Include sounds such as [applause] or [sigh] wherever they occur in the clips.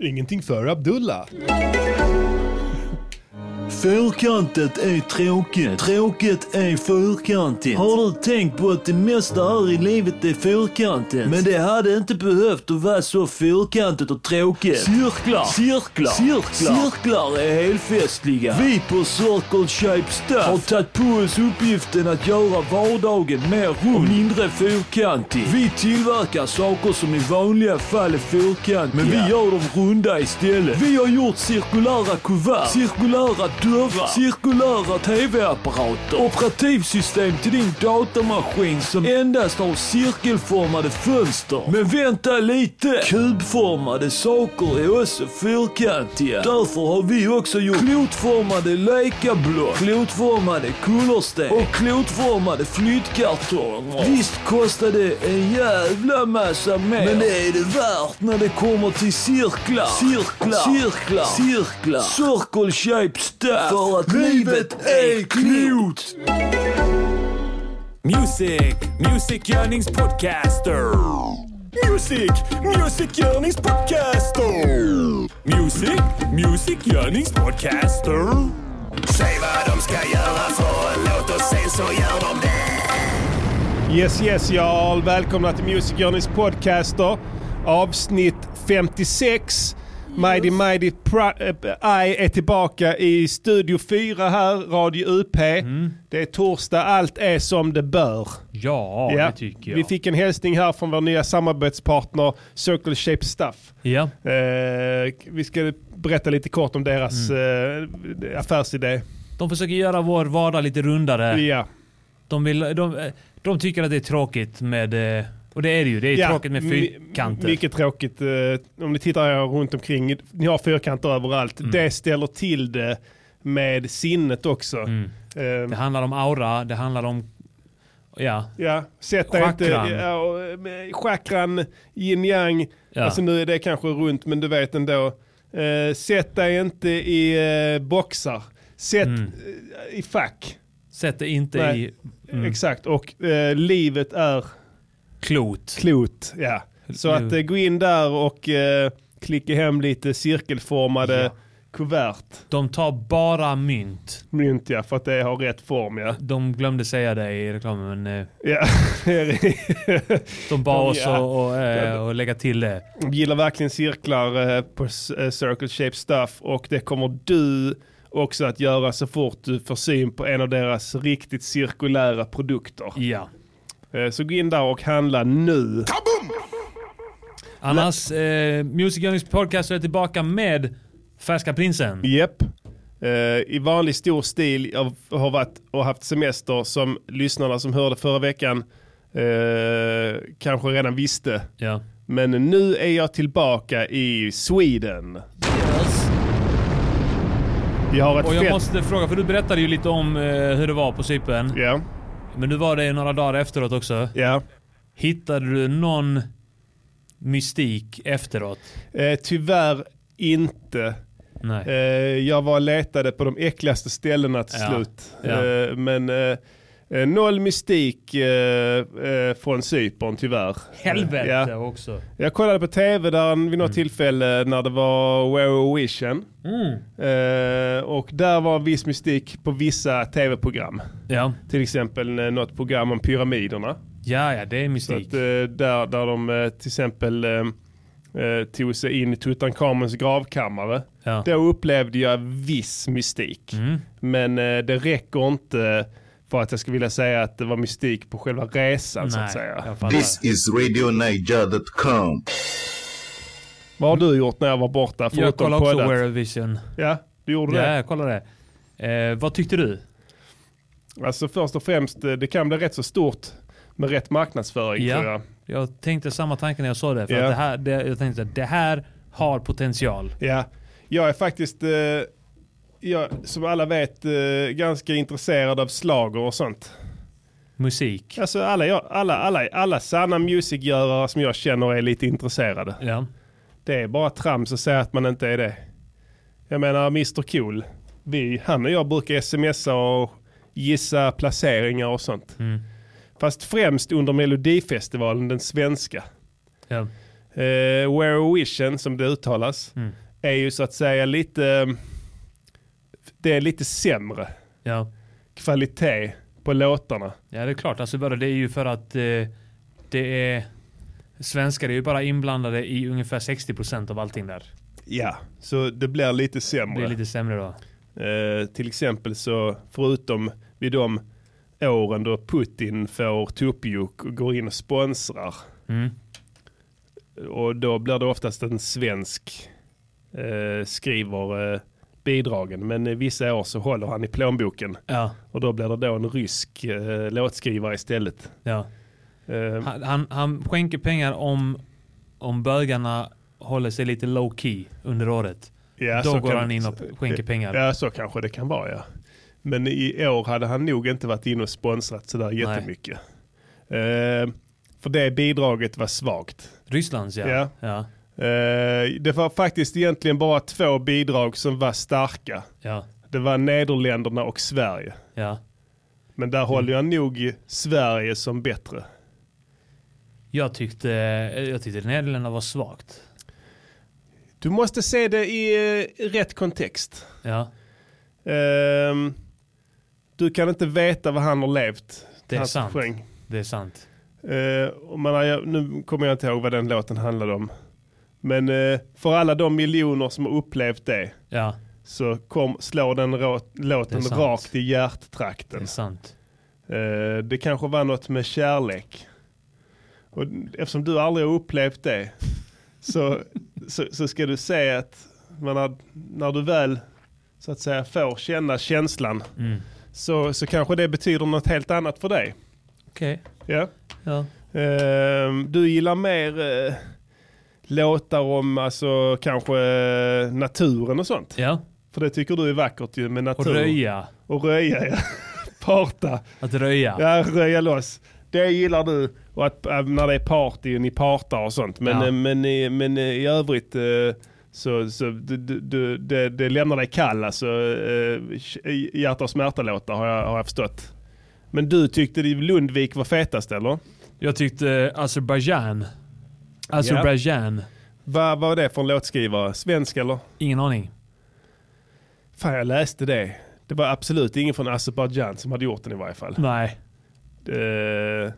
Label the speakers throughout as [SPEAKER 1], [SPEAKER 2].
[SPEAKER 1] Ingenting för Abdullah.
[SPEAKER 2] Fyrkantet är tråkigt. Tråkigt är fyrkantigt. Har du tänkt på att det mesta här i livet är fyrkantigt? Men det hade inte behövt att vara så fyrkantigt och tråkigt. Cirklar. Cirklar. Cirklar. Cirklar är helfestliga. Vi på Circle Shape Stuff har tagit på oss uppgiften att göra vardagen mer rund och mindre fyrkantig. Vi tillverkar saker som i vanliga fall är fyrkantiga. Men vi gör dem runda istället. Vi har gjort cirkulära kuvert. Cirkulära dörrar, cirkulära TV-apparater, operativsystem till din datamaskin som endast har cirkelformade fönster. Men vänta lite! Kubformade saker är också fyrkantiga. Därför har vi också gjort klotformade lekablock, klotformade kullersten och klotformade flyttkartonger. Visst kostar det en jävla massa mer, men det är det värt när det kommer till cirklar, cirklar, cirklar, cirklar. Circle shape stuff. För att livet är klot!
[SPEAKER 3] Music, musikgörningspodcaster. Music, musikgörningspodcaster. Music, musikgörningspodcaster. Säg vad de ska göra för en låt och sen så gör de det.
[SPEAKER 1] Yes yes y'all, välkomna till Music Journeys podcaster. Avsnitt 56. Mighty Mighty Pri- äh, I är tillbaka i Studio 4 här, Radio UP. Det är torsdag, allt är som det bör.
[SPEAKER 4] Ja,
[SPEAKER 1] Ja.
[SPEAKER 4] det tycker jag.
[SPEAKER 1] Vi fick en hälsning här från vår nya samarbetspartner Circle Shape Stuff.
[SPEAKER 4] ja.
[SPEAKER 1] Eh, vi ska berätta lite kort om deras eh, affärsidé.
[SPEAKER 4] De försöker göra vår vardag lite rundare.
[SPEAKER 1] Ja.
[SPEAKER 4] De, vill, de, eh, de tycker att det är tråkigt med... eh, Och det är det ju. Det är
[SPEAKER 1] ja,
[SPEAKER 4] tråkigt med
[SPEAKER 1] my-
[SPEAKER 4] fyrkanter.
[SPEAKER 1] Mycket tråkigt. eh, Om ni tittar här runt omkring, ni har fyrkanter överallt.
[SPEAKER 4] Mm.
[SPEAKER 1] Det ställer till det med sinnet också.
[SPEAKER 4] Mm.
[SPEAKER 1] Eh,
[SPEAKER 4] Det handlar om aura, det handlar om... Ja.
[SPEAKER 1] Ja, sätta inte...
[SPEAKER 4] Chakran.
[SPEAKER 1] Ja, och, men, chakran, yin yang.
[SPEAKER 4] Ja.
[SPEAKER 1] Alltså nu är det kanske runt, men du vet ändå. Eh, sätt dig inte i eh, boxar. Sätt
[SPEAKER 4] Mm.
[SPEAKER 1] eh, i fack.
[SPEAKER 4] Sätt det inte
[SPEAKER 1] Nej.
[SPEAKER 4] i
[SPEAKER 1] Exakt, och eh, livet är
[SPEAKER 4] klot.
[SPEAKER 1] klot. Ja. Så att eh, gå in där och eh, klicka hem lite cirkelformade
[SPEAKER 4] Ja.
[SPEAKER 1] kuvert.
[SPEAKER 4] De tar bara mynt.
[SPEAKER 1] Mynt ja, för att det har rätt form ja.
[SPEAKER 4] De glömde säga det i reklamen, men eh,
[SPEAKER 1] ja. [laughs]
[SPEAKER 4] de bad oss
[SPEAKER 1] Ja.
[SPEAKER 4] att och, eh, och lägga till det.
[SPEAKER 1] De gillar verkligen cirklar eh, på s- eh, Circle Shape Stuff och det kommer du också att göra så fort du får syn på en av deras riktigt cirkulära produkter.
[SPEAKER 4] Ja.
[SPEAKER 1] Eh, Så gå in där och handla nu.
[SPEAKER 4] Annars, eh, Music Earnings Podcast är tillbaka med Färska Prinsen.
[SPEAKER 1] Japp. Eh, I vanlig stor stil. Jag har varit och haft semester som lyssnarna som hörde förra veckan eh, kanske redan visste.
[SPEAKER 4] Ja.
[SPEAKER 1] Men nu är jag tillbaka i Sweden. Vi har ett
[SPEAKER 4] Och jag
[SPEAKER 1] fett...
[SPEAKER 4] måste fråga, för du berättade ju lite om eh, hur det var på Cypern.
[SPEAKER 1] Ja,
[SPEAKER 4] Men nu var det några dagar efteråt också.
[SPEAKER 1] ja.
[SPEAKER 4] Hittade du någon mystik efteråt?
[SPEAKER 1] Eh, tyvärr inte.
[SPEAKER 4] Nej.
[SPEAKER 1] Eh, jag var och letade på de äckligaste ställena till
[SPEAKER 4] Ja,
[SPEAKER 1] slut.
[SPEAKER 4] ja.
[SPEAKER 1] Eh, men eh, eh, noll mystik eh, eh, från Cypern tyvärr.
[SPEAKER 4] Helvete Mm.
[SPEAKER 1] Ja.
[SPEAKER 4] också.
[SPEAKER 1] Jag kollade på tv där vid något tillfälle när det var Eurovision.
[SPEAKER 4] Mm.
[SPEAKER 1] Eh, och där var viss mystik på vissa tv-program.
[SPEAKER 4] Ja.
[SPEAKER 1] Till exempel eh, något program om pyramiderna.
[SPEAKER 4] ja, ja, det är
[SPEAKER 1] Så
[SPEAKER 4] mystik.
[SPEAKER 1] att, eh, där, där de eh, till exempel eh, eh, tog sig in i Tutankhamons gravkammare.
[SPEAKER 4] Ja.
[SPEAKER 1] Då upplevde jag viss mystik.
[SPEAKER 4] Mm.
[SPEAKER 1] Men eh, det räcker inte för att jag skulle vilja säga att det var mystik på själva resan så att
[SPEAKER 4] Nej,
[SPEAKER 1] säga.
[SPEAKER 4] jag fattar.
[SPEAKER 5] This is RadioNiger.com.
[SPEAKER 1] Vad har du gjort när jag var borta?
[SPEAKER 4] Jag
[SPEAKER 1] Förutom
[SPEAKER 4] kollade också
[SPEAKER 1] poddat?
[SPEAKER 4] Eurovision.
[SPEAKER 1] Ja, du gjorde
[SPEAKER 4] Ja,
[SPEAKER 1] det.
[SPEAKER 4] jag kollade det. Eh, vad tyckte du?
[SPEAKER 1] Alltså först och främst, eh, det kan bli rätt så stort med rätt marknadsföring
[SPEAKER 4] Ja.
[SPEAKER 1] tror jag.
[SPEAKER 4] Jag tänkte samma tanke när jag såg det. För
[SPEAKER 1] Ja.
[SPEAKER 4] att det här, det, jag tänkte att det här har potential.
[SPEAKER 1] Ja, jag är faktiskt, eh, jag, som alla vet, eh, ganska intresserad av slager och sånt.
[SPEAKER 4] Musik.
[SPEAKER 1] Alltså alla, jag, alla, alla, alla sanna musikgörare som jag känner är lite intresserade.
[SPEAKER 4] Ja.
[SPEAKER 1] Det är bara trams att säga att man inte är det. Jag menar Mr Cool, vi, han och jag brukar smsa och gissa placeringar och
[SPEAKER 4] Mm.
[SPEAKER 1] sånt. Fast främst under Melodifestivalen, den svenska.
[SPEAKER 4] ja.
[SPEAKER 1] Eh, eh, Werovision som det uttalas,
[SPEAKER 4] Mm.
[SPEAKER 1] är ju så att säga lite, eh, det är lite sämre
[SPEAKER 4] Ja.
[SPEAKER 1] kvalitet på låtarna.
[SPEAKER 4] ja, det är klart. Alltså bara det är ju för att eh, det är... Svenskar är ju bara inblandade i ungefär 60% av allting där.
[SPEAKER 1] Ja, så det blir lite
[SPEAKER 4] Det
[SPEAKER 1] sämre.
[SPEAKER 4] blir lite sämre då.
[SPEAKER 1] Eh, till exempel så, förutom vid de åren då Putin får tuppjuck och går in och sponsrar.
[SPEAKER 4] Mm.
[SPEAKER 1] Och då blir det oftast en svensk eh, skriver eh, bidragen. Men eh, vissa år så håller han i plånboken.
[SPEAKER 4] Ja,
[SPEAKER 1] Och då blir det då en rysk eh, låtskrivare istället.
[SPEAKER 4] ja.
[SPEAKER 1] Eh,
[SPEAKER 4] Han, han, han skänker pengar om, om bögarna håller sig lite low key under året.
[SPEAKER 1] ja,
[SPEAKER 4] Då
[SPEAKER 1] så
[SPEAKER 4] går
[SPEAKER 1] kan-
[SPEAKER 4] han in och skänker pengar.
[SPEAKER 1] Ja, så kanske det kan vara ja. Men i år hade han nog inte varit inne och sponsrat sådär jättemycket. Eh, för det bidraget var svagt.
[SPEAKER 4] Rysslands ja.
[SPEAKER 1] Ja.
[SPEAKER 4] ja.
[SPEAKER 1] Eh, det var faktiskt egentligen bara två bidrag som var starka.
[SPEAKER 4] ja.
[SPEAKER 1] Det var Nederländerna och Sverige.
[SPEAKER 4] ja.
[SPEAKER 1] Men
[SPEAKER 4] Mm.
[SPEAKER 1] där håller jag nog Sverige som bättre.
[SPEAKER 4] Jag tyckte, jag tyckte Nederländerna var svagt.
[SPEAKER 1] Du måste se det i eh, rätt kontext.
[SPEAKER 4] Ja,
[SPEAKER 1] Ehm, du kan inte veta vad han har levt.
[SPEAKER 4] Det är
[SPEAKER 1] han som
[SPEAKER 4] sant.
[SPEAKER 1] sjöng.
[SPEAKER 4] det är sant.
[SPEAKER 1] Eh, och man, har- jag- nu kommer jag inte ihåg vad den låten handlade om. Men eh, för alla de miljoner som har upplevt det
[SPEAKER 4] Ja, så
[SPEAKER 1] så kom, slår den rå, låten
[SPEAKER 4] Det är sant.
[SPEAKER 1] rakt i hjärttrakten.
[SPEAKER 4] det är sant.
[SPEAKER 1] Eh, det kanske var något med kärlek. Och eftersom du aldrig har upplevt det
[SPEAKER 4] [laughs]
[SPEAKER 1] så, så, så ska du säga att man har, när du väl så att säga får känna känslan
[SPEAKER 4] Mm.
[SPEAKER 1] så, så kanske det betyder något helt annat för dig.
[SPEAKER 4] Okej,
[SPEAKER 1] Ja.
[SPEAKER 4] ja.
[SPEAKER 1] Ehm, du gillar mer eh, låtar om alltså kanske eh, naturen och sånt.
[SPEAKER 4] Ja,
[SPEAKER 1] För det tycker du är vackert ju med
[SPEAKER 4] och
[SPEAKER 1] natur.
[SPEAKER 4] röja.
[SPEAKER 1] Och röja ja. [laughs] Parta.
[SPEAKER 4] Att röja.
[SPEAKER 1] Ja, röja loss. Det gillar du. Och att äh, när det är party och ni partar och sånt. Men,
[SPEAKER 4] Ja.
[SPEAKER 1] eh, men, i- men eh, i övrigt eh, så, så du, du, du, det, det lämnar dig kall. Alltså, eh, hjärta och smärta-låtar har jag, har jag förstått. Men du tyckte Lundvik var fetast eller?
[SPEAKER 4] Jag tyckte Azerbaijan. Azerbaijan.
[SPEAKER 1] Vad var det för en låtskrivare? Svensk eller?
[SPEAKER 4] Ingen aning.
[SPEAKER 1] Fan jag läste det. Det var absolut ingen från Azerbaijan som hade gjort den i varje fall.
[SPEAKER 4] Nej,
[SPEAKER 1] Eh,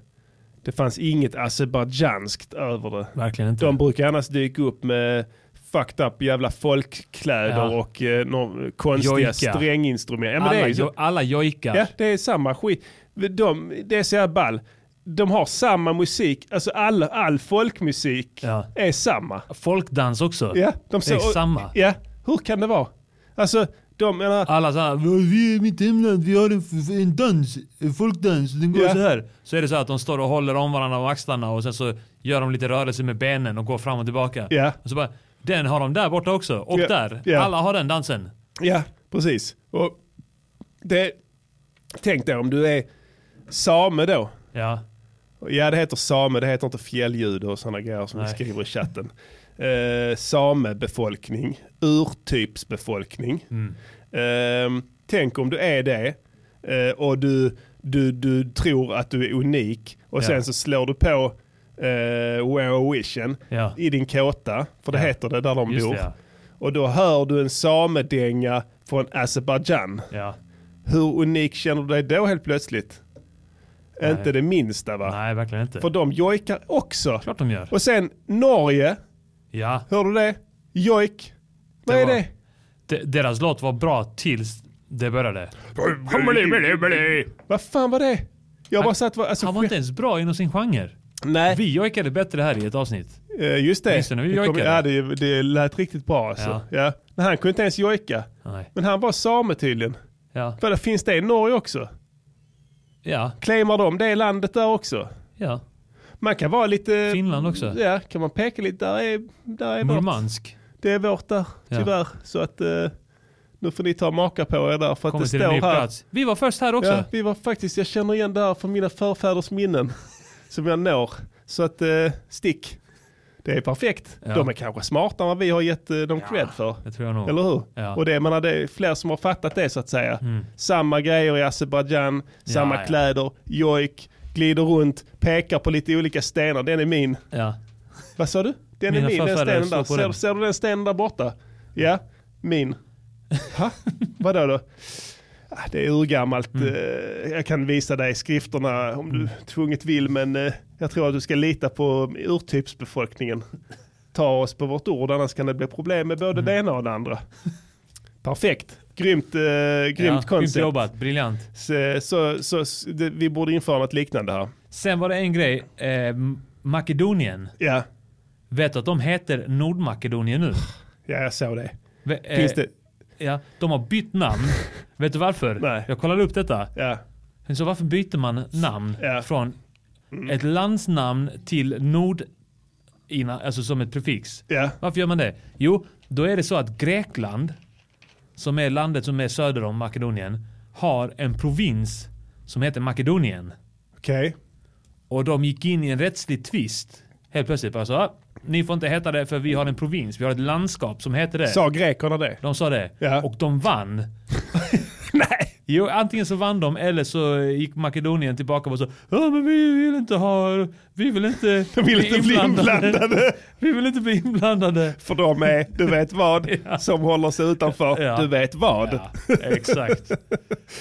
[SPEAKER 1] Det fanns inget azerbajdzjanskt över det.
[SPEAKER 4] verkligen inte.
[SPEAKER 1] De brukar annars dyka upp med fucked up jävla folkkläder
[SPEAKER 4] Ja.
[SPEAKER 1] och eh, några konstiga
[SPEAKER 4] Jojka.
[SPEAKER 1] stränginstrument. Ja, men det är
[SPEAKER 4] alla,
[SPEAKER 1] ju så.
[SPEAKER 4] jo, alla jojkar.
[SPEAKER 1] Ja, det är samma skit. De, det är så jävla ball. De har samma musik, alltså all, all folkmusik
[SPEAKER 4] Ja.
[SPEAKER 1] är samma.
[SPEAKER 4] Folkdans också.
[SPEAKER 1] Ja, de
[SPEAKER 4] Det är
[SPEAKER 1] så- och-
[SPEAKER 4] samma.
[SPEAKER 1] Ja, hur kan det vara? Alltså, de menar,
[SPEAKER 4] Alla så här, vi är i mitt hemland, vi har en, f- en dans, en folkdans, den går
[SPEAKER 1] Ja.
[SPEAKER 4] så här. Så är det så här att de står och håller om varandra av axlarna och sen så gör de lite rörelser med benen och går fram och tillbaka.
[SPEAKER 1] Ja.
[SPEAKER 4] Och så bara, den har de där borta också, och
[SPEAKER 1] Ja.
[SPEAKER 4] där.
[SPEAKER 1] Ja.
[SPEAKER 4] Alla har den dansen.
[SPEAKER 1] ja, precis. Och det, tänk dig om du är same då.
[SPEAKER 4] Ja,
[SPEAKER 1] Ja, det heter same, det heter inte fjällljud och sådana grejer som vi
[SPEAKER 4] Nej.
[SPEAKER 1] skriver i chatten. Eh, samebefolkning, urtypsbefolkning.
[SPEAKER 4] Mm.
[SPEAKER 1] Eh, tänk om du är det eh, och du, du, du tror att du är unik och
[SPEAKER 4] Ja.
[SPEAKER 1] sen så slår du på eh, Werovision
[SPEAKER 4] Ja.
[SPEAKER 1] i din kåta, för det
[SPEAKER 4] Ja.
[SPEAKER 1] heter det där de
[SPEAKER 4] just
[SPEAKER 1] bor.
[SPEAKER 4] det ja.
[SPEAKER 1] Och då hör du en samedänga från Azerbajdzjan.
[SPEAKER 4] ja.
[SPEAKER 1] Hur unik känner du dig då helt plötsligt? Inte det minsta va?
[SPEAKER 4] Nej, verkligen inte.
[SPEAKER 1] För de jojkar också.
[SPEAKER 4] Klart de gör.
[SPEAKER 1] Och sen Norge,
[SPEAKER 4] Ja.
[SPEAKER 1] hör du det? Jojk. Vad
[SPEAKER 4] Det
[SPEAKER 1] är
[SPEAKER 4] var-
[SPEAKER 1] det?
[SPEAKER 4] De, deras låt var bra tills det började.
[SPEAKER 1] Vad fan var det? Jag bara
[SPEAKER 4] Han-
[SPEAKER 1] satt var, alltså,
[SPEAKER 4] Han var inte ens bra inom sin genre.
[SPEAKER 1] Nej,
[SPEAKER 4] Vi jojkade bättre här i ett avsnitt.
[SPEAKER 1] Eh, just det.
[SPEAKER 4] Minns du när vi
[SPEAKER 1] Det kom-
[SPEAKER 4] jojkade?
[SPEAKER 1] ja, det, det lät riktigt bra alltså. Ja. Men han kunde inte ens jojka.
[SPEAKER 4] Nej.
[SPEAKER 1] Men han var same tydligen.
[SPEAKER 4] Ja,
[SPEAKER 1] För det finns det i Norge också.
[SPEAKER 4] ja,
[SPEAKER 1] Claimar de det landet där också?
[SPEAKER 4] ja.
[SPEAKER 1] Man kan vara lite...
[SPEAKER 4] Finland också.
[SPEAKER 1] Ja, kan man peka lite. Där är, där är vårt.
[SPEAKER 4] Murmansk.
[SPEAKER 1] Det är vårt där,
[SPEAKER 4] Ja.
[SPEAKER 1] tyvärr. Så att eh, nu får ni ta och maka på er där. För att
[SPEAKER 4] Kommer
[SPEAKER 1] det
[SPEAKER 4] till en ny
[SPEAKER 1] står här.
[SPEAKER 4] plats. Vi var först här också.
[SPEAKER 1] Ja, vi var faktiskt, jag känner igen det här från mina förfäders minnen [laughs] som jag når. Så att eh, stick, det är perfekt.
[SPEAKER 4] Ja.
[SPEAKER 1] De är kanske smartare än vad vi har gett eh, dem cred för.
[SPEAKER 4] Det tror jag nog.
[SPEAKER 1] Eller hur?
[SPEAKER 4] Ja. Mm.
[SPEAKER 1] Och det, jag menar, det är fler som har fattat det så att säga. Samma grejer i Azerbajdzjan, samma
[SPEAKER 4] ja.
[SPEAKER 1] kläder, jojk, glider runt, pekar på lite olika stenar. Den är min.
[SPEAKER 4] Ja.
[SPEAKER 1] Vad sa du? Den
[SPEAKER 4] Mina
[SPEAKER 1] är min, den
[SPEAKER 4] farföräldrar
[SPEAKER 1] stenen
[SPEAKER 4] står
[SPEAKER 1] där.
[SPEAKER 4] på
[SPEAKER 1] Ser,
[SPEAKER 4] den.
[SPEAKER 1] ser du den stenen där borta? Ja,
[SPEAKER 4] [laughs]
[SPEAKER 1] min. Ha? Vadå då? Ah, Det är urgammalt.
[SPEAKER 4] Mm.
[SPEAKER 1] Eh, Jag kan visa dig skrifterna om du tvunget vill, men eh, jag tror att du ska lita på urtypsbefolkningen. Ta oss på vårt ord, annars kan det bli problem med
[SPEAKER 4] Mm.
[SPEAKER 1] både det ena och det andra. Perfekt. Grymt, eh,
[SPEAKER 4] Ja,
[SPEAKER 1] grymt koncept.
[SPEAKER 4] jobbat, briljant.
[SPEAKER 1] Så, så, så, så det, vi borde införa något liknande här.
[SPEAKER 4] Sen var det en grej. Eh, M- Makedonien.
[SPEAKER 1] Ja,
[SPEAKER 4] Vet du att de heter Nordmakedonien nu?
[SPEAKER 1] ja jag såg det.
[SPEAKER 4] Ve- eh,
[SPEAKER 1] Finns det?
[SPEAKER 4] Ja, de har
[SPEAKER 1] [laughs]
[SPEAKER 4] bytt namn. Vet du varför?
[SPEAKER 1] Nej.
[SPEAKER 4] Jag kollade upp detta.
[SPEAKER 1] Ja.
[SPEAKER 4] Så varför byter man namn
[SPEAKER 1] Ja. Mm.
[SPEAKER 4] från ett landsnamn till nord, ina- alltså som ett prefix?
[SPEAKER 1] Ja.
[SPEAKER 4] Varför gör man det? Jo, då är det så att Grekland, som är landet som är söder om Makedonien, har en provins som heter Makedonien.
[SPEAKER 1] Okej.
[SPEAKER 4] Och de gick in i en rättslig tvist helt plötsligt. Bara så, "Ah, ni får inte heta det för vi har en provins, vi har ett landskap som heter det.
[SPEAKER 1] Sa grekerna
[SPEAKER 4] [laughs]
[SPEAKER 1] det?
[SPEAKER 4] De sa det.
[SPEAKER 1] Ja.
[SPEAKER 4] Och de vann.
[SPEAKER 1] Nej.
[SPEAKER 4] Jo, antingen så vann de eller så eh, gick Makedonien tillbaka och så Ja men vi vill inte ha, vi vill inte
[SPEAKER 1] [laughs] De vill inte bli inblandade.
[SPEAKER 4] [laughs] Vi vill inte bli inblandade.
[SPEAKER 1] För de är, du vet
[SPEAKER 4] [laughs]
[SPEAKER 1] vad, som håller sig utanför,
[SPEAKER 4] Ja.
[SPEAKER 1] du vet vad.
[SPEAKER 4] Ja, [laughs] exakt.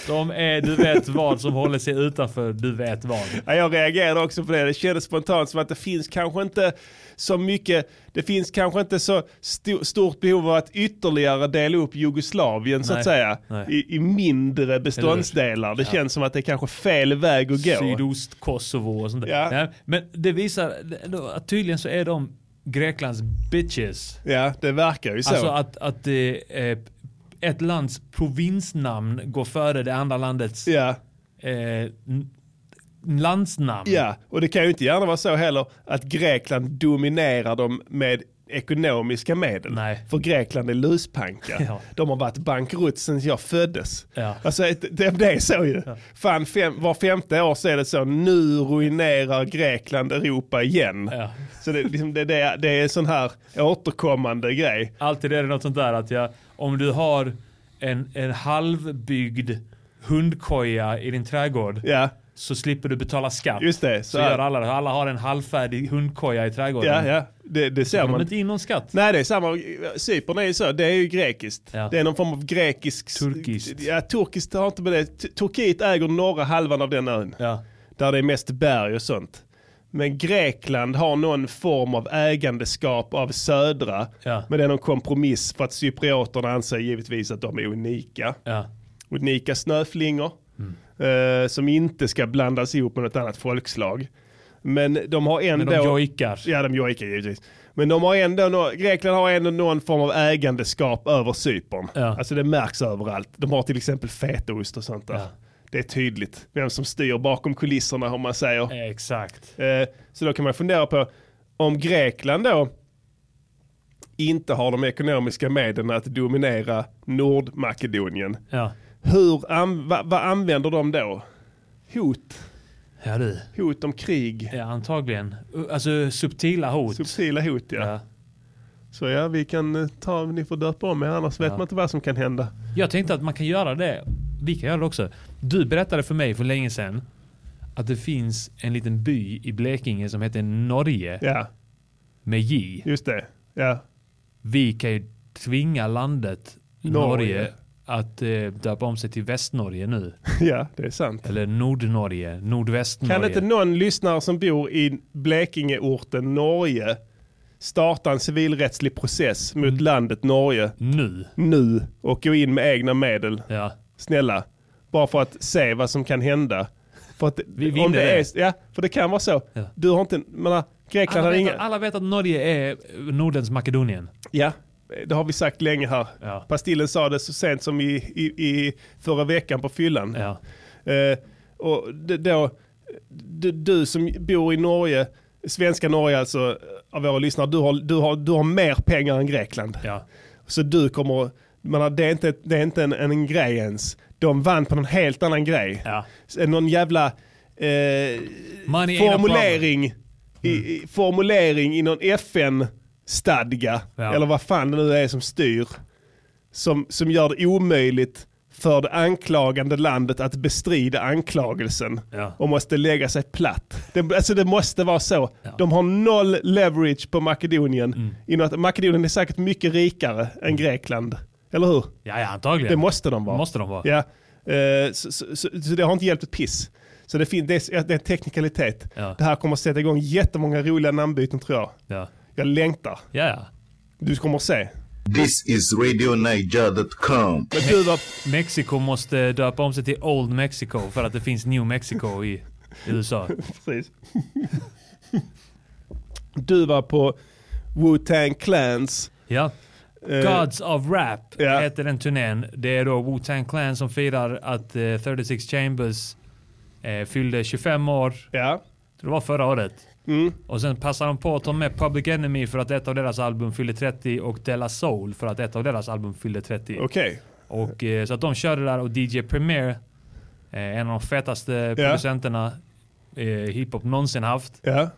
[SPEAKER 4] De är, du vet vad, som håller sig utanför, du vet vad.
[SPEAKER 1] Ja, Jag reagerade också på det. Det kändes spontant som att det finns kanske inte så mycket, det finns kanske inte så sto- stort behov av att ytterligare dela upp Jugoslavien så att
[SPEAKER 4] Nej.
[SPEAKER 1] säga
[SPEAKER 4] Nej.
[SPEAKER 1] i, i mindre beståndsdelar. Det känns som att det är kanske fel väg att gå.
[SPEAKER 4] Sydost-Kosovo och sånt där.
[SPEAKER 1] Ja.
[SPEAKER 4] Nej, Men det visar att tydligen så är de Greklands bitches.
[SPEAKER 1] Ja, det verkar ju så.
[SPEAKER 4] Alltså att, att eh, eh, ett lands provinsnamn går före det andra landets
[SPEAKER 1] ja.
[SPEAKER 4] eh, n- landsnamn.
[SPEAKER 1] Ja, och det kan ju inte gärna vara så heller att Grekland dominerar dem med ekonomiska medel.
[SPEAKER 4] Nej.
[SPEAKER 1] För Grekland är luspanka.
[SPEAKER 4] [laughs] Ja.
[SPEAKER 1] De har varit bankrutt sedan jag föddes.
[SPEAKER 4] Ja.
[SPEAKER 1] Alltså det, det det är så ju. Fan, fem, var femte år så är det så, nu ruinerar Grekland Europa igen.
[SPEAKER 4] Ja.
[SPEAKER 1] Så det, liksom, det, det, är- det är en sån här återkommande grej.
[SPEAKER 4] Alltid är det något sånt där att jag, om du har en, en halvbyggd hundkoja i din trädgård
[SPEAKER 1] Ja,
[SPEAKER 4] så slipper du betala skatt.
[SPEAKER 1] Just det,
[SPEAKER 4] Så,
[SPEAKER 1] så här.
[SPEAKER 4] gör alla det. Alla har en halvfärdig hundkoja i trädgården.
[SPEAKER 1] ja, ja. Det, det ser
[SPEAKER 4] De har
[SPEAKER 1] man.
[SPEAKER 4] inte in någon skatt.
[SPEAKER 1] Nej det är samma, Cypern är ju så, det är ju grekiskt.
[SPEAKER 4] Ja.
[SPEAKER 1] Det är någon form av grekisk...
[SPEAKER 4] Turkiskt.
[SPEAKER 1] Ja, turkiskt har inte med det. T- Turkiet äger norra halvan av den ön.
[SPEAKER 4] Ja.
[SPEAKER 1] Där det är mest berg och sånt. Men Grekland har någon form av ägandeskap av södra.
[SPEAKER 4] Ja.
[SPEAKER 1] Men det är någon kompromiss för att cyprioterna anser givetvis att de är unika.
[SPEAKER 4] Ja.
[SPEAKER 1] Unika snöflingor.
[SPEAKER 4] Mm.
[SPEAKER 1] Eh, som inte ska blandas ihop med något annat folkslag. Men de har ändå...
[SPEAKER 4] Men de jojkar.
[SPEAKER 1] Ja, de jojkar givetvis. Men de har ändå, nå- Grekland har ändå någon form av ägandeskap över Cypern.
[SPEAKER 4] Ja.
[SPEAKER 1] Alltså det märks överallt. De har till exempel fetaost och sånt där.
[SPEAKER 4] Ja.
[SPEAKER 1] Det är tydligt vem som styr bakom kulisserna om man säger.
[SPEAKER 4] Exakt.
[SPEAKER 1] Eh, Så då kan man fundera på om Grekland då inte har de ekonomiska medlen att dominera Nordmakedonien.
[SPEAKER 4] Ja.
[SPEAKER 1] Hur, an, va, vad använder de då? Hot,
[SPEAKER 4] Ja du.
[SPEAKER 1] hot om krig,
[SPEAKER 4] Ja, antagligen. Uh, Alltså subtila hot.
[SPEAKER 1] subtila hot ja.
[SPEAKER 4] ja.
[SPEAKER 1] Så ja, vi kan eh, ta, ni får döpa om er annars vet man inte vad som kan hända.
[SPEAKER 4] Jag tänkte att man kan göra det. Vi kan göra det också. Du berättade för mig för länge sedan att det finns en liten by i Blekinge som heter Norge
[SPEAKER 1] Ja,
[SPEAKER 4] med J.
[SPEAKER 1] just det. Ja, [laughs]
[SPEAKER 4] Vi kan ju tvinga landet Norge,
[SPEAKER 1] Norge.
[SPEAKER 4] att eh, döpa om sig till Västnorge nu.
[SPEAKER 1] ja det är sant.
[SPEAKER 4] Eller Nordnorge, Nordvästnorge.
[SPEAKER 1] Kan inte någon lyssnare som bor i Blekingeorten Norge starta en civilrättslig process mot landet Norge
[SPEAKER 4] nu.
[SPEAKER 1] nu och gå in med egna medel?
[SPEAKER 4] Ja.
[SPEAKER 1] Snälla, bara för att se vad som kan hända. För att,
[SPEAKER 4] vinner
[SPEAKER 1] om det
[SPEAKER 4] det.
[SPEAKER 1] Är, ja, för det kan vara så.
[SPEAKER 4] Ja.
[SPEAKER 1] Du har inte, man har, Grekland
[SPEAKER 4] Alla,
[SPEAKER 1] har
[SPEAKER 4] vet,
[SPEAKER 1] inga...
[SPEAKER 4] att- alla vet att Norge är eh, Nordens Makedonien.
[SPEAKER 1] Ja, det har vi sagt länge här.
[SPEAKER 4] Ja.
[SPEAKER 1] Pastillen sa det så sent som i, i, i förra veckan på fyllan.
[SPEAKER 4] Ja.
[SPEAKER 1] Eh, och d- då, d- du som bor i Norge, svenska Norge alltså, av våra lyssnare, du har, du har, du har mer pengar än Grekland.
[SPEAKER 4] Ja.
[SPEAKER 1] Så du kommer, man har, det är inte, det är inte en, en grej ens. De vann på någon helt annan grej.
[SPEAKER 4] Ja.
[SPEAKER 1] S- Någon jävla eh,
[SPEAKER 4] Money ain't a
[SPEAKER 1] formulering, i, i, formulering i någon FN-stadga,
[SPEAKER 4] Ja.
[SPEAKER 1] eller vad fan det nu är som styr, som, som gör det omöjligt för det anklagande landet att bestrida anklagelsen
[SPEAKER 4] Ja.
[SPEAKER 1] och måste lägga sig platt. Det, alltså det måste vara så. De har noll leverage på Makedonien.
[SPEAKER 4] Mm.
[SPEAKER 1] I något, Makedonien är säkert mycket rikare än Grekland. Eller hur?
[SPEAKER 4] Ja, ja antagligen.
[SPEAKER 1] Det måste de vara.
[SPEAKER 4] Måste de vara.
[SPEAKER 1] Ja. Eh, så, så, så, så det har inte hjälpt ett piss. Så det, fin- det, är, det är en teknikalitet.
[SPEAKER 4] Ja.
[SPEAKER 1] Det här kommer att sätta igång jättemånga roliga namnbyten tror jag.
[SPEAKER 4] Ja.
[SPEAKER 1] Jag längtar.
[SPEAKER 4] Ja, ja.
[SPEAKER 1] Du kommer att se.
[SPEAKER 5] This is RadioNiger.com.
[SPEAKER 1] Men du var... [laughs]
[SPEAKER 4] Mexiko måste döpa om sig till Old Mexico för att det finns New Mexico i i USA.
[SPEAKER 1] Precis. Du var på Wu-Tang Clans.
[SPEAKER 4] Ja.
[SPEAKER 1] Eh,
[SPEAKER 4] Gods of Rap
[SPEAKER 1] ja.
[SPEAKER 4] heter den turnén. Det är då Wu-Tang Clan som firar att eh, 36 Chambers eh, fyllde 25 år.
[SPEAKER 1] Ja.
[SPEAKER 4] Det var förra året.
[SPEAKER 1] Mm.
[SPEAKER 4] Och sen passar de på att ta med Public Enemy för att ett av deras album fyllde 30 och De La Soul för att ett av deras album fyllde 30.
[SPEAKER 1] Okej.
[SPEAKER 4] Och, eh, så att de körde där och DJ Premier, eh, en av de fetaste producenterna eh, hiphop någonsin haft,
[SPEAKER 1] Ja.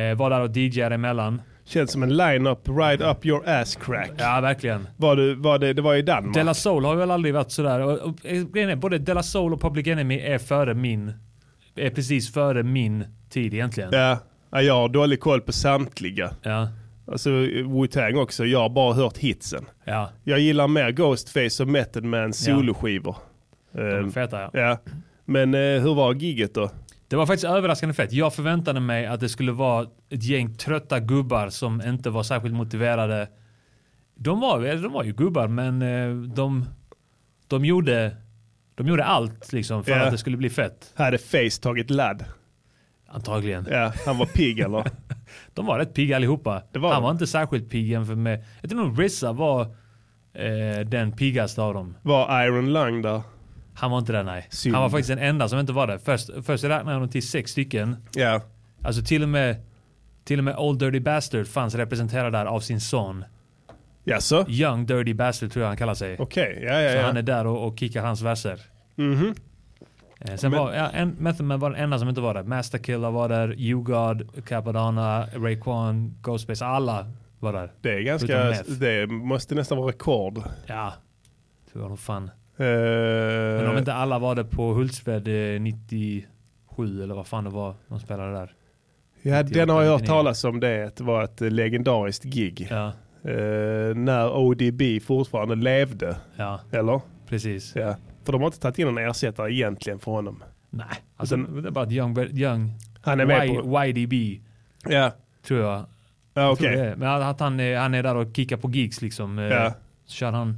[SPEAKER 4] eh, var där och DJade emellan.
[SPEAKER 1] Känns som en line-up, ride up your ass crack.
[SPEAKER 4] Ja, verkligen.
[SPEAKER 1] Var du, var det, det var i Danmark.
[SPEAKER 4] De La Soul har väl aldrig varit sådär. Och, och, eh, grejen är, både De La Soul och Public Enemy är före min, är precis före min tid egentligen.
[SPEAKER 1] Ja. ja, jag har dålig koll på samtliga.
[SPEAKER 4] Ja.
[SPEAKER 1] Alltså Wu-Tang också, jag har bara hört hitsen.
[SPEAKER 4] Ja.
[SPEAKER 1] Jag gillar mer Ghostface och Method Man soloskivor.
[SPEAKER 4] De är
[SPEAKER 1] Ehm,
[SPEAKER 4] feta ja.
[SPEAKER 1] ja. Men eh, hur var gigget då?
[SPEAKER 4] Det var faktiskt överraskande fett. Jag förväntade mig att det skulle vara ett gäng trötta gubbar som inte var särskilt motiverade. De var, eller de var ju gubbar, men eh, de, de, gjorde, de gjorde allt liksom för
[SPEAKER 1] Ja.
[SPEAKER 4] att det skulle bli fett.
[SPEAKER 1] Hade Face tagit ladd?
[SPEAKER 4] Antagligen.
[SPEAKER 1] Ja, han var
[SPEAKER 4] [laughs]
[SPEAKER 1] pigg eller?
[SPEAKER 4] De var rätt pigga allihopa.
[SPEAKER 1] Det var
[SPEAKER 4] Han
[SPEAKER 1] de.
[SPEAKER 4] var inte särskilt pigg jämfört med... Jag tror nog RZA var eh, den piggaste av dem.
[SPEAKER 1] Var Iron Lung där?
[SPEAKER 4] Han var inte där nej.
[SPEAKER 1] Synd.
[SPEAKER 4] Han var faktiskt den enda som inte var där. Först, först räknade jag honom till sex stycken.
[SPEAKER 1] Ja.
[SPEAKER 4] Alltså till och med till och med Old Dirty Bastard fanns representerad där av sin son.
[SPEAKER 1] Jaså?
[SPEAKER 4] Young Dirty Bastard tror jag han kallar sig.
[SPEAKER 1] Okej, ja ja
[SPEAKER 4] Så
[SPEAKER 1] ja. Mhm.
[SPEAKER 4] han är där och, och kickar hans verser. Eh, sen var ja, en, Method Man var den enda som inte var där. Master Killer var där, U-God, Capadonna, Raekwon, Ghostface. Alla var där.
[SPEAKER 1] Det är
[SPEAKER 4] Utom
[SPEAKER 1] ganska,
[SPEAKER 4] meth.
[SPEAKER 1] det måste nästan vara rekord.
[SPEAKER 4] Ja, det var nog fan.
[SPEAKER 1] Eh,
[SPEAKER 4] Men om inte alla var där på Hultsfred eh, 97 eller vad fan det var de spelade där.
[SPEAKER 1] ja,
[SPEAKER 4] 98,
[SPEAKER 1] den har jag hört
[SPEAKER 4] 99.
[SPEAKER 1] talas om det, att det var ett eh, legendariskt gig.
[SPEAKER 4] Ja,
[SPEAKER 1] Eh, när ODB fortfarande levde,
[SPEAKER 4] ja
[SPEAKER 1] eller?
[SPEAKER 4] precis.
[SPEAKER 1] Ja. För de har inte tagit in en ersättare egentligen för honom.
[SPEAKER 4] Nej, alltså, det är bara att Young, young
[SPEAKER 1] Han är med
[SPEAKER 4] Y-
[SPEAKER 1] på...
[SPEAKER 4] YDB
[SPEAKER 1] Ja,
[SPEAKER 4] tror jag.
[SPEAKER 1] ja
[SPEAKER 4] Tror
[SPEAKER 1] okej.
[SPEAKER 4] det är. Men att han, är- han är där och kickar på gigs liksom. eh,
[SPEAKER 1] Ja.
[SPEAKER 4] Så kör han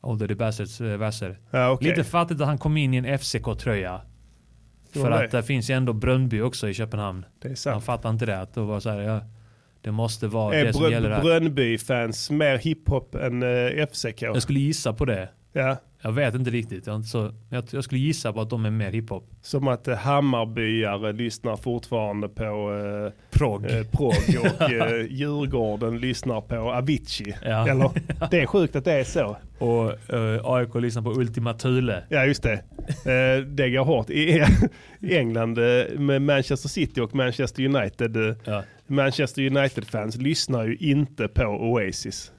[SPEAKER 4] Older the Bastards eh, verser.
[SPEAKER 1] Ja, okej.
[SPEAKER 4] Lite fattigt att han kom in i en FCK-tröja. För
[SPEAKER 1] var
[SPEAKER 4] att
[SPEAKER 1] det.
[SPEAKER 4] det finns ju ändå Brönnby också i Köpenhamn.
[SPEAKER 1] Det är
[SPEAKER 4] Han
[SPEAKER 1] sant.
[SPEAKER 4] fattar inte det. Att då var så här, ja, det måste vara
[SPEAKER 1] Är
[SPEAKER 4] det som gäller
[SPEAKER 1] Brö-
[SPEAKER 4] där.
[SPEAKER 1] Brönnby-fans mer hiphop än eh, FCK?
[SPEAKER 4] Jag skulle gissa på det.
[SPEAKER 1] Ja.
[SPEAKER 4] Jag vet inte riktigt. Jag, har inte så, jag, jag skulle gissa på att de är mer hiphop.
[SPEAKER 1] Som att eh, Hammarbyare lyssnar fortfarande på eh,
[SPEAKER 4] Prog.
[SPEAKER 1] eh, prog
[SPEAKER 4] [laughs]
[SPEAKER 1] och eh, Djurgården lyssnar på Avicii.
[SPEAKER 4] Ja. [laughs]
[SPEAKER 1] Eller? Det är sjukt att det är så.
[SPEAKER 4] Och eh, AIK lyssnar på Ultima Thule.
[SPEAKER 1] Ja just det. Eh, det går hårt. I, i England eh, med Manchester City och Manchester United. eh,
[SPEAKER 4] Ja.
[SPEAKER 1] Manchester United-fans lyssnar ju inte på Oasis.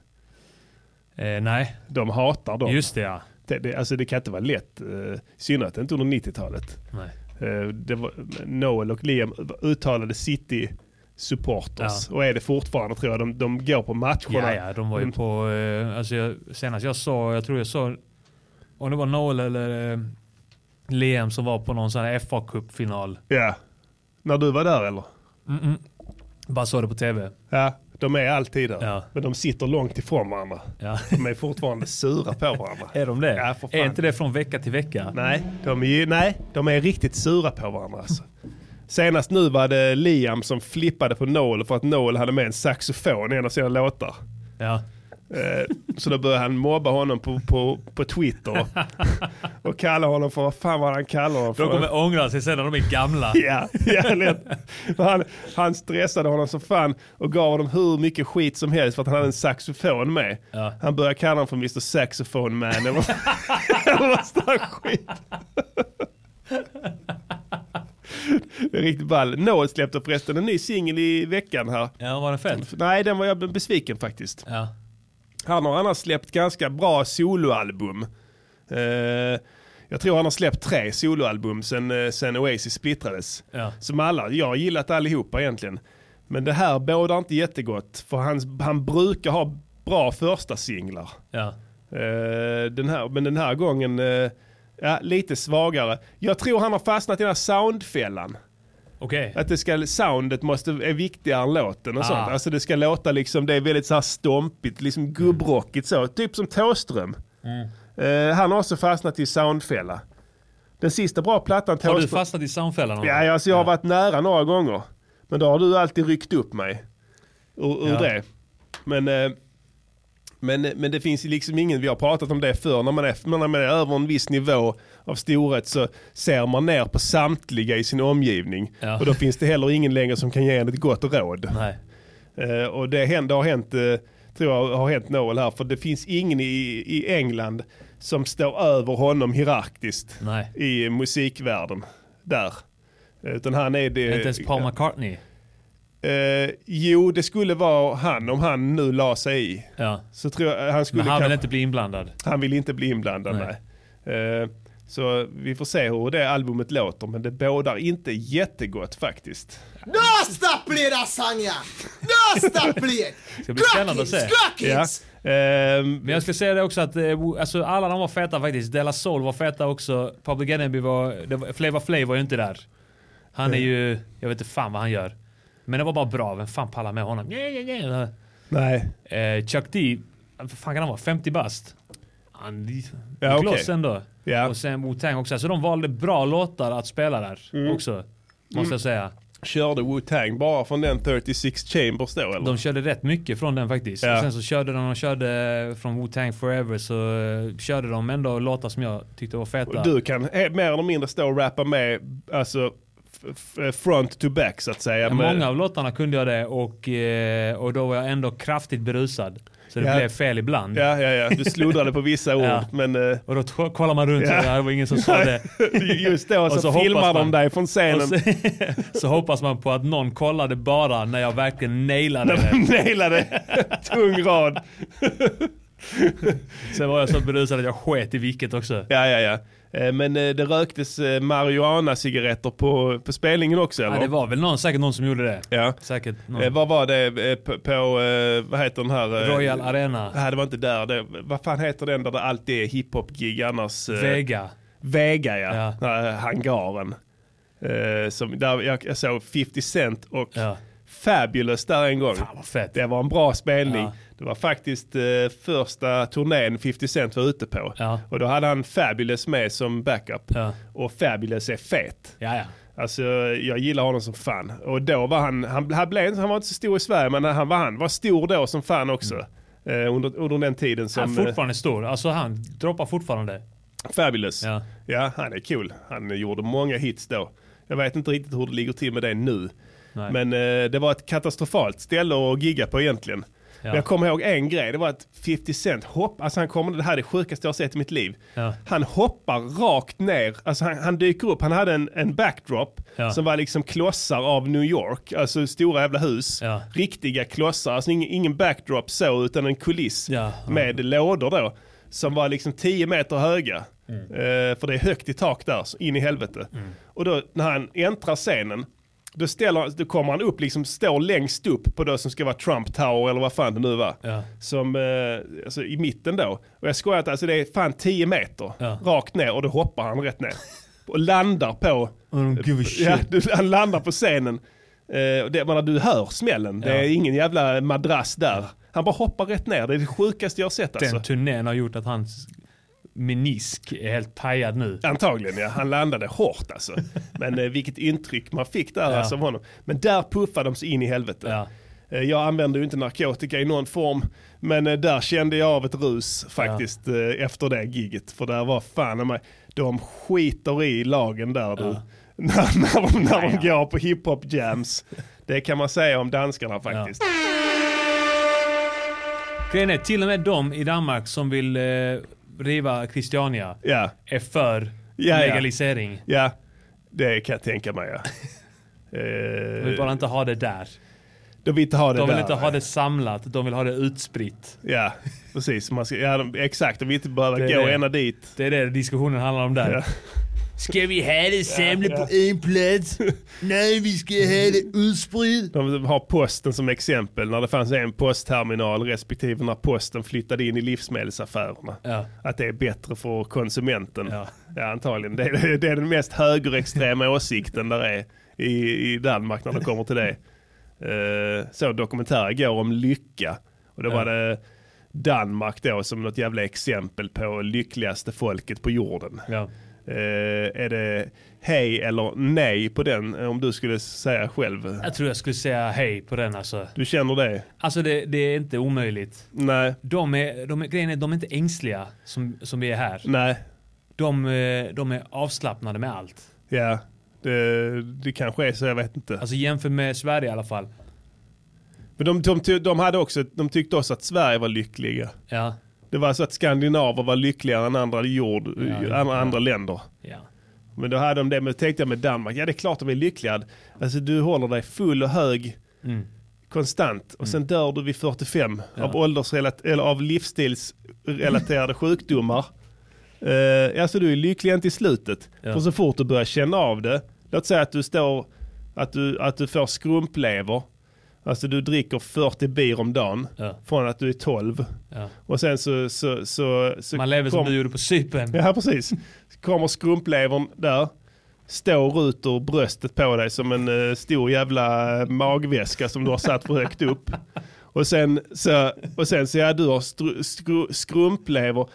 [SPEAKER 4] Eh, nej,
[SPEAKER 1] De hatar dem.
[SPEAKER 4] just det ja.
[SPEAKER 1] Det, det, alltså det kan inte vara lätt. eh, I synnerhet inte under 90-talet.
[SPEAKER 4] Nej.
[SPEAKER 1] Eh, det var, Noel och Liam uttalade City supporters
[SPEAKER 4] Ja.
[SPEAKER 1] och är det fortfarande tror jag. De, de går på matcherna.
[SPEAKER 4] Ja, ja, de var ju på... Eh, alltså jag, senast jag såg, jag tror jag såg... Om det var Noel eller eh, Liam som var på någon sån här fa Cup-final.
[SPEAKER 1] Ja. När du var där eller?
[SPEAKER 4] Bara såg det på tv.
[SPEAKER 1] Ja, de är alltid där.
[SPEAKER 4] Ja.
[SPEAKER 1] Men de sitter långt ifrån varandra.
[SPEAKER 4] Ja.
[SPEAKER 1] De är fortfarande sura på
[SPEAKER 4] [laughs]
[SPEAKER 1] varandra.
[SPEAKER 4] Är de det?
[SPEAKER 1] Ja, för fan.
[SPEAKER 4] är inte det från vecka till vecka?
[SPEAKER 1] Nej, de är, ju, nej, de är riktigt sura på varandra alltså. Senast nu var det Liam som flippade på Noel för att Noel hade med en saxofon i en av sina låtar.
[SPEAKER 4] Ja.
[SPEAKER 1] Eh, Så då började han mobba honom på, på, på Twitter och kalla honom för vad fan var det han kallade honom för?
[SPEAKER 4] De kommer ångra sig sen när de är gamla.
[SPEAKER 1] Ja, ja lätt. För Han, han stressade honom som fan och gav honom hur mycket skit som helst för att han hade en saxofon med.
[SPEAKER 4] Ja.
[SPEAKER 1] Han började kalla honom för Mr Saxophone Man eller [laughs] eller något sånt där skit. Det är riktigt ball. Noel släppte förresten en ny singel i veckan här.
[SPEAKER 4] Ja, var det fett?
[SPEAKER 1] Nej, den var jag besviken faktiskt.
[SPEAKER 4] Ja.
[SPEAKER 1] Han har annars släppt ganska bra soloalbum. Eh, jag tror han har släppt tre soloalbum sen, eh, sen Oasis splittrades.
[SPEAKER 4] Ja.
[SPEAKER 1] Som alla, jag har gillat allihopa egentligen. Men det här bådar inte jättegott. För han, han brukar ha bra första singlar.
[SPEAKER 4] Ja.
[SPEAKER 1] Eh, den här, men den här gången eh, ja, lite svagare. Jag tror han har fastnat i den här soundfällan.
[SPEAKER 4] Okej.
[SPEAKER 1] Att det ska, soundet måste, är viktigare än låten och
[SPEAKER 4] Ah.
[SPEAKER 1] sånt. Alltså det ska låta liksom, det är väldigt så här stompigt, liksom gubbrockigt så. Typ som Thåström.
[SPEAKER 4] Mm.
[SPEAKER 1] Eh, han har också fastnat i soundfälla. Den sista bra plattan
[SPEAKER 4] Har du
[SPEAKER 1] Thåström-
[SPEAKER 4] fastnat i soundfällan? någon
[SPEAKER 1] Ja,
[SPEAKER 4] gång?
[SPEAKER 1] alltså jag har varit nära några gånger. Men då har du alltid ryckt upp mig ur, ur
[SPEAKER 4] Ja.
[SPEAKER 1] det. Men, eh, men, men det finns ju liksom ingen, vi har pratat om det förr, när man, är, när man är över en viss nivå av storhet så ser man ner på samtliga i sin omgivning.
[SPEAKER 4] Ja.
[SPEAKER 1] Och då finns det heller ingen längre som kan ge en ett gott råd.
[SPEAKER 4] Nej.
[SPEAKER 1] Eh, och det, händer, har hänt, eh, tror jag har hänt Noel här, för det finns ingen i, i England som står över honom hierarkiskt
[SPEAKER 4] Nej.
[SPEAKER 1] i musikvärlden där. Eh, Utan han är det...
[SPEAKER 4] Inte ens Paul McCartney.
[SPEAKER 1] eh, jo, det skulle vara han om han nu la sig i.
[SPEAKER 4] Ja.
[SPEAKER 1] Så tror jag, eh, han skulle
[SPEAKER 4] Men han vill
[SPEAKER 1] kanske-
[SPEAKER 4] inte bli inblandad.
[SPEAKER 1] han vill inte bli inblandad. Nej.
[SPEAKER 4] Nej.
[SPEAKER 1] Eh, så vi får se hur det albumet låter, men det bådar inte jättegott faktiskt.
[SPEAKER 6] Nästa blir det Sanja! Nästa blir!
[SPEAKER 4] Ska bli spännande att se.
[SPEAKER 1] Ja.
[SPEAKER 6] Skrackis!
[SPEAKER 1] Ehm,
[SPEAKER 4] Men jag skulle säga det också att eh, wo- alltså, alla de var feta faktiskt. Della Soul var feta också. Public Enemy var... det var- Flavor Flav var ju inte där. Han
[SPEAKER 1] Eh.
[SPEAKER 4] är ju... Jag vet inte fan vad han gör. Men det var bara bra. Vem fan pallar med honom? Yeah, yeah, yeah.
[SPEAKER 1] nej.
[SPEAKER 4] Eh, Chuck D, vad fan kan han vara? 50 bast? Han gick
[SPEAKER 1] Ja,
[SPEAKER 4] loss
[SPEAKER 1] okej.
[SPEAKER 4] ändå.
[SPEAKER 1] Ja.
[SPEAKER 4] Och sen Wu-Tang också. Så de valde bra låtar att spela där
[SPEAKER 1] Mm.
[SPEAKER 4] också. Måste jag säga.
[SPEAKER 1] Körde Wu-Tang bara från den 36 Chambers då eller?
[SPEAKER 4] De körde rätt mycket från den faktiskt.
[SPEAKER 1] Ja.
[SPEAKER 4] Och sen så körde de, de körde från Wu-Tang Forever så eh, körde de ändå låtar som jag tyckte var feta.
[SPEAKER 1] Du kan he- mer eller mindre stå och rappa med, alltså f- f- front to back så att säga.
[SPEAKER 4] Ja,
[SPEAKER 1] med-
[SPEAKER 4] Många av låtarna kunde jag det och, eh, och då var jag ändå kraftigt berusad. Så det
[SPEAKER 1] Ja.
[SPEAKER 4] blev fel ibland.
[SPEAKER 1] Ja, ja, ja. Du sluddrade på
[SPEAKER 4] [laughs]
[SPEAKER 1] vissa ord,
[SPEAKER 4] Ja.
[SPEAKER 1] men eh,
[SPEAKER 4] Och då t- kollar man runt
[SPEAKER 1] Ja.
[SPEAKER 4] så det var ingen som sa det.
[SPEAKER 1] [laughs] just då
[SPEAKER 4] [laughs] Och
[SPEAKER 1] så,
[SPEAKER 4] så hoppas
[SPEAKER 1] filmar de
[SPEAKER 4] man.
[SPEAKER 1] dig från
[SPEAKER 4] Och
[SPEAKER 1] scenen. [laughs]
[SPEAKER 4] så, så [laughs] hoppas man på att någon kollade bara när jag verkligen nailade
[SPEAKER 1] [laughs]
[SPEAKER 4] det.
[SPEAKER 1] Nailade tung rad.
[SPEAKER 4] Sen var jag så berusad att jag sket i vilket också.
[SPEAKER 1] Ja, ja, ja. Eh, Men eh, det röktes eh, marijuana-cigaretter på, på spelningen också eller?
[SPEAKER 4] Ja, det var väl någon, säkert någon som gjorde det.
[SPEAKER 1] Ja.
[SPEAKER 4] Säkert någon.
[SPEAKER 1] Eh, Vad var det eh, på, på eh, vad heter den här? eh,
[SPEAKER 4] Royal Arena.
[SPEAKER 1] Nej, det var inte där. Det, vad fan heter den där det alltid är hiphop-gig annars? eh,
[SPEAKER 4] Vega.
[SPEAKER 1] Vega ja,
[SPEAKER 4] Ja.
[SPEAKER 1] Den här hangaren. Eh, som, där jag, jag såg 50 Cent och
[SPEAKER 4] Ja.
[SPEAKER 1] Fabulous där en gång.
[SPEAKER 4] Fan vad fett.
[SPEAKER 1] Det var en bra spelning.
[SPEAKER 4] Ja.
[SPEAKER 1] Det var faktiskt eh, första turnén 50 Cent var ute på.
[SPEAKER 4] Ja.
[SPEAKER 1] Och då hade han Fabulous med som backup.
[SPEAKER 4] Ja.
[SPEAKER 1] Och Fabulous är fet.
[SPEAKER 4] Ja, ja.
[SPEAKER 1] Alltså jag gillar honom som fan. Och då var han, han, han, blev, han var inte så stor i Sverige men han var, han var stor då som fan också. Eh, under, under den tiden som...
[SPEAKER 4] Han är
[SPEAKER 1] eh,
[SPEAKER 4] fortfarande stor. Alltså han droppar fortfarande.
[SPEAKER 1] Fabulous. Ja.
[SPEAKER 4] Ja.
[SPEAKER 1] han är cool. Han gjorde många hits då. Jag vet inte riktigt hur det ligger till med det nu.
[SPEAKER 4] Nej.
[SPEAKER 1] Men eh, det var ett katastrofalt ställe att gigga på egentligen. Men jag kommer ihåg en grej, det var att 50 Cent hopp, alltså han kommer, det här är det sjukaste jag har sett i mitt liv.
[SPEAKER 4] Ja.
[SPEAKER 1] Han hoppar rakt ner, alltså han, han dyker upp, han hade en, en backdrop
[SPEAKER 4] Ja.
[SPEAKER 1] som var liksom klossar av New York, alltså stora jävla hus.
[SPEAKER 4] Ja.
[SPEAKER 1] Riktiga klossar, alltså ingen, ingen backdrop så utan en kuliss
[SPEAKER 4] Ja, ja.
[SPEAKER 1] med lådor då. Som var liksom 10 meter höga.
[SPEAKER 4] Mm.
[SPEAKER 1] Eh, för det är högt i tak där, så in i helvete. Och då när han äntrar scenen, då, ställer, då kommer han upp, liksom står längst upp på det som ska vara Trump Tower eller vad fan det nu var.
[SPEAKER 4] Ja.
[SPEAKER 1] Som, eh, alltså i mitten då. Och jag skojar inte, alltså det är fan 10 meter
[SPEAKER 4] Ja.
[SPEAKER 1] rakt ner och då hoppar han rätt
[SPEAKER 4] [laughs]
[SPEAKER 1] ner. Och landar på,
[SPEAKER 4] don't give a shit.
[SPEAKER 1] ja, du- han landar på scenen. Eh, och det, man, du hör smällen, det är
[SPEAKER 4] Ja.
[SPEAKER 1] ingen jävla madrass där. Han bara hoppar rätt ner, det är det sjukaste jag har sett
[SPEAKER 4] Den
[SPEAKER 1] alltså.
[SPEAKER 4] turnén har gjort att hans menisk är helt pajad nu.
[SPEAKER 1] Antagligen ja, han landade hårt alltså. Men eh, vilket intryck man fick där
[SPEAKER 4] Ja.
[SPEAKER 1] alltså av honom. Men där puffade de sig in i helvete.
[SPEAKER 4] Ja.
[SPEAKER 1] Eh, Jag använder ju inte narkotika i någon form, men eh, där kände jag av ett rus faktiskt eh, efter det giget. För där var fan i mig, de skiter i lagen där du. [laughs] När, när de, när de går på hiphop jams. Det kan man säga om danskarna faktiskt.
[SPEAKER 4] Grejen är, till och med de i Danmark som vill eh, riva Christiania
[SPEAKER 1] Ja,
[SPEAKER 4] är för
[SPEAKER 1] ja.
[SPEAKER 4] legalisering.
[SPEAKER 1] ja.
[SPEAKER 4] [laughs]
[SPEAKER 1] det kan jag tänka mig ja. Eh,
[SPEAKER 4] De vill bara inte ha det där.
[SPEAKER 1] De vill inte ha det
[SPEAKER 4] De vill
[SPEAKER 1] där.
[SPEAKER 4] inte ha det samlat, de vill ha det utspritt.
[SPEAKER 1] Ja, precis. Man ska, ja, de, exakt, de vill inte behöva
[SPEAKER 4] Det är
[SPEAKER 1] gå
[SPEAKER 4] det.
[SPEAKER 1] ena dit.
[SPEAKER 4] Det är det diskussionen handlar om där.
[SPEAKER 1] Ja.
[SPEAKER 4] Ska vi ha det samlat på
[SPEAKER 1] [laughs]
[SPEAKER 2] En plats. Nej, vi ska ha det utspritt.
[SPEAKER 1] De har posten som exempel, när det fanns en postterminal respektive när posten flyttade in i livsmedelsaffärerna.
[SPEAKER 4] Ja.
[SPEAKER 1] Att det är bättre för konsumenten.
[SPEAKER 4] Ja.
[SPEAKER 1] antagligen. Det är, det är den mest högerextrema åsikten där är i, i Danmark när det kommer till det. Eh, så dokumentärer går om lycka. Och då var det Danmark då som något jävla exempel på lyckligaste folket på jorden.
[SPEAKER 4] Ja.
[SPEAKER 1] Eh, är det hej eller nej på den eh, om du skulle säga själv?
[SPEAKER 4] Jag tror jag skulle säga hej på den alltså.
[SPEAKER 1] Du känner det?
[SPEAKER 4] Alltså det, det är inte omöjligt.
[SPEAKER 1] Nej.
[SPEAKER 4] De är, de är, grejen är, de är inte ängsliga som, som vi är här.
[SPEAKER 1] Nej.
[SPEAKER 4] De, eh, de är avslappnade med allt.
[SPEAKER 1] Ja. Det, det kanske är så, jag vet inte.
[SPEAKER 4] Alltså jämför med Sverige i alla fall.
[SPEAKER 1] Men de, de, ty- de, hade också, de tyckte också att Sverige var lyckliga.
[SPEAKER 4] Ja.
[SPEAKER 1] Det var så att skandinaver var lyckligare än andra, jord, eh, andra, andra länder.
[SPEAKER 4] ja.
[SPEAKER 1] Men då hade de det, men då tänkte jag med Danmark, ja det är klart de är lyckliga. Alltså du håller dig full och hög
[SPEAKER 4] Mm.
[SPEAKER 1] konstant och sen dör du vid 45 av, åldersrelat- eller av livsstilsrelaterade sjukdomar. Eh, alltså du är lycklig inte i slutet.
[SPEAKER 4] Ja.
[SPEAKER 1] För så fort du börjar känna av det, låt säga att du står, att du, att du får skrumplever, alltså du dricker 40 bir om dagen
[SPEAKER 4] Ja.
[SPEAKER 1] från att du är 12.
[SPEAKER 4] Ja.
[SPEAKER 1] Och sen så, så, så, så
[SPEAKER 4] Man lever som
[SPEAKER 1] kom-
[SPEAKER 4] du gjorde på Cypern.
[SPEAKER 1] Ja, precis. Kommer skrumplevern där. Står ut ur bröstet på dig som en eh, stor jävla magväska som du har satt för högt upp. Och sen så, och sen så ja, du har stru, skru, skrumplever.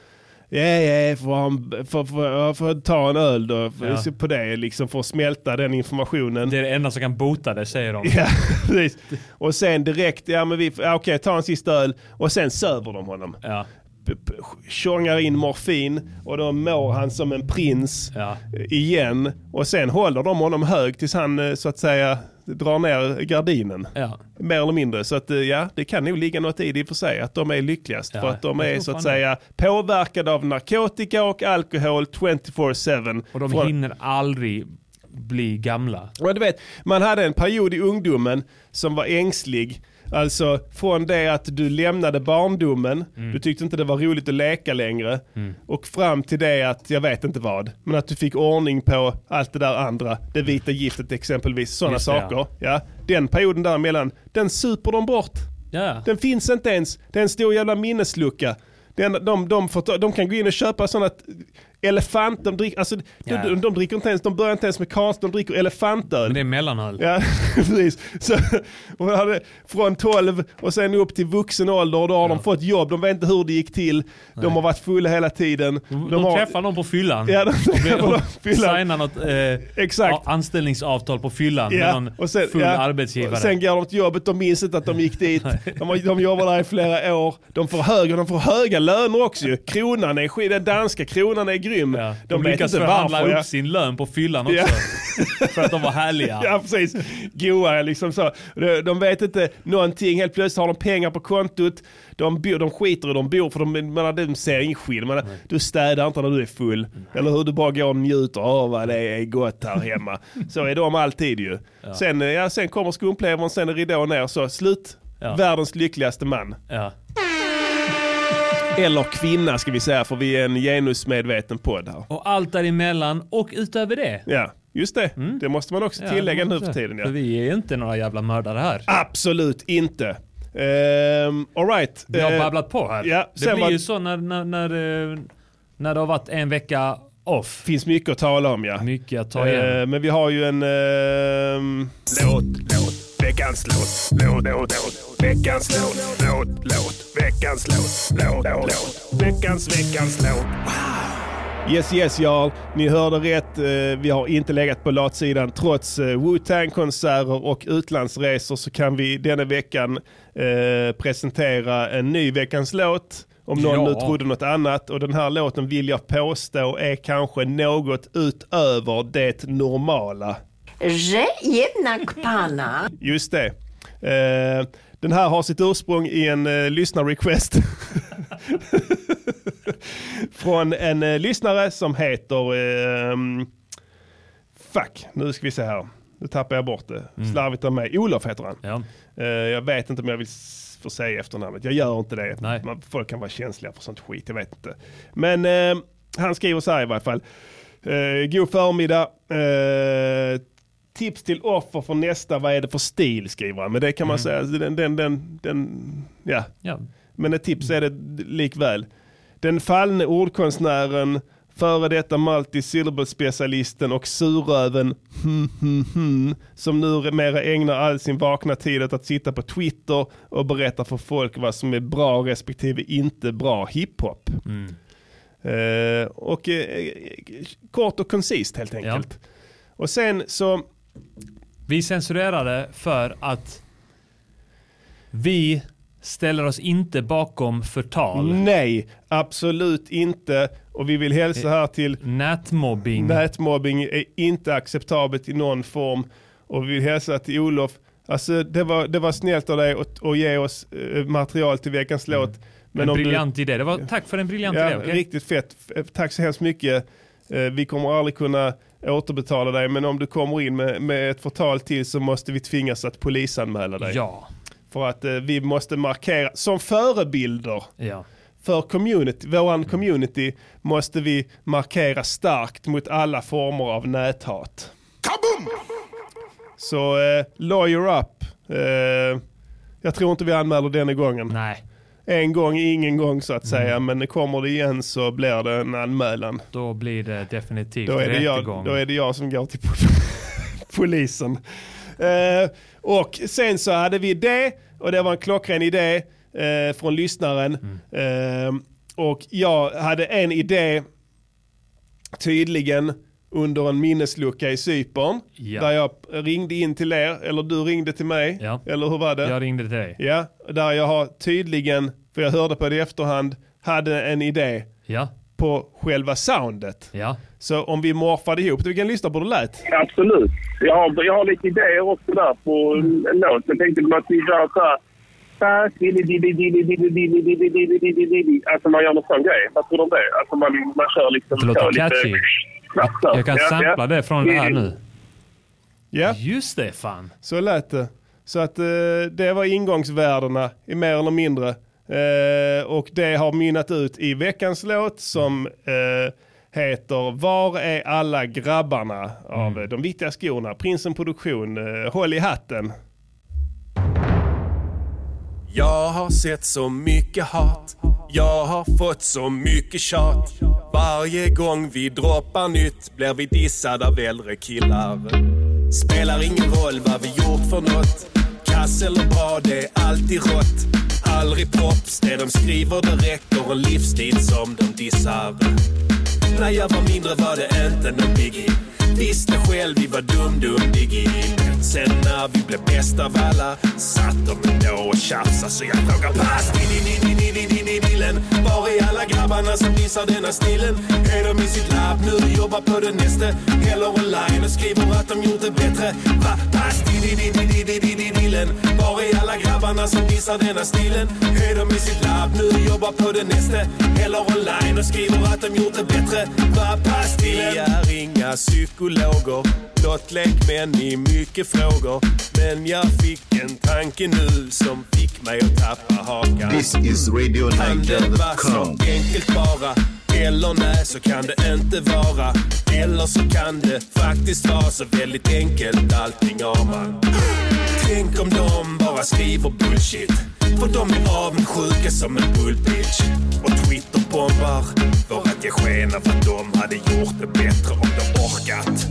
[SPEAKER 1] Ja, ja, får, han, får, får, jag får ta en öl då för,
[SPEAKER 4] Ja.
[SPEAKER 1] på det liksom för att smälta den informationen.
[SPEAKER 4] Det är det enda som kan bota det
[SPEAKER 1] [laughs]
[SPEAKER 4] säger de.
[SPEAKER 1] Ja, precis. Och sen direkt, ja men vi, ja, okej ta en sista öl och sen söver de honom
[SPEAKER 4] Ja.
[SPEAKER 1] p- p- tjongar in morfin och då mår han som en prins
[SPEAKER 4] Ja.
[SPEAKER 1] eh, igen. Och sen håller de honom hög tills han eh, så att säga drar ner gardinen.
[SPEAKER 4] Ja.
[SPEAKER 1] Mer eller mindre. Så att eh, ja, det kan nog ligga något i det i och för sig. Att de är lyckligast.
[SPEAKER 4] Ja,
[SPEAKER 1] för att de
[SPEAKER 4] jag
[SPEAKER 1] är
[SPEAKER 4] tror
[SPEAKER 1] så att
[SPEAKER 4] fan det.
[SPEAKER 1] säga påverkade av narkotika och alkohol 24-7.
[SPEAKER 4] Och de
[SPEAKER 1] Från-
[SPEAKER 4] hinner aldrig bli gamla.
[SPEAKER 1] Ja, du vet, man hade en period i ungdomen som var ängslig. Alltså från det att du lämnade barndomen,
[SPEAKER 4] Mm.
[SPEAKER 1] du tyckte inte det var roligt att leka längre. Och fram till det att, jag vet inte vad, men att du fick ordning på allt det där andra. Det vita giftet exempelvis, sådana
[SPEAKER 4] Just det, ja.
[SPEAKER 1] saker. Ja. den perioden däremellan, den super de bort.
[SPEAKER 4] Ja.
[SPEAKER 1] Den finns inte ens, det är en stor jävla minneslucka. Den, de, de, får ta, de kan gå in och köpa sådana att elefant, de dricker, alltså,
[SPEAKER 4] Ja.
[SPEAKER 1] de, de, de dricker inte ens, de börjar inte ens med konst, de dricker elefantöl.
[SPEAKER 4] Men det är mellanöl.
[SPEAKER 1] Ja, [laughs] precis. Så, och jag hade, från 12 och sen upp till vuxen ålder och då har de fått jobb. De vet inte hur det gick till. De har varit fulla hela tiden.
[SPEAKER 4] De,
[SPEAKER 1] har,
[SPEAKER 4] träffar någon på fyllan.
[SPEAKER 1] Ja, de träffar någon på fyllan.
[SPEAKER 4] Signar något eh,
[SPEAKER 1] Exakt.
[SPEAKER 4] a- anställningsavtal på fyllan
[SPEAKER 1] Ja,
[SPEAKER 4] med någon
[SPEAKER 1] och sen,
[SPEAKER 4] full
[SPEAKER 1] ja,
[SPEAKER 4] arbetsgivare.
[SPEAKER 1] och Sen går de till jobbet, de minns inte att de gick dit. De, har- de jobbar där i flera år. De får höga, de får höga löner också ju. Kronan är skit, den danska kronan är grym.
[SPEAKER 4] ja.
[SPEAKER 1] De, vet
[SPEAKER 4] lyckas
[SPEAKER 1] inte
[SPEAKER 4] förhandla
[SPEAKER 1] varför.
[SPEAKER 4] upp
[SPEAKER 1] ja.
[SPEAKER 4] sin lön på fyllan också.
[SPEAKER 1] Ja. [laughs]
[SPEAKER 4] För att de var härliga.
[SPEAKER 1] Ja precis, goa liksom så. De, de vet inte någonting, helt plötsligt har de pengar på kontot. De, bor, de skiter i de bor för de, man, har- de ser ingen skillnad.
[SPEAKER 4] Mm.
[SPEAKER 1] Man, du städar inte när du är full. Eller hur, du bara går och njuter av vad det är gott här
[SPEAKER 4] [laughs]
[SPEAKER 1] hemma. så är de alltid ju. Sen, eh, ja, sen kommer skumplevern, sen är ridån ner så slut.
[SPEAKER 4] Ja.
[SPEAKER 1] Världens lyckligaste man.
[SPEAKER 4] Ja.
[SPEAKER 1] Eller kvinna ska vi säga för vi är en genusmedveten podd här.
[SPEAKER 4] Och allt däremellan och utöver det.
[SPEAKER 1] Ja, just det. Det måste man också
[SPEAKER 4] Mm. Ja,
[SPEAKER 1] tillägga
[SPEAKER 4] det
[SPEAKER 1] nu
[SPEAKER 4] måste
[SPEAKER 1] för
[SPEAKER 4] jag.
[SPEAKER 1] tiden. Ja.
[SPEAKER 4] För vi är inte några jävla mördare här.
[SPEAKER 1] Absolut inte. Um, Alright.
[SPEAKER 4] Vi har babblat på här.
[SPEAKER 1] ja,
[SPEAKER 4] det
[SPEAKER 1] sen
[SPEAKER 4] blir
[SPEAKER 1] var-
[SPEAKER 4] ju så när, när, när, eh, när det har varit en vecka off.
[SPEAKER 1] finns mycket att tala om ja.
[SPEAKER 4] Mycket att ta igen.
[SPEAKER 1] Eh, men vi har ju en... ehm,
[SPEAKER 3] Låt, låt, veckans låt. Låt, låt, låt, veckans låt. Låt, låt, veckans låt. Låt, låt, veckans, veckans låt.
[SPEAKER 1] yes yes y'all. Ni hörde rätt. Eh, vi har inte legat på latsidan. Trots eh, Wu-Tang-konserter och utlandsresor så kan vi denna veckan eh, presentera en ny Veckans låt. Om någon
[SPEAKER 4] Ja.
[SPEAKER 1] nu trodde något annat. Och den här låten vill jag påstå är kanske något utöver det normala.
[SPEAKER 7] że jednak pana
[SPEAKER 1] Just det. Eh, den här har sitt ursprung i en eh, lyssnarrequest. [laughs] Från en eh, lyssnare som heter... Eh, fuck, ehm, nu ska vi se här. Nu tappar jag bort det. Slarvigt av mig. Olof heter han.
[SPEAKER 4] Ja.
[SPEAKER 1] Eh, jag vet inte om jag vill s- få säga efternamnet. Jag gör inte det.
[SPEAKER 4] Nej.
[SPEAKER 1] Man, folk kan vara känsliga för sånt skit. Jag vet inte. Men eh, han skriver så här i varje fall. Eh, god förmiddag. Eh, tips till offer för nästa. Vad är det för stil? Skriver han. Men det kan man säga. alltså, Den, den, den, den, ja.
[SPEAKER 4] Ja.
[SPEAKER 1] Men ett tips är det likväl. Den fallne ordkonstnären, före detta multisyllabelspecialisten och surröven hmm, hmm, hmm, som numera ägnar all sin vakna tid åt att sitta på Twitter och berätta för folk vad som är bra respektive inte bra hiphop. Eh, och eh, kort och koncist helt enkelt. Och sen så,
[SPEAKER 4] Vi censurerade för att vi ställer oss inte bakom förtal,
[SPEAKER 1] nej, absolut inte. Och vi vill hälsa här till
[SPEAKER 4] nätmobbing.
[SPEAKER 1] Nätmobbing är inte acceptabelt i någon form. Och vi vill hälsa till Olof. Alltså, det, var, det var snällt av dig att, att ge oss eh, material till veckans låt. Men
[SPEAKER 4] Mm. en
[SPEAKER 1] om du-
[SPEAKER 4] briljant idé. Det var, tack för en briljant
[SPEAKER 1] ja,
[SPEAKER 4] idé. okej?
[SPEAKER 1] Riktigt fett. F- eh, Tack så hemskt mycket. Eh, Vi kommer aldrig kunna återbetala dig. Men om du kommer in med, med ett förtal till så måste vi tvingas att polisanmäla dig.
[SPEAKER 4] Ja.
[SPEAKER 1] För att eh, vi måste markera, som förebilder
[SPEAKER 4] ja.
[SPEAKER 1] för community, våran community måste vi markera starkt mot alla former av näthat. Så eh, lawyer up. Eh, jag tror inte vi anmäler denna gången.
[SPEAKER 4] Nej,
[SPEAKER 1] En gång, ingen gång så att säga. Men kommer det igen så blir det en anmälan.
[SPEAKER 4] då blir det definitivt
[SPEAKER 1] Då är det jag,
[SPEAKER 4] rättegång.
[SPEAKER 1] då är det jag som går till pol- [laughs] polisen. Eh, och sen så hade vi det och det var en klockren idé eh, från lyssnaren. Eh, och jag hade en idé tydligen under en minneslucka i Cypern.
[SPEAKER 4] Ja.
[SPEAKER 1] Där jag ringde in till er, eller du ringde till mig.
[SPEAKER 4] Ja.
[SPEAKER 1] Eller hur var det?
[SPEAKER 4] Jag ringde till dig.
[SPEAKER 1] Ja, där jag har tydligen, för jag hörde på det i efterhand, hade en idé
[SPEAKER 4] Ja,
[SPEAKER 1] på själva soundet.
[SPEAKER 4] ja.
[SPEAKER 1] Så om vi morfade ihop det, vi kan lyssna på hur det lät.
[SPEAKER 8] Absolut. Jag har, jag har lite idéer också där på en en låt. Jag tänkte att vi gör så här. Alltså man gör någon sån grej. Vad tror du om det? Alltså man, man kör liksom...
[SPEAKER 4] Det låter
[SPEAKER 8] kör lite
[SPEAKER 4] catchy.
[SPEAKER 8] snabbt där.
[SPEAKER 4] Jag kan
[SPEAKER 8] Ja,
[SPEAKER 4] sampla
[SPEAKER 8] ja.
[SPEAKER 4] det från det här nu.
[SPEAKER 1] Ja,
[SPEAKER 4] Just det, fan.
[SPEAKER 1] så lät det. Så att eh, det var ingångsvärdena, i mer eller mindre. Eh, och det har mynnat ut i veckans låt som eh, heter Var är alla grabbarna? av eh, De viktiga skorna, Prinsen Produktion, eh, Håll i hatten.
[SPEAKER 3] Jag har sett så mycket hat. Jag har fått så mycket tjat. Varje gång vi droppar nytt blir vi dissade av äldre killar. Spelar ingen roll vad vi gjort för något. Kass eller bra, det är alltid rått. Aldrig props, det de skriver det räcker. En livsstil som de dissar. När jag var mindre var det inte någon biggie Visste själv vi var dum-dum diggie Sen när vi blev bäst av alla Satt de ändå och tjafsade så jag frågade pass Ni, ni, ni, ni, ni, ni, ni, dillen Var är alla grabbarna som dissar denna stilen? Är de i sitt labb nu? Jobbar på det nästa? Eller online och skriver att de gjort det bättre? Va? Pass Ni, ni, ni, ni, ni, ni, ni, dillen Var är alla grabbarna som dissar denna stilen? Är de i sitt labb nu? Jobbar på det nästa? Eller online och skriver att de gjort det bättre. Vad pass till Vi är inga psykologer, blott lekmän i mycket frågor. Men jag fick en tanke nu som fick mig att tappa hakan.
[SPEAKER 5] This is Radio
[SPEAKER 3] Kan det vara så
[SPEAKER 5] Niger.com.
[SPEAKER 3] enkelt bara? Eller nej, så kan det inte vara. Eller så kan det faktiskt vara så väldigt enkelt. Allting har man. Tänk om de bara skriver bullshit. För de är avundsjuka som en bullbitch. Och Twitter bombar för att ge sken av att de hade gjort det bättre om de orkat.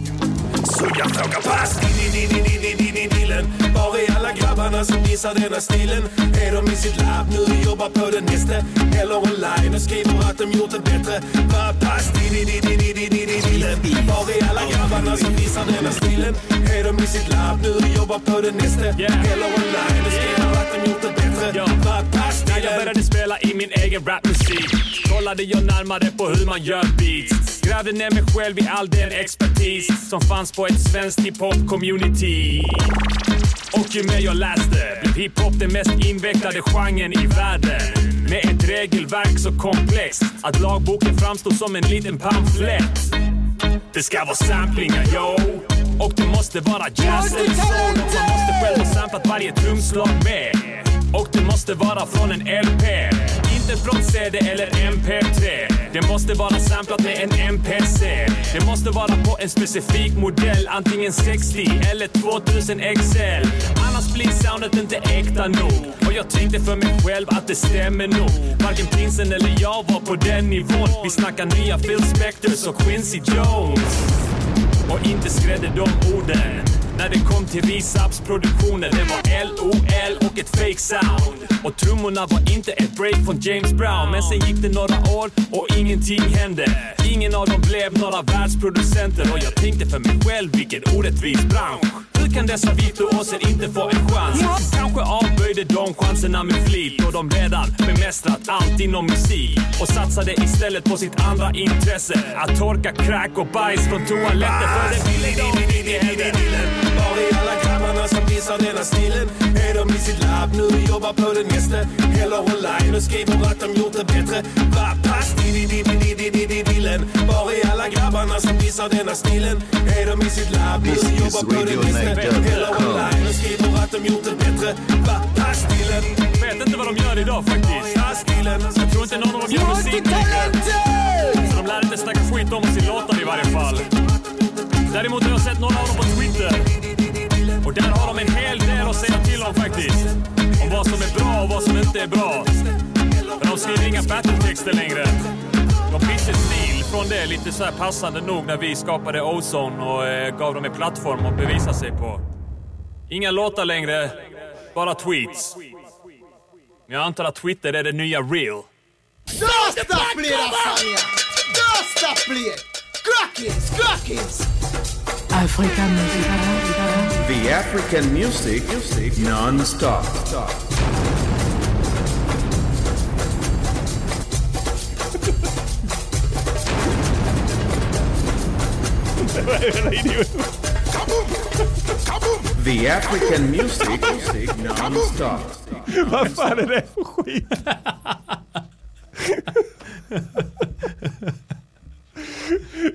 [SPEAKER 3] Så jag frågar pass! Ni, ni, ni, ni, ni, ni, ni, dillen. Var är alla grabbarna som dissar denna stilen? Är de i sitt labb nu och jobbar på det nästa? Eller online och skriver att de gjort det bättre? Va, pass! Ni, ni, ni, ni, ni, ni, ni, ni, dillen. Var är alla grabbarna som dissar denna stilen? Är de i sitt labb nu och jobbar på det nästa?
[SPEAKER 4] Yeah.
[SPEAKER 3] Eller online och skriver att de gjort det bättre?
[SPEAKER 4] Ja.
[SPEAKER 3] Va, pass!
[SPEAKER 4] När jag började spela i min egen rapmusik kollade jag närmare på hur man gör beats. Grävde ner mig själv i all den expertis som fanns på ett svenskt hiphop-community. Och ju mer jag läste blev hiphop den mest invecklade genren i världen. Med ett regelverk så komplext att lagboken framstod som en liten pamflett. Det ska vara samplingar, yo.
[SPEAKER 3] Och det måste vara jazz
[SPEAKER 6] Ja, det kan jag
[SPEAKER 3] Någon
[SPEAKER 6] inte!
[SPEAKER 3] måste själv ha samplat varje trumslag med Och det måste vara från en LP Inte från CD eller MP3 Det måste vara samplat med en MPC Det måste vara på en specifik modell Antingen 60 eller 2000 XL Annars blir soundet inte äkta nog Och jag tänkte för mig själv att det stämmer nog Varken prinsen eller jag var på den nivån Vi snackar nya Phil Spectors och Quincy Jones och inte skrädde de orden när det kom till Visaps produktioner. Det var LOL och ett fake sound. Och trummorna var inte ett break från James Brown. Men sen gick det några år och ingenting hände. Ingen av dem blev några världsproducenter. Och jag tänkte för mig själv, vilken orättvis bransch. Hur kan dessa virtuoser inte få en chans? Kanske avböjde de chanserna med flit då de redan bemästrat allt inom musik och satsade istället på sitt andra intresse att torka crack och bajs från toaletter för det ville de in i helvete.
[SPEAKER 9] Var är alla grabbarna som dissar denna stilen? Är de i sitt labb nu och jobbar på det nästa? Eller online och skriver att de gjort det bättre? Va pass dillen Var är alla grabbarna som dissar denna stilen? Är de i sitt labb nu
[SPEAKER 5] This
[SPEAKER 9] och
[SPEAKER 5] is
[SPEAKER 9] jobbar på det
[SPEAKER 5] Radio
[SPEAKER 9] nästa?
[SPEAKER 5] Niger.
[SPEAKER 9] Eller online och skriver att de gjort det bättre? Va pass dillen
[SPEAKER 3] Vet inte vad de gör idag faktiskt.
[SPEAKER 9] Pass dillen
[SPEAKER 3] Jag tror inte någon av dem gör musik. Så de lär inte snacka skit om oss i låtar i varje fall. Däremot har jag sett några av dem på Twitter. Och där har de en hel del att säga till om faktiskt. Om vad som är bra och vad som inte är bra. Men de skriver inga battletexter längre. De bytte stil från det lite så här passande nog när vi skapade Ozone och eh, gav dem en plattform att bevisa sig på. Inga låtar längre, bara tweets. Men jag antar att Twitter är det nya real.
[SPEAKER 6] Dosta play lasagna! Dosta play! Crackins, crackins!
[SPEAKER 10] Africa Music.
[SPEAKER 5] The African music, music non-stop. The African music, music non-stop.
[SPEAKER 1] Vad fan är det för skit?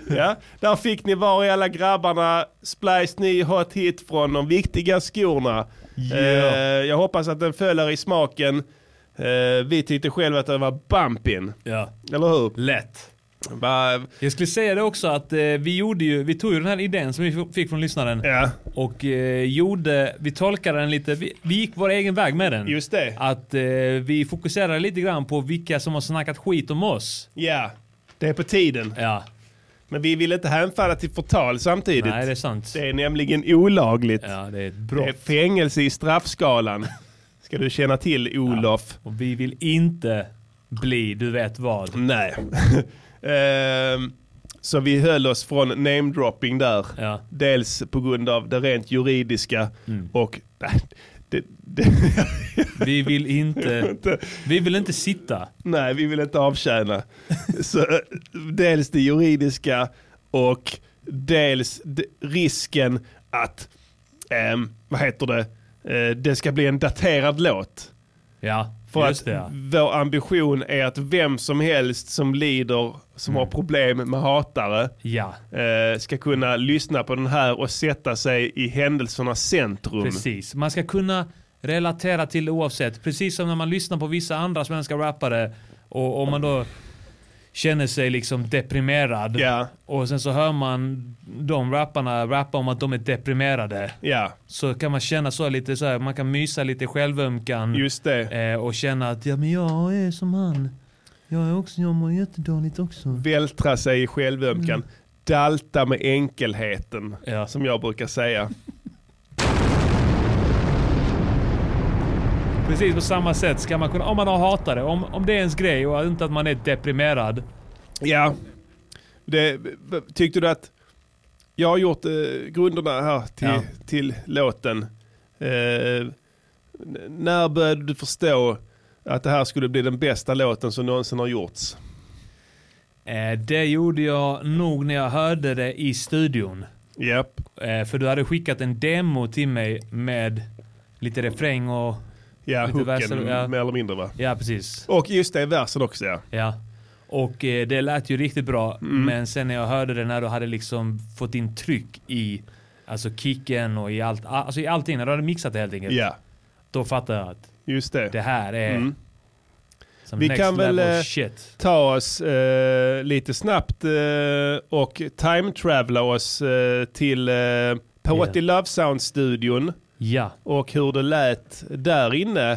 [SPEAKER 1] ja, där fick ni var i alla grabbarna Splice ny hot hit från de viktiga skorna. Eh, jag hoppas att den följer i smaken. Eh, vi tyckte själva att den var bumpin,
[SPEAKER 4] Ja,
[SPEAKER 1] eller hur?
[SPEAKER 4] lätt.
[SPEAKER 1] Va,
[SPEAKER 4] Jag skulle säga det också att eh, vi gjorde ju, vi tog ju den här idén som vi fick från lyssnaren.
[SPEAKER 1] ja,
[SPEAKER 4] Och eh, gjorde, vi tolkade den lite, vi, vi gick vår egen väg med den.
[SPEAKER 1] just det.
[SPEAKER 4] Att eh, vi fokuserade lite grann på vilka som har snackat skit om oss.
[SPEAKER 1] Ja, det är på tiden.
[SPEAKER 4] Ja,
[SPEAKER 1] Men vi vill inte hänfalla till förtal samtidigt.
[SPEAKER 4] nej det är sant.
[SPEAKER 1] det är nämligen olagligt.
[SPEAKER 4] Ja, det är ett
[SPEAKER 1] Det är
[SPEAKER 4] brott.
[SPEAKER 1] fängelse i straffskalan. Ska du känna till Olof?
[SPEAKER 4] Och vi vill inte bli, du vet vad.
[SPEAKER 1] Nej. [laughs] Ehm, så vi höll oss från namedropping där.
[SPEAKER 4] Ja. Mm.
[SPEAKER 1] Dels på grund av det rent juridiska och... Nej, det, det, [laughs]
[SPEAKER 4] Vi vill inte, vi vill inte sitta.
[SPEAKER 1] nej, vi vill inte
[SPEAKER 4] [laughs]
[SPEAKER 1] avtjäna. Så, eh, dels det juridiska och dels d- risken att, ehm, vad heter det, Eh, det ska bli en daterad låt.
[SPEAKER 4] Ja,
[SPEAKER 1] För
[SPEAKER 4] just
[SPEAKER 1] att
[SPEAKER 4] det ja.
[SPEAKER 1] vår ambition är att vem som helst som lider, som
[SPEAKER 4] Mm.
[SPEAKER 1] har problem med hatare,
[SPEAKER 4] Ja,
[SPEAKER 1] eh, ska kunna lyssna på den här och sätta sig i händelsernas centrum.
[SPEAKER 4] precis. Man ska kunna relatera till oavsett. Precis som när man lyssnar på vissa andra svenska rappare och om man då känner sig liksom deprimerad.
[SPEAKER 1] Ja,
[SPEAKER 4] Och sen så hör man de rapparna rappa om att de är deprimerade.
[SPEAKER 1] ja,
[SPEAKER 4] Så kan man känna så lite så här, man kan mysa lite självömkan.
[SPEAKER 1] just det.
[SPEAKER 4] Eh, och känna att ja men jag är som han. Jag är också, jag mår jättedåligt också.
[SPEAKER 1] Vältra sig i självömkan. Dalta med enkelheten,
[SPEAKER 4] Mm. Ja.
[SPEAKER 1] som jag brukar säga.
[SPEAKER 4] Precis på samma sätt ska man kunna, om man har hatat det, om, om det är ens grej och inte att man är deprimerad.
[SPEAKER 1] Ja. Det, tyckte du att jag har gjort eh, grunderna här till,
[SPEAKER 4] Ja.
[SPEAKER 1] till låten. Eh, n- när började du förstå att det här skulle bli den bästa låten som någonsin har gjorts?
[SPEAKER 4] Eh, det gjorde jag nog när jag hörde det i studion.
[SPEAKER 1] Japp.
[SPEAKER 4] Eh, för du hade skickat en demo till mig med lite refräng och...
[SPEAKER 1] Ja,
[SPEAKER 4] Lite
[SPEAKER 1] hooken
[SPEAKER 4] värsar, ja.
[SPEAKER 1] mer eller mindre va?
[SPEAKER 4] Ja, precis.
[SPEAKER 1] Och just det, versen också ja.
[SPEAKER 4] Ja. Och eh,
[SPEAKER 1] Mm.
[SPEAKER 4] det lät ju riktigt bra, men sen när jag hörde det när du hade liksom fått in tryck i Alltså kicken och i allt. Alltså i allting. När du hade mixat det helt enkelt.
[SPEAKER 1] Ja.
[SPEAKER 4] Då fattar jag att
[SPEAKER 1] Just det.
[SPEAKER 4] det här är
[SPEAKER 1] Mm.
[SPEAKER 4] som
[SPEAKER 1] Vi
[SPEAKER 4] next
[SPEAKER 1] kan väl
[SPEAKER 4] level
[SPEAKER 1] eh,
[SPEAKER 4] shit.
[SPEAKER 1] ta oss eh, lite snabbt eh, och time-travla oss eh, till eh, Perotti Love Sound-studion
[SPEAKER 4] Ja.
[SPEAKER 1] och hur det lät där inne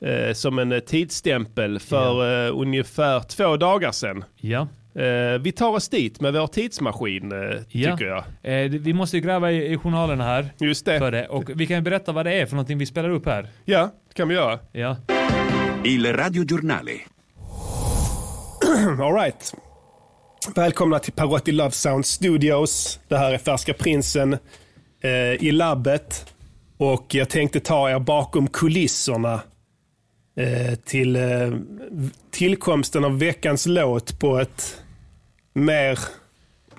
[SPEAKER 1] eh, som en eh, tidsstämpel för eh, ungefär två dagar sedan.
[SPEAKER 4] Ja.
[SPEAKER 1] Eh, vi tar oss dit med vår tidsmaskin, eh,
[SPEAKER 4] Ja.
[SPEAKER 1] tycker jag.
[SPEAKER 4] Eh, det- vi måste ju gräva i, i journalerna här.
[SPEAKER 1] Just det.
[SPEAKER 4] För det. Och vi kan ju berätta vad det är för någonting vi spelar upp här.
[SPEAKER 1] Ja, det kan vi göra.
[SPEAKER 4] Ja.
[SPEAKER 11] Il radiogiornale.
[SPEAKER 1] [clears throat] All right. Välkomna till Parotti Love Sound Studios. Det här är Färska Prinsen eh, i labbet. Och jag tänkte ta er bakom kulisserna eh, till eh, tillkomsten av veckans låt på ett mer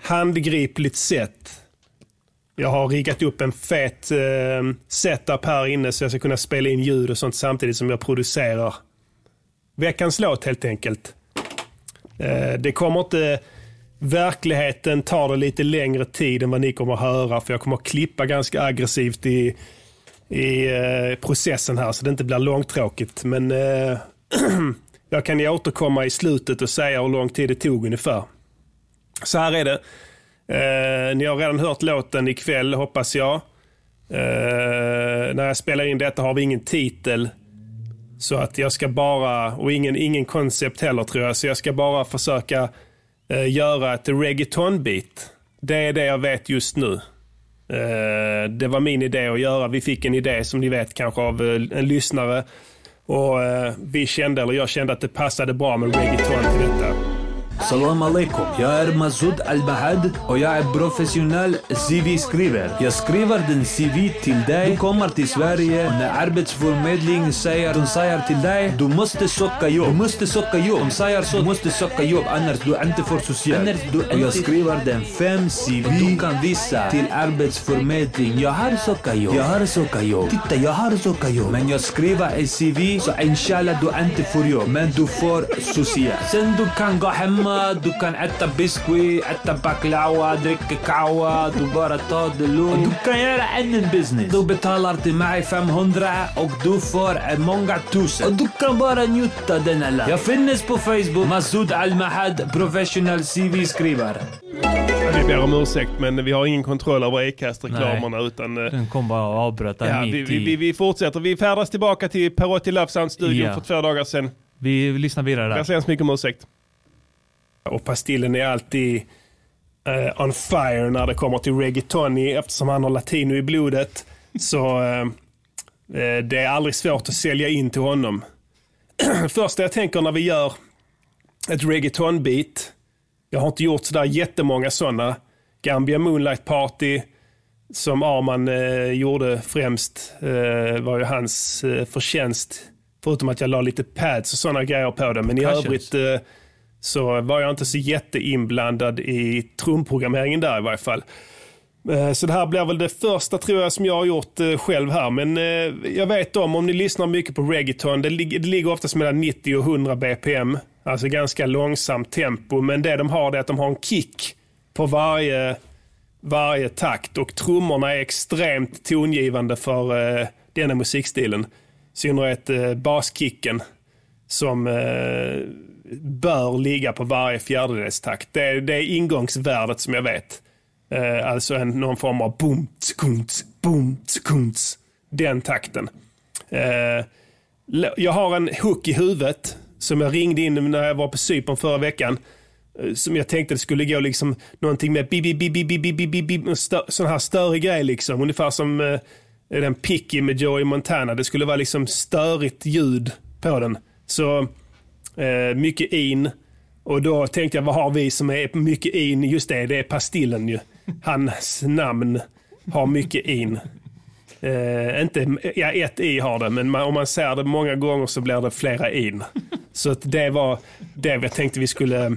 [SPEAKER 1] handgripligt sätt. Jag har riggat upp en fet eh, setup här inne så jag ska kunna spela in ljud och sånt samtidigt som jag producerar veckans låt helt enkelt. Eh, Det kommer inte... Verkligheten tar det lite längre tid än vad ni kommer att höra för jag kommer att klippa ganska aggressivt i, i eh, processen här så det inte blir långtråkigt. Men eh, [clears throat] jag kan ju återkomma i slutet och säga hur lång tid det tog ungefär. Så här är det. Eh, ni har redan hört låten ikväll hoppas jag. Eh, när jag spelar in detta har vi ingen titel. Så att jag ska bara, och ingen, ingen koncept heller tror jag, så jag ska bara försöka eh, göra ett reggaeton-beat. Det är det jag vet just nu. Eh, det var min idé att göra. Vi fick en idé som ni vet kanske av eh, en lyssnare. Och eh, vi kände, eller jag kände att det passade bra med reggaeton till detta.
[SPEAKER 2] Salam alaikum. Jag är Masoud Al-Bahad e och jag är professionell CV-skriver. Jag skriver din CV till dig. Du kommer till Sverige och när Arbetsförmedlingen säger, de säger till dig du måste söka jobb. Du måste söka jobb. De säger så, du måste söka jobb annars du är inte för social. Annars du är och jag skriver den fem CV och du kan visa till Arbetsförmedlingen. Jag har sökt jobb. Jag har sökt jobb. Titta, jag har sökt jobb. Men jag skriver i CV så e inshallah du inte får jobb. Men du får social. Sen du kan gå hemma, du kan äta biskuit, äta baklava, dricka e kawa. Du bara tar det lugnt. Du kan göra ännu en business. Du betalar till mig 500 och du får eh, många tusen. Och du kan bara njuta denna land. Jag finns på Facebook. Masoud Al-Mahad, professional CV-skrivare.
[SPEAKER 1] Vi ber om ursäkt men vi har ingen kontroll över Acast-reklamerna utan... eh,
[SPEAKER 4] Den kom bara och avbröt där
[SPEAKER 1] Ja,
[SPEAKER 4] mitt
[SPEAKER 1] vi, vi,
[SPEAKER 4] i.
[SPEAKER 1] vi, vi fortsätter. Vi färdas tillbaka till Perotti Love Sound-studion
[SPEAKER 4] Ja.
[SPEAKER 1] för två dagar sedan.
[SPEAKER 4] Vi lyssnar vidare
[SPEAKER 1] Jag
[SPEAKER 4] där.
[SPEAKER 1] säger hemskt mycket om ursäkt. Och Pastillen är alltid eh, on fire när det kommer till reggaeton i- eftersom han har latino i blodet. Så eh, eh, det är aldrig svårt att sälja in till honom. [clears throat] Första jag tänker när vi gör ett reggaeton-beat. Jag har inte gjort sådär jättemånga sådana. Gambia Moonlight Party som Arman eh, gjorde främst eh, var ju hans eh, förtjänst. Förutom att jag la lite pads och sådana grejer på det. Men i
[SPEAKER 4] Percussions.
[SPEAKER 1] övrigt eh, så var jag inte så jätteinblandad i trumprogrammeringen där i varje fall. Eh, Så det här blir väl det första tror jag som jag har gjort eh, själv här. Men eh, jag vet om, om ni lyssnar mycket på reggaeton, det, lig- det ligger oftast mellan 90 och 100 BPM. Alltså ganska långsamt tempo. Men det de har det är att de har en kick på varje, varje takt. Och trummorna är extremt tongivande för eh, denna musikstilen. I synnerhet eh, baskicken som eh, bör ligga på varje fjärdedels takt. Det är, det är ingångsvärdet som jag vet. Eh, alltså en, någon form av boom, tsekunts, boom, tsekunts. Den takten. Eh, l- jag har en hook i huvudet som jag ringde in när jag var på Cypern förra veckan. eh, Som jag tänkte det skulle gå liksom någonting med bi bi bi bi bi bi bi bi bi stö- sån här större grej liksom. Ungefär som eh, den Picky med Joey Montana. Det skulle vara liksom störigt ljud på den. Så eh, mycket in. Och då tänkte jag, vad har vi som är mycket in? Just det, det är Pastillen ju. Hans namn har mycket in. Eh, inte, ja, ett i har det, men man, om man ser det många gånger så blir det flera in. Så att det var det jag tänkte vi skulle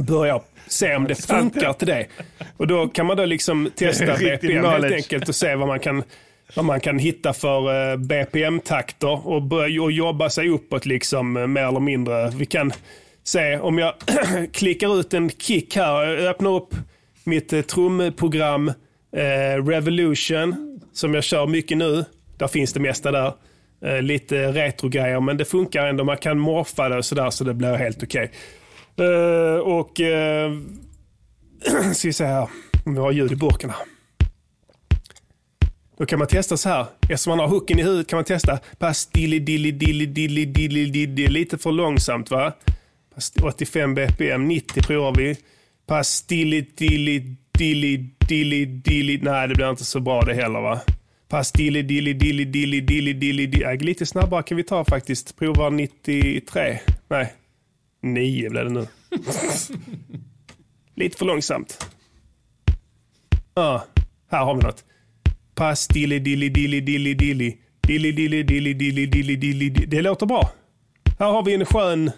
[SPEAKER 1] börja se om det funkar till det. Och då kan man då liksom
[SPEAKER 9] [laughs]
[SPEAKER 1] testa
[SPEAKER 9] Riktig
[SPEAKER 1] BPM helt
[SPEAKER 9] knowledge.
[SPEAKER 1] enkelt och se vad man kan, vad man kan hitta för eh, BPM-takter och, börja, och jobba sig uppåt liksom eh, mer eller mindre. Vi kan se om jag [clears throat] klickar ut en kick här, jag öppnar upp mitt eh, trumprogram Eh, Revolution, som jag kör mycket nu. Där finns det mesta där. Eh, lite retrogrejer, men det funkar ändå. Man kan morfa det och sådär, så det blir helt okej. Eh, och... Eh, [clears throat] ska vi se här, om vi har ljud i burken här. Då kan man testa så här. Eftersom man har hooken i huvudet kan man testa. Pass dilly dilly dilly dilly dilly dilly. Lite för långsamt va? Pass 85 bpm, 90 provar vi. Pass dilly dilly dilly dilly dilly. Nej, det blir inte så bra det heller va? Pass dilly dilly dilly dilly dilly dilly. dilly. Nej, lite snabbare kan vi ta faktiskt. Prova 93. Nej, 9 blev det nu. Lite för långsamt. Ja, här har vi något. Pass dilly dilly dilly dilly dilly. Dilly dilly dilly dilly dilly dilly. dilly. Det låter bra. Här har vi en skön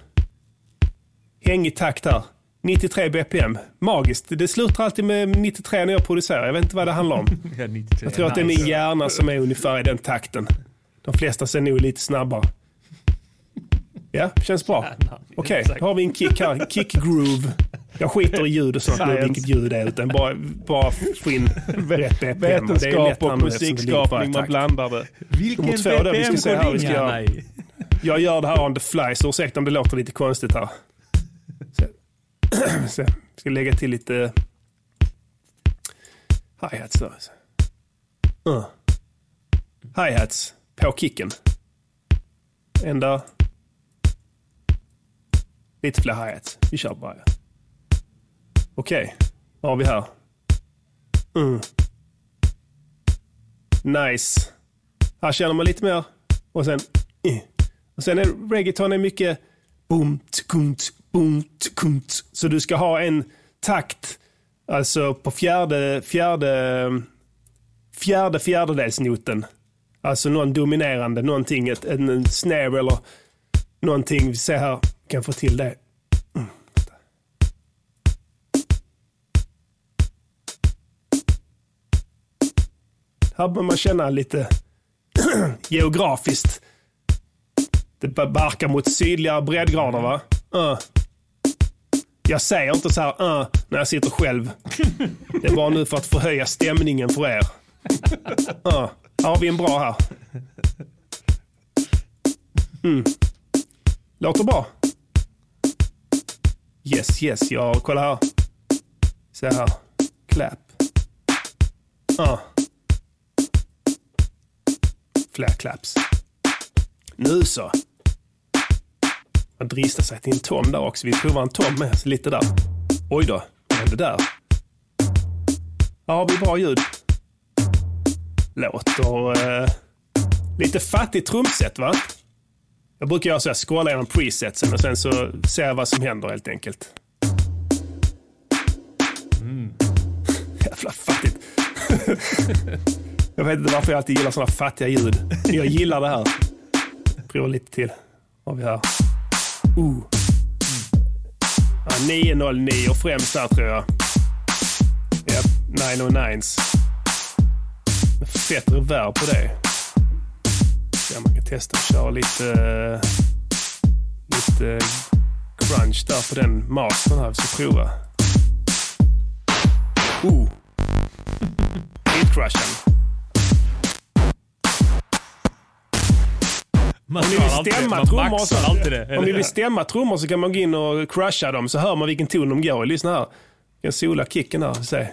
[SPEAKER 1] hängig takt här. 93 bpm. Magiskt. Det slutar alltid med 93 när jag producerar. Jag vet inte vad det handlar om.
[SPEAKER 4] [laughs] Ja, 93.
[SPEAKER 1] Jag tror att det är min
[SPEAKER 4] Nice.
[SPEAKER 1] hjärna som är ungefär i den takten. De flesta ser nog lite snabbare. Ja, känns bra. Okej, då har vi en kick här. Kick groove. Jag skiter i ljud och sånt nu,
[SPEAKER 9] Science.
[SPEAKER 1] vilket ljud det är, utan bara, bara
[SPEAKER 9] [laughs]
[SPEAKER 1] få in rätt BPM. Det är lätt
[SPEAKER 9] Vetenskap och
[SPEAKER 1] användning eftersom det ligger på
[SPEAKER 9] musikskapning, man
[SPEAKER 1] attack.
[SPEAKER 9] blandar det.
[SPEAKER 1] Nummer två där, vi ska se här, vi ska göra.
[SPEAKER 9] i?
[SPEAKER 1] Jag gör det här on the fly, så ursäkta om det låter lite konstigt här. [clears throat] Så, så, ska lägga till lite hi-hats då. Uh. Hi-hats på kicken. En där. Lite fler hi-hats. Vi kör bara. Okej, vad har vi här? Mm. Nice. Här känner man lite mer. Och sen... eh. Och sen är reggaeton är mycket boom, tkunt, boom, tkunt. Så du ska ha en takt, alltså på fjärde, fjärde, fjärde fjärdedelsnoten. Alltså någon dominerande, någonting, ett, en, en snare eller någonting. Vi ser här, kan få till det. Här bör man känna lite [clears throat] geografiskt. Det bar- barkar mot sydligare breddgrader va? Uh. Jag säger inte så här uh, när jag sitter själv. Det är bara nu för att förhöja stämningen för er. Uh. Här har vi en bra här. Mm. Låter bra. Yes, yes. Jag kolla här. Så här. Clap. Uh. Fler claps. Nu så. Man dristar sig till en tom där också. Vi provar en tom med. Så lite där. Oj då, vad hände där? Här har vi bra ljud. Låter eh, lite fattigt trumset va? Jag brukar göra så jag scrollar igenom presetsen och sen så ser jag vad som händer helt enkelt. Mm. [laughs] Jävla fattigt. jag vet inte varför jag alltid gillar sådana fattiga ljud. Men jag gillar det här. Prova lite till. Vad har vi här? Uh. Ja, 909 främst där tror jag. Japp, 909s. Fett reverb på det. Ja, man kan testa att köra lite, eh, lite crunch där på den mastern här. Vi ska prova. Oh! Beatcrushen.
[SPEAKER 4] Man
[SPEAKER 1] Om ni
[SPEAKER 4] tar
[SPEAKER 1] vill
[SPEAKER 4] alltid-
[SPEAKER 1] stämma
[SPEAKER 4] man
[SPEAKER 1] trummor,
[SPEAKER 4] maxar alltid det,
[SPEAKER 1] så,
[SPEAKER 4] eller?
[SPEAKER 1] om ni vill stämma trummor så kan man gå in och crusha dem så hör man vilken ton de går i. Lyssna här. Jag sola kicken här. Se.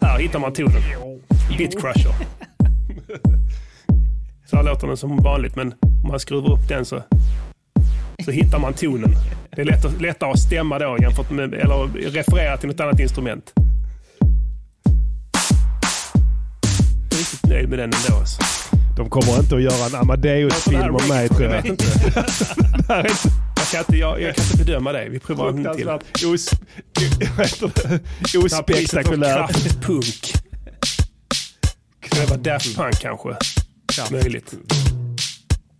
[SPEAKER 1] Här hittar man tonen. Bitcrusher. Så här låter den som vanligt men om man skruvar upp den så, så hittar man tonen. Det är lätt, lättare att stämma då jämfört med, eller referera till något annat instrument. Jag är riktigt nöjd med den ändå. Alltså.
[SPEAKER 12] De kommer inte att göra en Amadeus-film om mig tror jag. [laughs]
[SPEAKER 1] Jag vet inte. Jag kan inte, jag, jag kan inte bedöma dig. Vi provar en till.
[SPEAKER 12] Os, [laughs] ospektakulär.
[SPEAKER 1] Kraftpunk. Kan det vara Daft Punk kanske? Möjligt.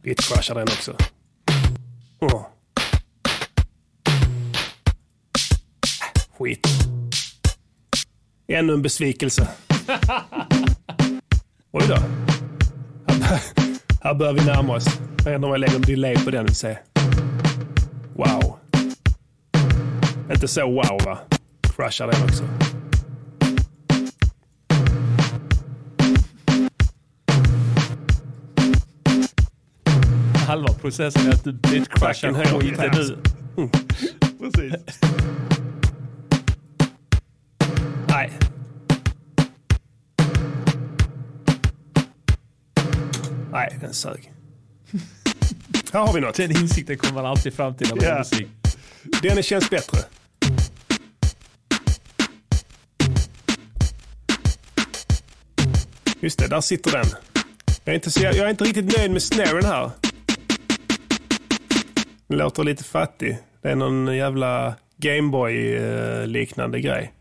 [SPEAKER 1] Vi crushar den också. Åh. Äh, Skit. Ännu en besvikelse. Oj då. Här bör- Här börjar vi närma oss. Jag vet inte om jag lägger en delay på den. Se. Wow. Inte så wow va? crushar den också.
[SPEAKER 4] Halva processen är att du
[SPEAKER 1] Fucking
[SPEAKER 4] bitch-crushar
[SPEAKER 1] hell,
[SPEAKER 4] skiten
[SPEAKER 1] yes.
[SPEAKER 4] nu.
[SPEAKER 1] Mm.
[SPEAKER 4] [laughs]
[SPEAKER 1] Precis.
[SPEAKER 4] Nej.
[SPEAKER 1] Nej, den sög. Här har vi något.
[SPEAKER 4] Den insikten kommer man alltid fram till när man
[SPEAKER 1] Ja.
[SPEAKER 4] gör musik.
[SPEAKER 1] Den känns bättre. Just det, där sitter den. Jag är inte, så, jag är inte riktigt nöjd med snaren här. Den låter lite fattig. Det är någon jävla Gameboy-liknande grej.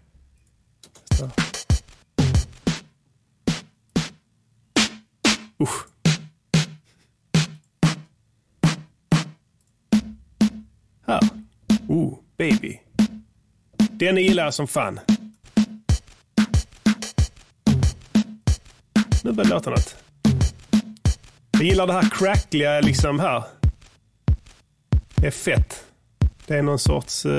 [SPEAKER 1] Så. Usch. Här. Oh, baby. Den gillar jag som fan. Nu börjar det låta något. Jag gillar det här crackliga liksom här. Det är fett. Det är någon sorts... eh,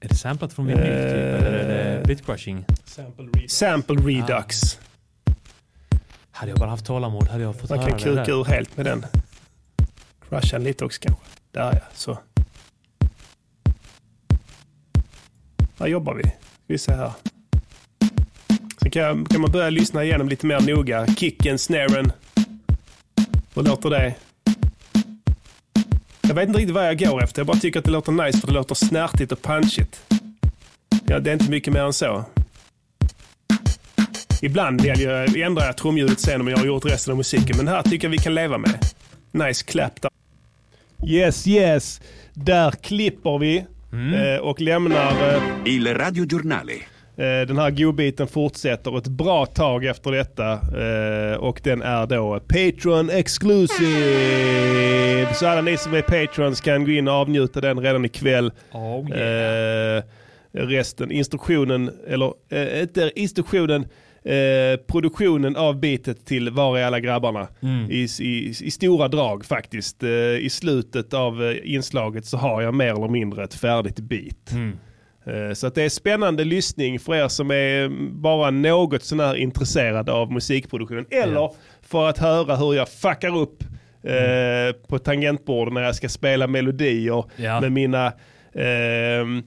[SPEAKER 4] Är det samplat från min uh, typ, eller
[SPEAKER 1] Eh.
[SPEAKER 4] är det bitcrushing?
[SPEAKER 1] Sample redux.
[SPEAKER 4] Hade jag bara haft tålamod hade jag fått
[SPEAKER 1] Man
[SPEAKER 4] höra
[SPEAKER 1] kan
[SPEAKER 4] det
[SPEAKER 1] kuka
[SPEAKER 4] där.
[SPEAKER 1] ur helt med den. Crusha den lite också kanske. Där ja, så. Där jobbar vi. Ska vi se här. Sen kan, kan man börja lyssna igenom lite mer noga. Kicken, snaren. Hur låter det? Jag vet inte riktigt vad jag går efter. Jag bara tycker att det låter nice för det låter snärtigt och punchigt. Ja, det är inte mycket mer än så. Ibland väljer jag, ändrar jag trumljudet sen om jag har gjort resten av musiken, men det här tycker jag vi kan leva med. Nice clap där. Yes, yes. Där klipper vi eh, och lämnar eh,
[SPEAKER 11] Il radiogiornale.
[SPEAKER 1] Eh, Den här godbiten fortsätter ett bra tag efter detta eh, och den är då Patreon exclusive. Så alla ni som är Patrons kan gå in och avnjuta den redan ikväll.
[SPEAKER 4] Oh,
[SPEAKER 1] Eh, Resten, instruktionen, eller eh, inte instruktionen, eh, produktionen av bitet till Var är alla grabbarna?
[SPEAKER 4] Mm.
[SPEAKER 1] I, i, I stora drag faktiskt. Eh, I slutet av eh, inslaget så har jag mer eller mindre ett färdigt bit.
[SPEAKER 4] Mm.
[SPEAKER 1] Eh, Så att det är spännande lyssning för er som är mm, bara något sån här intresserade av musikproduktion. Eller för att höra hur jag fuckar upp eh, på tangentbordet när jag ska spela melodier
[SPEAKER 4] Ja.
[SPEAKER 1] med mina, ehm,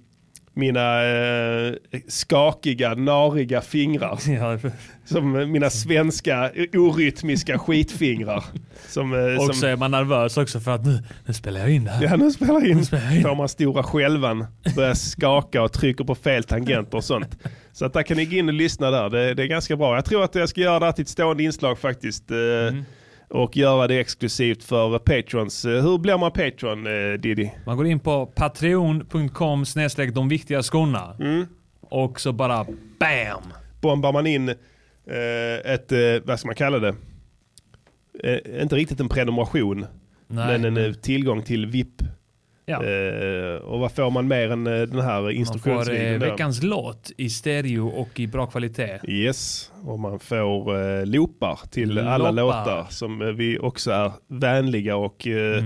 [SPEAKER 1] mina eh, skakiga, nariga fingrar.
[SPEAKER 4] Ja,
[SPEAKER 1] Som eh, mina svenska orytmiska skitfingrar. Som, eh,
[SPEAKER 4] och
[SPEAKER 1] som,
[SPEAKER 4] så är man nervös också för att nu, nu spelar jag in det här.
[SPEAKER 1] Ja, nu spelar jag in.
[SPEAKER 4] jag in.
[SPEAKER 1] Får man stora skälvan, börjar skaka och trycker på fel tangenter och sånt. Så att där kan ni gå in och lyssna där. Det, det är ganska bra. Jag tror att jag ska göra det här till ett stående inslag faktiskt. eh, Och göra det exklusivt för patrons. Eh, Hur blir man patron, eh, Diddy?
[SPEAKER 4] Man går in på patreon.com snedstreck de viktiga skorna. Och så bara BAM!
[SPEAKER 1] Bombar man in eh, ett, eh, vad ska man kalla det? Eh, inte riktigt en prenumeration,
[SPEAKER 4] Nej.
[SPEAKER 1] men en eh, tillgång till VIP.
[SPEAKER 4] Ja.
[SPEAKER 1] Eh, och vad får man mer än eh, den här
[SPEAKER 4] Man får eh,
[SPEAKER 1] instruktionsvideon? där?
[SPEAKER 4] veckans låt i stereo och i bra kvalitet.
[SPEAKER 1] Yes, och man får eh, loopar till alla
[SPEAKER 4] Loopar.
[SPEAKER 1] låtar som eh, vi också är vänliga och eh,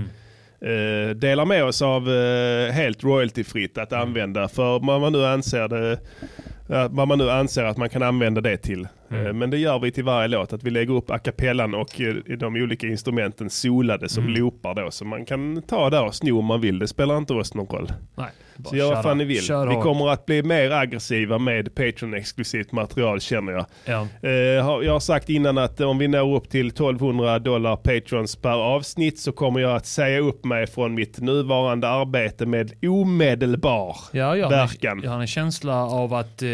[SPEAKER 4] Mm.
[SPEAKER 1] eh, delar med oss av eh, helt royaltyfritt att använda för vad man nu anser det eh, vad man nu anser att man kan använda det till. Eh,
[SPEAKER 4] Mm.
[SPEAKER 1] Men det gör vi till varje låt, att vi lägger upp a cappellan och eh, de olika instrumenten solade
[SPEAKER 4] Mm.
[SPEAKER 1] som loopar då. Så man kan ta där och sno om man vill, det spelar inte oss någon roll.
[SPEAKER 4] Nej,
[SPEAKER 1] Så gör vad
[SPEAKER 4] köra.
[SPEAKER 1] fan ni vill.
[SPEAKER 4] Kör
[SPEAKER 1] Vi
[SPEAKER 4] hårt.
[SPEAKER 1] kommer att bli mer aggressiva med Patreon-exklusivt material känner jag.
[SPEAKER 4] Ja.
[SPEAKER 1] Eh, har- Jag har sagt innan att om vi når upp till 1200 dollar patrons per avsnitt så kommer jag att säga upp mig från mitt nuvarande arbete med omedelbar
[SPEAKER 4] Ja, jag, har
[SPEAKER 1] verkan.
[SPEAKER 4] en, jag har en känsla av att, eh,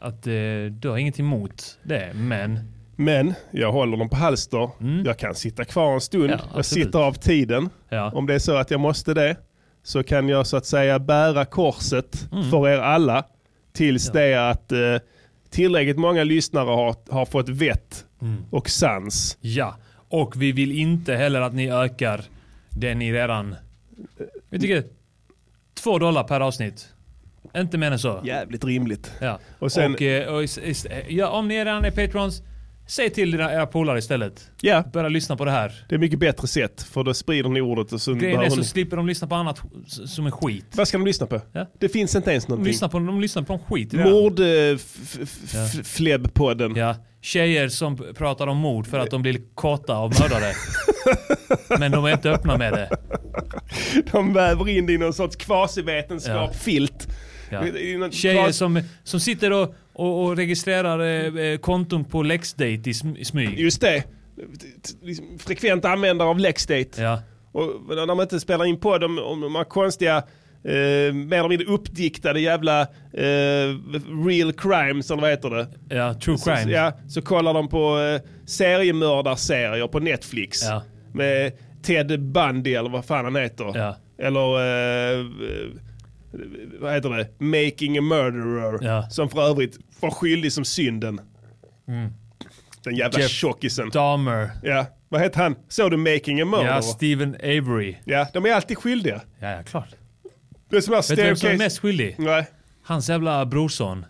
[SPEAKER 4] att eh, du har inget emot det, men
[SPEAKER 1] Men jag håller dem på halster.
[SPEAKER 13] Mm.
[SPEAKER 1] Jag kan sitta kvar en stund.
[SPEAKER 4] Ja,
[SPEAKER 1] jag
[SPEAKER 4] absolut.
[SPEAKER 1] sitter av tiden.
[SPEAKER 4] Ja.
[SPEAKER 1] Om det är så att jag måste det så kan jag så att säga bära korset
[SPEAKER 13] Mm.
[SPEAKER 1] för er alla tills det att eh, tillräckligt många lyssnare har, har fått vett
[SPEAKER 13] Mm.
[SPEAKER 1] och sans.
[SPEAKER 4] ja. Och vi vill inte heller att ni ökar det ni redan... Vi tycker två dollar per avsnitt. Inte mer än så.
[SPEAKER 1] Jävligt rimligt.
[SPEAKER 4] Ja.
[SPEAKER 1] Och sen-
[SPEAKER 4] och, eh, och, is- is- eh, ja, om ni redan är Patrons,
[SPEAKER 13] Säg till dina era polare istället.
[SPEAKER 1] Ja. Mm,
[SPEAKER 13] Börja lyssna på det här.
[SPEAKER 1] Det är mycket bättre sätt, för då sprider ni ordet och så
[SPEAKER 13] Grejen är
[SPEAKER 1] behöver
[SPEAKER 13] så
[SPEAKER 1] ni-
[SPEAKER 13] slipper de lyssna på annat s- som är skit.
[SPEAKER 1] Vad ska de lyssna på? Det finns inte ens
[SPEAKER 13] De
[SPEAKER 1] någonting. eh,
[SPEAKER 13] lyssnar på, de lyssnar på en skit. redan. Ja.
[SPEAKER 1] Mordflebbpodden.
[SPEAKER 13] Ja. Tjejer som p- pratar om mord för att de blir kåta av mördare. Men de är inte öppna med det.
[SPEAKER 1] [laughs] De väver in det i någon sorts kvasivetenskap,
[SPEAKER 13] Ja.
[SPEAKER 1] filt.
[SPEAKER 13] Ja.
[SPEAKER 1] I- i någon
[SPEAKER 13] Tjejer
[SPEAKER 1] kvas-
[SPEAKER 13] som, som sitter och, och, och registrerar eh, eh, konton på Lexdate i, sm, i smyg.
[SPEAKER 1] Just det. T- liksom Frekvent användare av Lexdate.
[SPEAKER 13] Ja.
[SPEAKER 1] Och när man inte spelar in på dem, om de här konstiga eh, mer eller mindre uppdiktade jävla eh, real crimes eller vad heter det?
[SPEAKER 13] Ja, true
[SPEAKER 1] Så-
[SPEAKER 13] crime.
[SPEAKER 1] Ja, så kollar de på eh, seriemördarserier på Netflix.
[SPEAKER 13] Ja.
[SPEAKER 1] Med Ted Bundy eller vad fan han heter.
[SPEAKER 13] Ja.
[SPEAKER 1] Eller eh, eh, vad heter det? Making a murderer.
[SPEAKER 13] Ja.
[SPEAKER 1] Som för övrigt var skyldig som synden.
[SPEAKER 13] Mm.
[SPEAKER 1] Den jävla
[SPEAKER 13] Jeff
[SPEAKER 1] tjockisen.
[SPEAKER 13] Dahmer.
[SPEAKER 1] Ja, vad heter han? Såg du Making a murderer?
[SPEAKER 13] Ja, Stephen Avery.
[SPEAKER 1] Ja, de är alltid skyldiga.
[SPEAKER 13] Ja, ja, klart.
[SPEAKER 1] Det är som här
[SPEAKER 13] Vet du vem som är
[SPEAKER 1] staircase-
[SPEAKER 13] mest skyldig?
[SPEAKER 1] Nej.
[SPEAKER 13] Hans jävla brorson.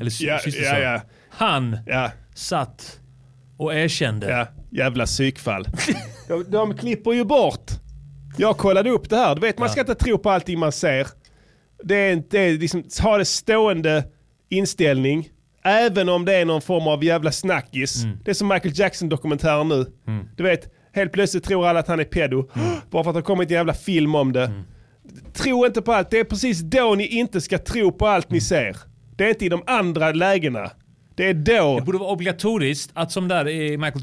[SPEAKER 13] Eller sy-
[SPEAKER 1] Ja, ja,
[SPEAKER 13] systerson.
[SPEAKER 1] ja.
[SPEAKER 13] Han
[SPEAKER 1] ja.
[SPEAKER 13] satt och erkände.
[SPEAKER 1] Ja, jävla psykfall. [laughs] de, de klipper ju bort. Jag kollade upp det här. Du vet, man ska inte tro på allting man ser. Det är, inte- det är liksom, ha det stående inställning. Även om det är någon form av jävla snackis. Det är som Michael Jackson-dokumentären nu. Du vet, helt plötsligt tror alla att han är pedo. Bara för att det har kommit en jävla film om det. Tro inte på allt. Det är precis då ni inte ska tro på allt ni ser. Det är inte i de andra lägena. Det är då.
[SPEAKER 13] Det borde vara obligatoriskt att som där i Michael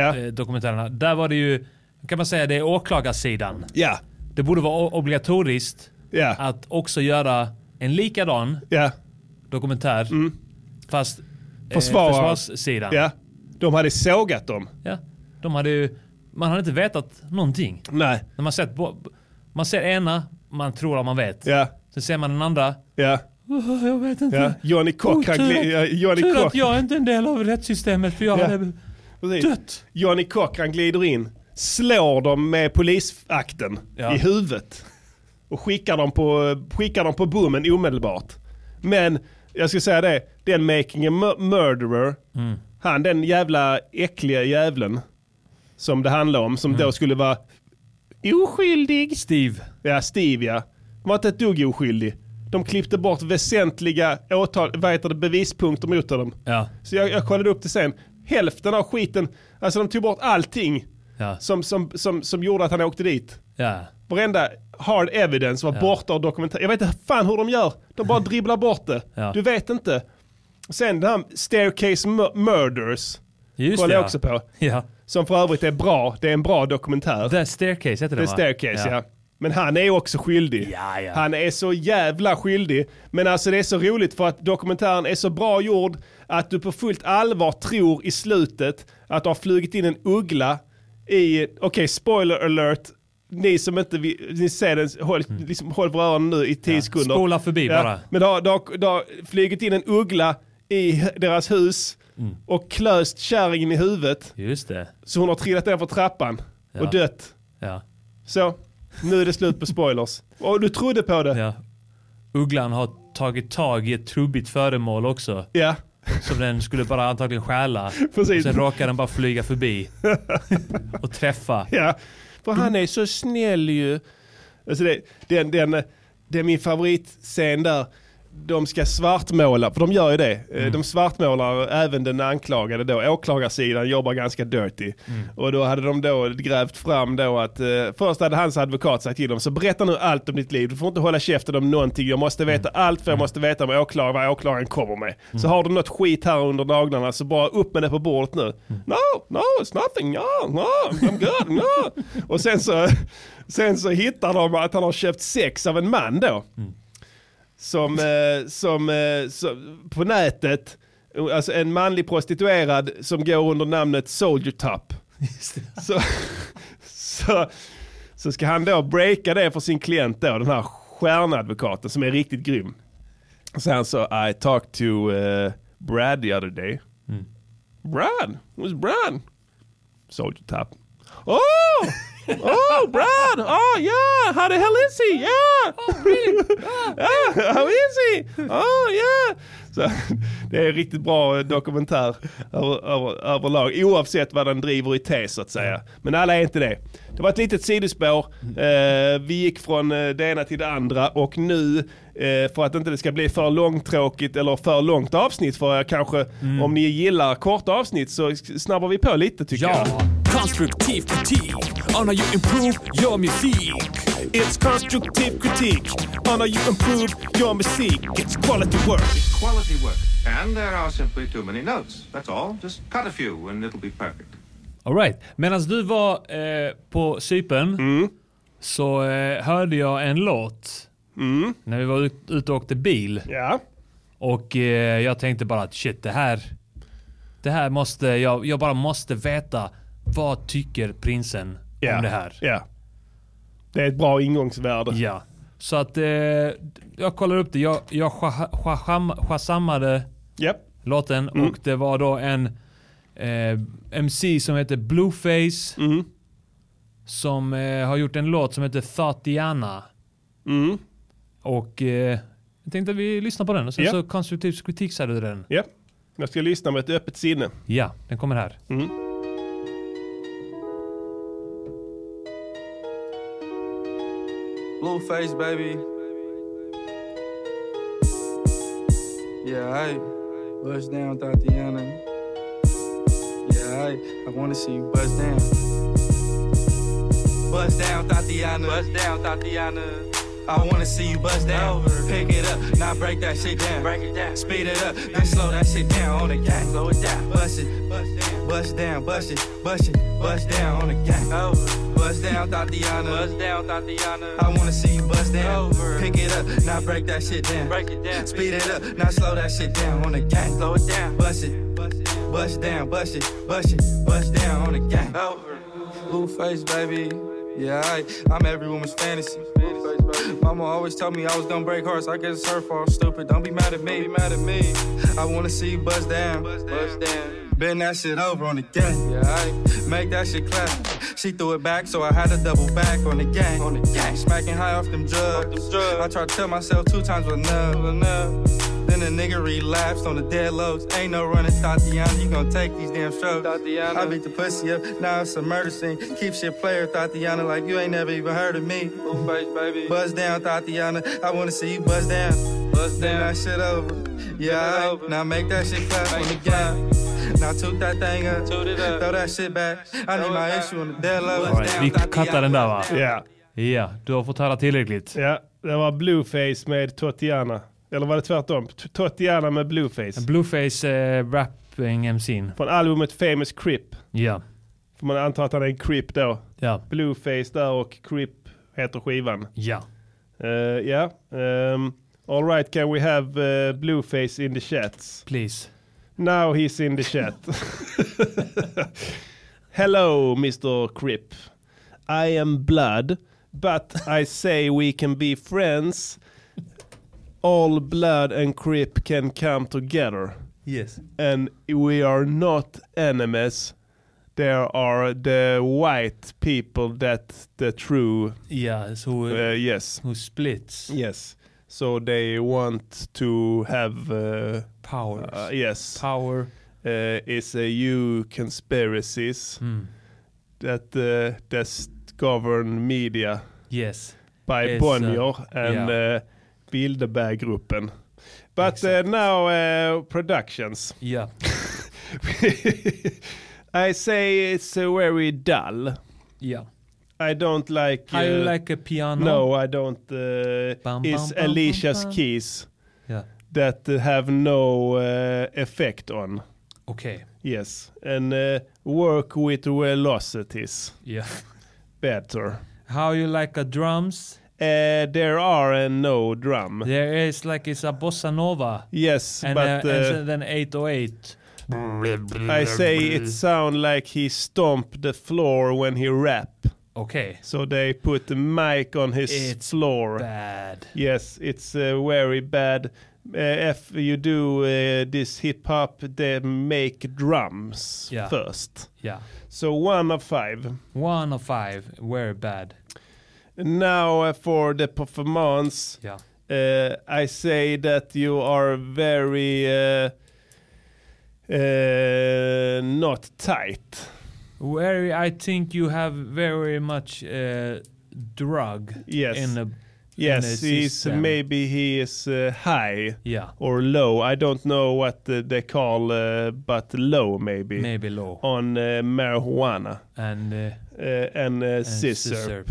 [SPEAKER 13] Jackson-dokumentärerna, där var det ju, kan man säga det är åklagarsidan.
[SPEAKER 1] Ja.
[SPEAKER 13] Det borde vara o- obligatoriskt
[SPEAKER 1] Ja.
[SPEAKER 13] att också göra en likadan
[SPEAKER 1] Ja.
[SPEAKER 13] dokumentär, fast eh,
[SPEAKER 1] Försvarare.
[SPEAKER 13] försvarssidan.
[SPEAKER 1] Ja. De hade sågat dem.
[SPEAKER 13] Ja. De hade ju, man hade inte vetat någonting.
[SPEAKER 1] Nej.
[SPEAKER 13] När man, sett, bo- man ser ena, man tror att man vet.
[SPEAKER 1] Ja.
[SPEAKER 13] Sen ser man den andra.
[SPEAKER 1] Ja.
[SPEAKER 13] Jag vet inte.
[SPEAKER 1] Ja. Johnny Cock.
[SPEAKER 13] Oh,
[SPEAKER 1] han
[SPEAKER 13] tur
[SPEAKER 1] gli-
[SPEAKER 13] att-
[SPEAKER 1] ja, Johnny
[SPEAKER 13] tur
[SPEAKER 1] Cock.
[SPEAKER 13] att jag är inte en del av rättssystemet för jag
[SPEAKER 1] Ja.
[SPEAKER 13] hade...
[SPEAKER 1] Precis.
[SPEAKER 13] dött.
[SPEAKER 1] Johnny Cock han glider in, slår dem med polisakten
[SPEAKER 13] Ja.
[SPEAKER 1] i huvudet och skickar dem, på, skickar dem på boomen omedelbart. Men jag ska säga det, den making a mur- murderer,
[SPEAKER 13] Mm.
[SPEAKER 1] han den jävla äckliga jävlen som det handlar om, som då skulle vara oskyldig.
[SPEAKER 13] Mm. Steve.
[SPEAKER 1] Ja, Steve ja. De var inte ett dugg oskyldig. De klippte bort väsentliga åtal, vad heter det, bevispunkter mot dem.
[SPEAKER 13] Ja.
[SPEAKER 1] Så jag, jag kollade upp det sen. Hälften av skiten, alltså de tog bort allting
[SPEAKER 13] Ja.
[SPEAKER 1] som, som, som, som gjorde att han åkte dit.
[SPEAKER 13] Ja.
[SPEAKER 1] Varenda hard evidence var borta och dokumenterat. Jag vet inte fan hur de gör. De
[SPEAKER 13] [laughs]
[SPEAKER 1] bara dribblar bort det.
[SPEAKER 13] Ja.
[SPEAKER 1] Du vet inte. Sen den här Staircase Mur- Murders.
[SPEAKER 13] Just
[SPEAKER 1] kollade
[SPEAKER 13] det,
[SPEAKER 1] jag
[SPEAKER 13] ja.
[SPEAKER 1] också på.
[SPEAKER 13] Ja.
[SPEAKER 1] Som för övrigt är bra. Det är en bra dokumentär.
[SPEAKER 13] The Staircase heter
[SPEAKER 1] The
[SPEAKER 13] den va?
[SPEAKER 1] Staircase, ja. Men han är också skyldig.
[SPEAKER 13] Ja, ja.
[SPEAKER 1] Han är så jävla skyldig. Men alltså det är så roligt för att dokumentären är så bra gjord att du på fullt allvar tror i slutet att du har flugit in en uggla i, okej spoiler alert, ni som inte vill, ni ser den, håll, liksom, håll för öronen nu i 10 sekunder.
[SPEAKER 13] Mm. Spola förbi bara.
[SPEAKER 1] Men det har, det, har, det har flugit in en uggla i h- deras hus och klöst kärringen i huvudet
[SPEAKER 13] Mm. Just det.
[SPEAKER 1] så hon har trillat ner för trappan
[SPEAKER 13] Ja.
[SPEAKER 1] och dött.
[SPEAKER 13] Ja.
[SPEAKER 1] Så, nu är det slut på spoilers. Och du trodde på det?
[SPEAKER 13] ja. Ugglan har tagit tag i ett trubbigt föremål också.
[SPEAKER 1] Ja.
[SPEAKER 13] Som den skulle bara antagligen stjäla.
[SPEAKER 1] Precis.
[SPEAKER 13] Och sen råkar den bara
[SPEAKER 1] [laughs]
[SPEAKER 13] flyga förbi. och träffa.
[SPEAKER 1] Ja. För han är så snäll ju. Alltså det, den, den, det är min favoritscen där. De ska svartmåla, för de gör ju det. Eh, De svartmålar även den anklagade då. Åklagarsidan jobbar ganska dirty. Och då hade de då grävt fram då att eh, först hade hans advokat sagt till dem, så berätta nu allt om ditt liv. Du får inte hålla käften om någonting. Jag måste veta allt för jag måste veta om åklagaren, vad åklagaren kommer med. Så har du något skit här under naglarna så bara upp med det på bordet nu. No, no, it's nothing, no, no, I'm good, no. Och sen så, sen så hittar de att han har köpt sex av en man då. Som, eh, som, eh, som på nätet, alltså en manlig prostituerad som går under namnet Soldier Top. Så, så, så ska han då breaka det för sin klient då, den här stjärnadvokaten som är riktigt grym. Och sen så, I talked to eh, Brad the other day. Brad, who's Brad? Soldier Top. Oh! Oh, Brad! Oh, yeah! How the hell is he? [laughs] Ah, Yeah! Oh, really? yeah. How is he? Oh, yeah! Så, Det är en riktigt bra eh, dokumentär över, över, överlag. Oavsett vad den driver i tes så att säga. Men alla är inte det. Det var ett litet sidospår. Eh, vi gick från eh, det ena till det andra och nu eh, för att inte det ska bli för långtråkigt eller för långt avsnitt för er kanske. Om ni gillar korta avsnitt så snabbar vi på lite tycker jag.
[SPEAKER 9] Constructive critique on how you improve your music. It's constructive critique on how you improve your music. It's quality work.
[SPEAKER 5] Quality work. And there are simply too many notes. That's all. Just cut a few and it'll be perfect.
[SPEAKER 4] All right. Medan du var eh, på Cypern
[SPEAKER 1] Mm.
[SPEAKER 4] så eh, hörde jag en låt
[SPEAKER 1] Mm.
[SPEAKER 4] när vi var ut- ute och åkte bil. Och eh, jag tänkte bara att shit, det här, det här måste, jag, jag bara måste veta vad tycker prinsen
[SPEAKER 1] Ja,
[SPEAKER 4] om det här?
[SPEAKER 1] ja. Det är ett bra ingångsvärde.
[SPEAKER 4] Ja. Så att eh, jag kollar upp det. Jag, jag sha- sha- sham- shazammade låten
[SPEAKER 1] Mm.
[SPEAKER 4] och det var då en eh, MC som heter Blueface.
[SPEAKER 1] Mm.
[SPEAKER 4] Som eh, har gjort en låt som heter Thatiana.
[SPEAKER 1] Mm.
[SPEAKER 4] Och eh, jag tänkte att vi lyssnar på den och sen
[SPEAKER 1] Ja.
[SPEAKER 4] så konstruktiv kritik säger du den.
[SPEAKER 1] Ja. Jag ska lyssna med ett öppet sinne.
[SPEAKER 4] Ja, den kommer här.
[SPEAKER 13] Mm. Blueface, baby. Yeah, I bust down, Tatiana. Yeah, I, I wanna see you bust down. Bust down, Tatiana. Bust down, Tatiana. I wanna see you bust down. Pick it up, now break that shit down. Break it down. Speed it up, then slow that shit down on the gang. Slow it down. Bust it, bust down, bust it, bust it, bust down on the gang. Over. Bust down, Tatiana. Bust down, Tatiana. I wanna see you bust down. Pick it up, now break that shit down. Break it down. Speed it up, now slow that shit down on the gang. Slow it down. Bust it, bust down, bust it, bust it, bust down on the gang. Over. Blueface, baby. Yeah, I, I'm every woman's fantasy. Mama always told me I was gonna break hearts. I guess it's her fault. Stupid. Don't be mad at me. Be mad at me. I wanna see you bust down. Bust down. Bend that shit over on the gang. Yeah, I make that shit clap. She threw it back, so I had to double back on the gang. On the gang. Smacking high off them drugs. I tried to tell myself two times was enough. was enough. Then a nigga relapsed on the dead lows. Ain't no running, Tatiana. You gon' take these damn strokes. I beat the pussy up, now it's a murder scene. Keep shit player, Tatiana, like you ain't never even heard of me. Blueface, baby. Buzz down, Tatiana. I wanna see you buzz down. Buzz down. that shit over. Yeah, over. now make that shit clap on the gang. Now toot that thing up. Toot it up. Throw that shit back. I need my issue on the dead lows.
[SPEAKER 4] All right. Vi cuttar den där va?
[SPEAKER 1] Ja.
[SPEAKER 4] Ja, du har fått höra tillräckligt.
[SPEAKER 1] Ja, det var Blueface med Tatiana. Eller var det tvärtom? T- Tatiana med Blueface.
[SPEAKER 4] Blueface eh, rapping MC'n.
[SPEAKER 1] Från albumet Famous Crip.
[SPEAKER 4] Ja.
[SPEAKER 1] Får man antar att han är en Crip då.
[SPEAKER 4] Ja.
[SPEAKER 1] Blueface där och Crip heter skivan.
[SPEAKER 4] Ja.
[SPEAKER 1] Eh, Ja. Ehm, all right, can we have eh, Blueface in the chats?
[SPEAKER 4] Please.
[SPEAKER 1] Now he's in the chat. [laughs] Hello, Mr. Crip. I am blood, but I say we can be friends. All blood and crip can come together.
[SPEAKER 4] Yes.
[SPEAKER 1] And we are not enemies. There are the white people that the true
[SPEAKER 4] Yes, who,
[SPEAKER 1] uh, yes.
[SPEAKER 4] who splits.
[SPEAKER 1] Yes. So they want to have uh,
[SPEAKER 4] Powers.
[SPEAKER 1] uh, yes.
[SPEAKER 4] Power
[SPEAKER 1] uh, is a EU conspiracies
[SPEAKER 4] Mm.
[SPEAKER 1] that uh, that govern media
[SPEAKER 4] Yes.
[SPEAKER 1] by
[SPEAKER 4] It's, uh,
[SPEAKER 1] Bonnier and
[SPEAKER 4] yeah.
[SPEAKER 1] uh, Bilderberggruppen. But uh, now uh, productions.
[SPEAKER 4] Yeah.
[SPEAKER 1] [laughs] I say it's uh, very dull.
[SPEAKER 4] Yeah.
[SPEAKER 1] I don't like. uh,
[SPEAKER 4] How you like a piano?
[SPEAKER 1] No, I don't. Uh,
[SPEAKER 4] Bum,
[SPEAKER 1] it's
[SPEAKER 4] bum, bum,
[SPEAKER 1] Alicia's
[SPEAKER 4] bum, bum.
[SPEAKER 1] keys
[SPEAKER 4] Yeah.
[SPEAKER 1] that uh, have no uh, effect on.
[SPEAKER 4] Okay.
[SPEAKER 1] Yes, and uh, work with velocities.
[SPEAKER 4] Yeah.
[SPEAKER 1] Better.
[SPEAKER 4] How you like a drums?
[SPEAKER 1] Uh, there are uh, no drum.
[SPEAKER 4] There is like it's a bossa nova.
[SPEAKER 1] Yes,
[SPEAKER 4] and,
[SPEAKER 1] but,
[SPEAKER 4] uh,
[SPEAKER 1] uh,
[SPEAKER 4] and so then 808.
[SPEAKER 1] I say it sound like he stomped the floor when he rap.
[SPEAKER 4] Okay.
[SPEAKER 1] So they put the mic on his
[SPEAKER 4] It's
[SPEAKER 1] floor.
[SPEAKER 4] bad.
[SPEAKER 1] Yes, it's uh, very bad. Uh, if you do uh, this hip hop, they make drums
[SPEAKER 4] Yeah.
[SPEAKER 1] first.
[SPEAKER 4] Yeah.
[SPEAKER 1] So one of five.
[SPEAKER 4] One of five. Very bad.
[SPEAKER 1] Now uh, for the performance,
[SPEAKER 4] Yeah.
[SPEAKER 1] uh, I say that you are very uh, Uh, not tight.
[SPEAKER 4] Where I think you have very much uh, drug
[SPEAKER 1] Yes.
[SPEAKER 4] in the in
[SPEAKER 1] Yes,
[SPEAKER 4] the
[SPEAKER 1] he's
[SPEAKER 4] system.
[SPEAKER 1] maybe he is uh, high
[SPEAKER 4] Yeah.
[SPEAKER 1] or low. I don't know what uh, they call, uh, but low maybe.
[SPEAKER 4] Maybe low.
[SPEAKER 1] on uh, marijuana
[SPEAKER 4] and uh,
[SPEAKER 1] and uh, scissor.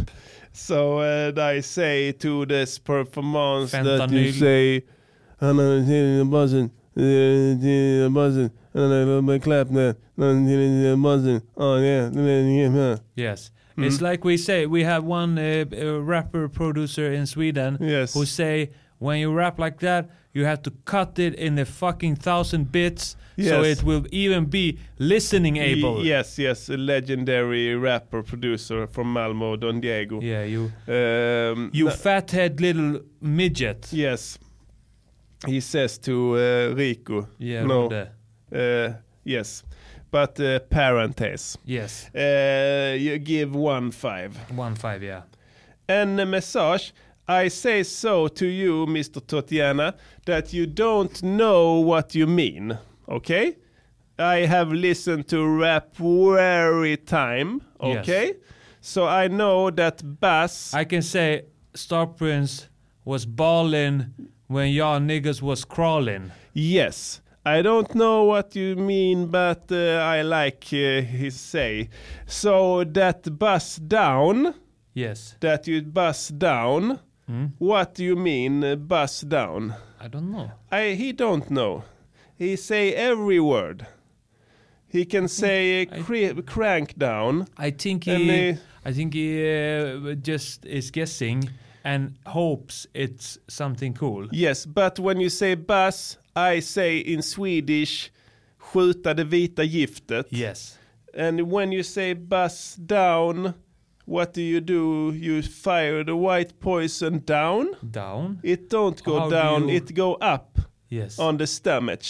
[SPEAKER 1] So uh, I say to this performance that you
[SPEAKER 4] Fentanyl.
[SPEAKER 1] say, and I hear the buzzing, uh, hear the buzzing, and I love my clap now, and I hear the buzzing. Oh yeah, yeah, yeah.
[SPEAKER 4] Yes.
[SPEAKER 1] Mm.
[SPEAKER 4] It's like we say, we have one uh, uh, rapper producer in Sweden
[SPEAKER 1] Yes.
[SPEAKER 4] who say, when you rap like that, you have to cut it in a fucking thousand bits so
[SPEAKER 1] Yes.
[SPEAKER 4] it will even be listening able.
[SPEAKER 1] Y- Yes, yes, a legendary rapper producer from Malmo, Don Diego.
[SPEAKER 4] Yeah, you.
[SPEAKER 1] Um,
[SPEAKER 4] You
[SPEAKER 1] no-
[SPEAKER 4] fathead little midget.
[SPEAKER 1] Yes. He says to uh, Rico.
[SPEAKER 4] Yeah,
[SPEAKER 1] no.
[SPEAKER 4] Rode.
[SPEAKER 1] Uh, yes, but uh, parentes.
[SPEAKER 4] Yes.
[SPEAKER 1] Uh, you give one five.
[SPEAKER 4] One five, yeah.
[SPEAKER 1] And a massage. I say so to you, Mr. Totiana, that you don't know what you mean. Okay? I have listened to rap very time.
[SPEAKER 4] Yes.
[SPEAKER 1] Okay? So I know that bass.
[SPEAKER 4] I can say Star Prince was ballin' when y'all niggas was crawling.
[SPEAKER 1] Yes. I don't know what you mean, but uh, I like uh, his say. So that bus down.
[SPEAKER 4] Yes.
[SPEAKER 1] That you bus down. What do you mean uh, bus down?
[SPEAKER 4] I don't know.
[SPEAKER 1] I he don't know. He say every word. He can say uh, cra- crank down.
[SPEAKER 4] I think
[SPEAKER 1] And
[SPEAKER 4] he,
[SPEAKER 1] they-
[SPEAKER 4] I think he uh, just is guessing and hopes it's something cool.
[SPEAKER 1] Yes, but when you say bus, I say in Swedish skjuta det vita giftet.
[SPEAKER 4] Yes.
[SPEAKER 1] And when you say bus down, what do you do? You fire the white poison down?
[SPEAKER 4] Down.
[SPEAKER 1] It don't go
[SPEAKER 4] How do
[SPEAKER 1] down,
[SPEAKER 4] you-
[SPEAKER 1] it go up
[SPEAKER 4] Yes.
[SPEAKER 1] on the stomach.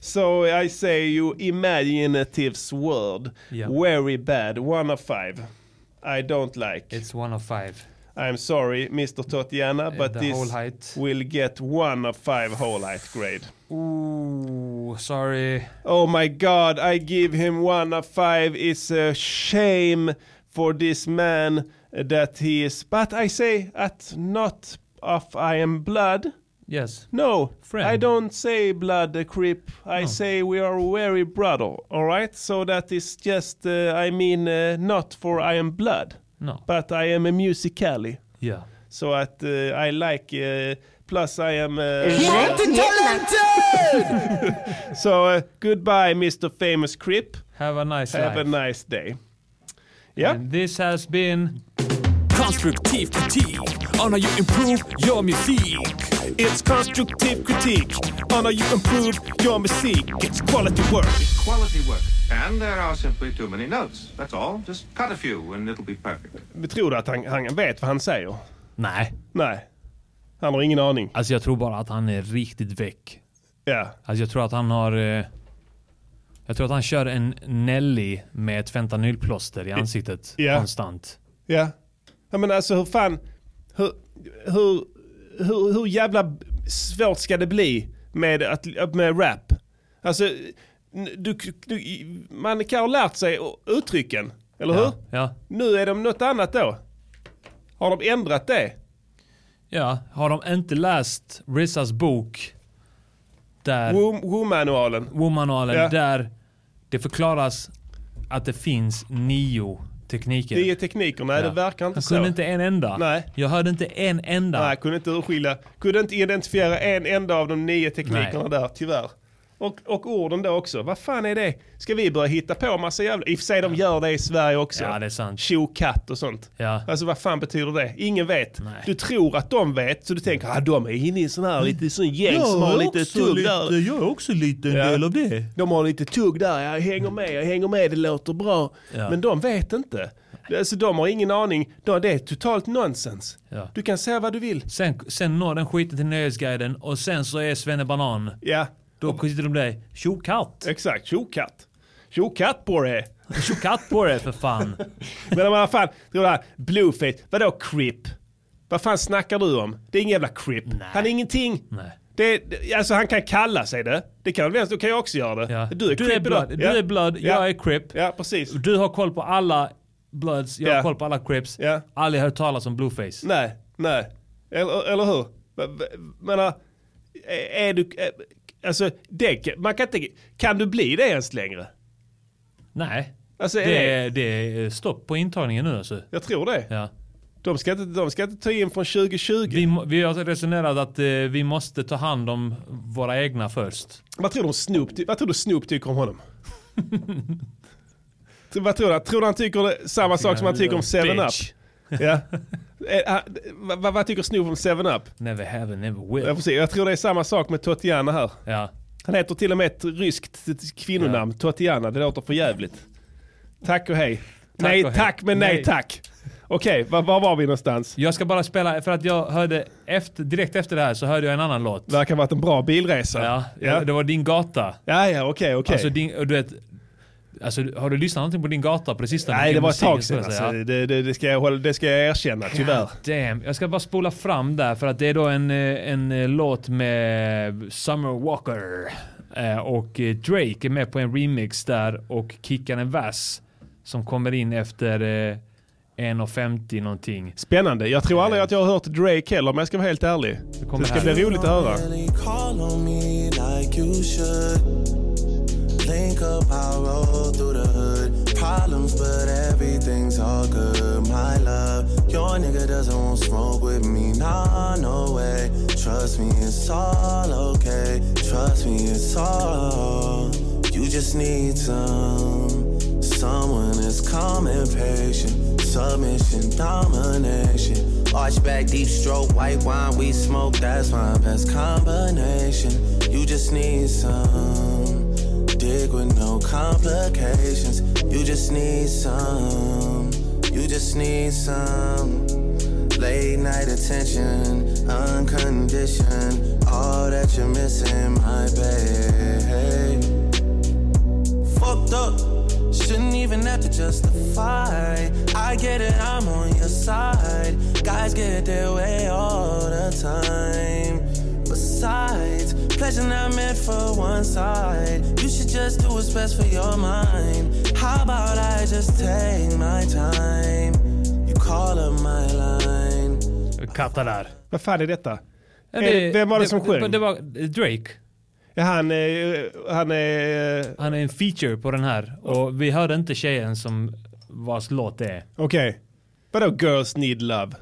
[SPEAKER 1] So I say you imaginative's word.
[SPEAKER 4] Yeah.
[SPEAKER 1] Very bad. One of five. I don't like.
[SPEAKER 4] It's one of five. Uh,
[SPEAKER 1] I'm sorry, Mr. Totiana, but
[SPEAKER 4] the
[SPEAKER 1] this
[SPEAKER 4] whole height.
[SPEAKER 1] will get one of five whole height grade.
[SPEAKER 4] Ooh, sorry.
[SPEAKER 1] Oh my god, I give him one of five. It's a shame for this man that he is. But I say, at not of I am blood.
[SPEAKER 4] Yes.
[SPEAKER 1] No,
[SPEAKER 4] Friend.
[SPEAKER 1] I don't say blood uh, creep. I say we are very brother, all right? So that is just, uh, I mean, uh, not for I am blood.
[SPEAKER 4] No.
[SPEAKER 1] But I am a musically.
[SPEAKER 4] Yeah.
[SPEAKER 1] So that uh, I like, uh, plus I am... Uh, so uh, goodbye, Mr. Famous Crip.
[SPEAKER 4] Have a nice
[SPEAKER 1] Have
[SPEAKER 4] life.
[SPEAKER 1] a nice day. Yeah.
[SPEAKER 4] And this has been
[SPEAKER 9] Constructive critique on how you improve your music. It's constructive critique on how you improve your music. It's quality work.
[SPEAKER 5] Quality work. And there are simply too many notes. That's all. Just cut a few and it'll be perfect.
[SPEAKER 1] Tror du att han, han vet vad han säger?
[SPEAKER 4] Nej.
[SPEAKER 1] Nej. Han har ingen aning.
[SPEAKER 4] Alltså jag tror bara att han är riktigt väck.
[SPEAKER 1] Ja.
[SPEAKER 4] Alltså jag tror att han har... eh, Jag tror att han kör en Nelly med ett fentanylplåster i ansiktet
[SPEAKER 1] ja.
[SPEAKER 4] konstant.
[SPEAKER 1] Ja. ja men alltså hur fan, hur, hur, hur, hur jävla svårt ska det bli med, att, med rap? Alltså, n- du, du, man kan ha lärt sig uttrycken, eller hur?
[SPEAKER 4] Ja.
[SPEAKER 1] Nu är de något annat då. Har de ändrat det?
[SPEAKER 4] Ja, har de inte läst Rizzas bok där...
[SPEAKER 1] Wo- Wo-manualen.
[SPEAKER 4] Womanalen,
[SPEAKER 1] Ja.
[SPEAKER 4] där det förklaras att det finns nio tekniker.
[SPEAKER 1] Det är tekniker, nej
[SPEAKER 4] Ja.
[SPEAKER 1] det verkar inte
[SPEAKER 4] Han
[SPEAKER 1] så.
[SPEAKER 4] kunde inte en enda.
[SPEAKER 1] Nej.
[SPEAKER 4] Jag hörde inte en enda.
[SPEAKER 1] Nej, kunde inte urskilja, kunde inte identifiera en enda av de nio teknikerna
[SPEAKER 4] Nej.
[SPEAKER 1] där, tyvärr. Och, och orden då också, vad fan är det? Ska vi börja hitta på massa jävla... I och för sig de gör det i Sverige också.
[SPEAKER 4] Ja, det är sant.
[SPEAKER 1] Tjokatt och sånt.
[SPEAKER 4] Ja.
[SPEAKER 1] Alltså vad fan betyder det? Ingen vet. Du tror att de vet, så du tänker att ah, de är inne i en sån här lite sån gäng som har lite tugg där.
[SPEAKER 2] jag är också lite en del av det.
[SPEAKER 1] De har lite tugg där, jag hänger med, jag hänger med, det låter bra.
[SPEAKER 4] Ja.
[SPEAKER 1] Men de vet inte. Alltså de har ingen aning, De- det är totalt nonsens.
[SPEAKER 4] Ja.
[SPEAKER 1] Du kan säga vad du vill.
[SPEAKER 4] Sen, sen når den skiten till Nöjesguiden och sen så är Svenne Banan.
[SPEAKER 1] Ja,
[SPEAKER 4] Då sitter de där. Tjokatt!
[SPEAKER 1] Exakt, tjokatt. Tjokatt på det.
[SPEAKER 4] Tjokatt på det för fan.
[SPEAKER 1] Men vad fan, tror du här, Blueface, vadå crip? Vad fan snackar du om? Det är ingen jävla crip. Han är ingenting.
[SPEAKER 4] Nej.
[SPEAKER 1] Det Det, är- alltså han kan kalla sig det. Det kan vem då kan jag också göra det. [laughs] Du är
[SPEAKER 4] Du är
[SPEAKER 1] creep idag.
[SPEAKER 4] blood, du är blood jag är crip.
[SPEAKER 1] Ja, precis.
[SPEAKER 4] Du har koll på alla bloods, jag
[SPEAKER 1] Ja.
[SPEAKER 4] har koll på alla crips.
[SPEAKER 1] Ja.
[SPEAKER 4] Aldrig hört talas om blueface.
[SPEAKER 1] Nej, nej. Eller, eller hur? Men- Menar, är är du... är- Alltså, det, kan- man kan inte... Kan du bli det ens längre?
[SPEAKER 4] Nej.
[SPEAKER 1] Alltså, är
[SPEAKER 4] det, är, det är stopp på intagningen nu alltså.
[SPEAKER 1] Jag tror det.
[SPEAKER 4] Ja.
[SPEAKER 1] De ska inte, de ska inte ta in från 2020.
[SPEAKER 4] Vi, må- vi har resonerat att eh, vi måste ta hand om våra egna först.
[SPEAKER 1] Vad tror du om Snoop, Ty- vad tror du Snoop tycker om honom? [laughs] Tror- vad tror du? Tror du han tycker det, samma sak som han tycker om
[SPEAKER 4] Tycker han är
[SPEAKER 1] 7-Up? [laughs] Ja. Eh, han- vad- vad, vad tycker Snoop om 7-Up?
[SPEAKER 4] Never have and never will.
[SPEAKER 1] Ja, precis. Jag tror det är samma sak med Tatiana här.
[SPEAKER 4] Ja.
[SPEAKER 1] Han heter till och med ett ryskt t- t- kvinnonamn, Tatiana. Det låter för jävligt. Tack och hej. nej
[SPEAKER 4] och hej.
[SPEAKER 1] tack men nej,
[SPEAKER 4] Nej.
[SPEAKER 1] tack. Okej, var, var var vi någonstans?
[SPEAKER 4] Jag ska bara spela, för att jag hörde efter, direkt efter det här så hörde jag en annan låt.
[SPEAKER 1] Verkar ha varit en bra bilresa.
[SPEAKER 4] Ja,
[SPEAKER 1] Ja.
[SPEAKER 4] det var din gata.
[SPEAKER 1] Ja, ja, okej, okej.
[SPEAKER 4] Alltså din, och du vet, alltså har du lyssnat någonting på din gata på det sista?
[SPEAKER 1] Nej, det
[SPEAKER 4] Vilken
[SPEAKER 1] var ett
[SPEAKER 4] musik,
[SPEAKER 1] tag
[SPEAKER 4] skulle
[SPEAKER 1] sedan.
[SPEAKER 4] jag
[SPEAKER 1] Alltså. Det,
[SPEAKER 4] säga.
[SPEAKER 1] det, det, ska jag hålla, det ska jag erkänna, tyvärr.
[SPEAKER 4] Damn, jag ska bara spola fram där för att det är då en, eh, en eh, låt med Summer Walker Eh, och eh, Drake är med på en remix där och kickar en vers som kommer in efter eh, 1.50 någonting.
[SPEAKER 1] Spännande. Jag tror aldrig att jag har hört Drake heller, men jag ska vara helt ärlig. Så
[SPEAKER 4] kommer
[SPEAKER 1] Det ska
[SPEAKER 4] här.
[SPEAKER 1] bli roligt att höra.
[SPEAKER 14] Really call on me like you should. Link up, I'll roll through the hood. Problems, but everything's all good. My love, your nigga doesn't want smoke with me. Nah, no way. Trust me, it's all okay. Trust me, it's all. You just need some. Someone is calm and patient. Submission, domination. Arch back, deep stroke, white wine, we smoke. That's my best combination. You just need some. Dig with no complications. You just need some. You just need some. Late night attention, unconditioned. All that you're missing, my babe fucked up. Shouldn't even have to justify. I get it, I'm on your side. Guys get their way all the time. Besides, pleasure not meant for one side. You should just do what's best for your mind. How about I just take my time? You call up my line.
[SPEAKER 4] Katta där.
[SPEAKER 1] Vad fan är detta?
[SPEAKER 4] Ja,
[SPEAKER 1] Är det- vem var det som sjöng?
[SPEAKER 4] Det, det var eh, Drake.
[SPEAKER 1] Ja, han, eh, han är... eh,
[SPEAKER 4] Han är en feature på den här. Och vi hörde inte tjejen som vars låt det är.
[SPEAKER 1] Okej. Vadå girls need love?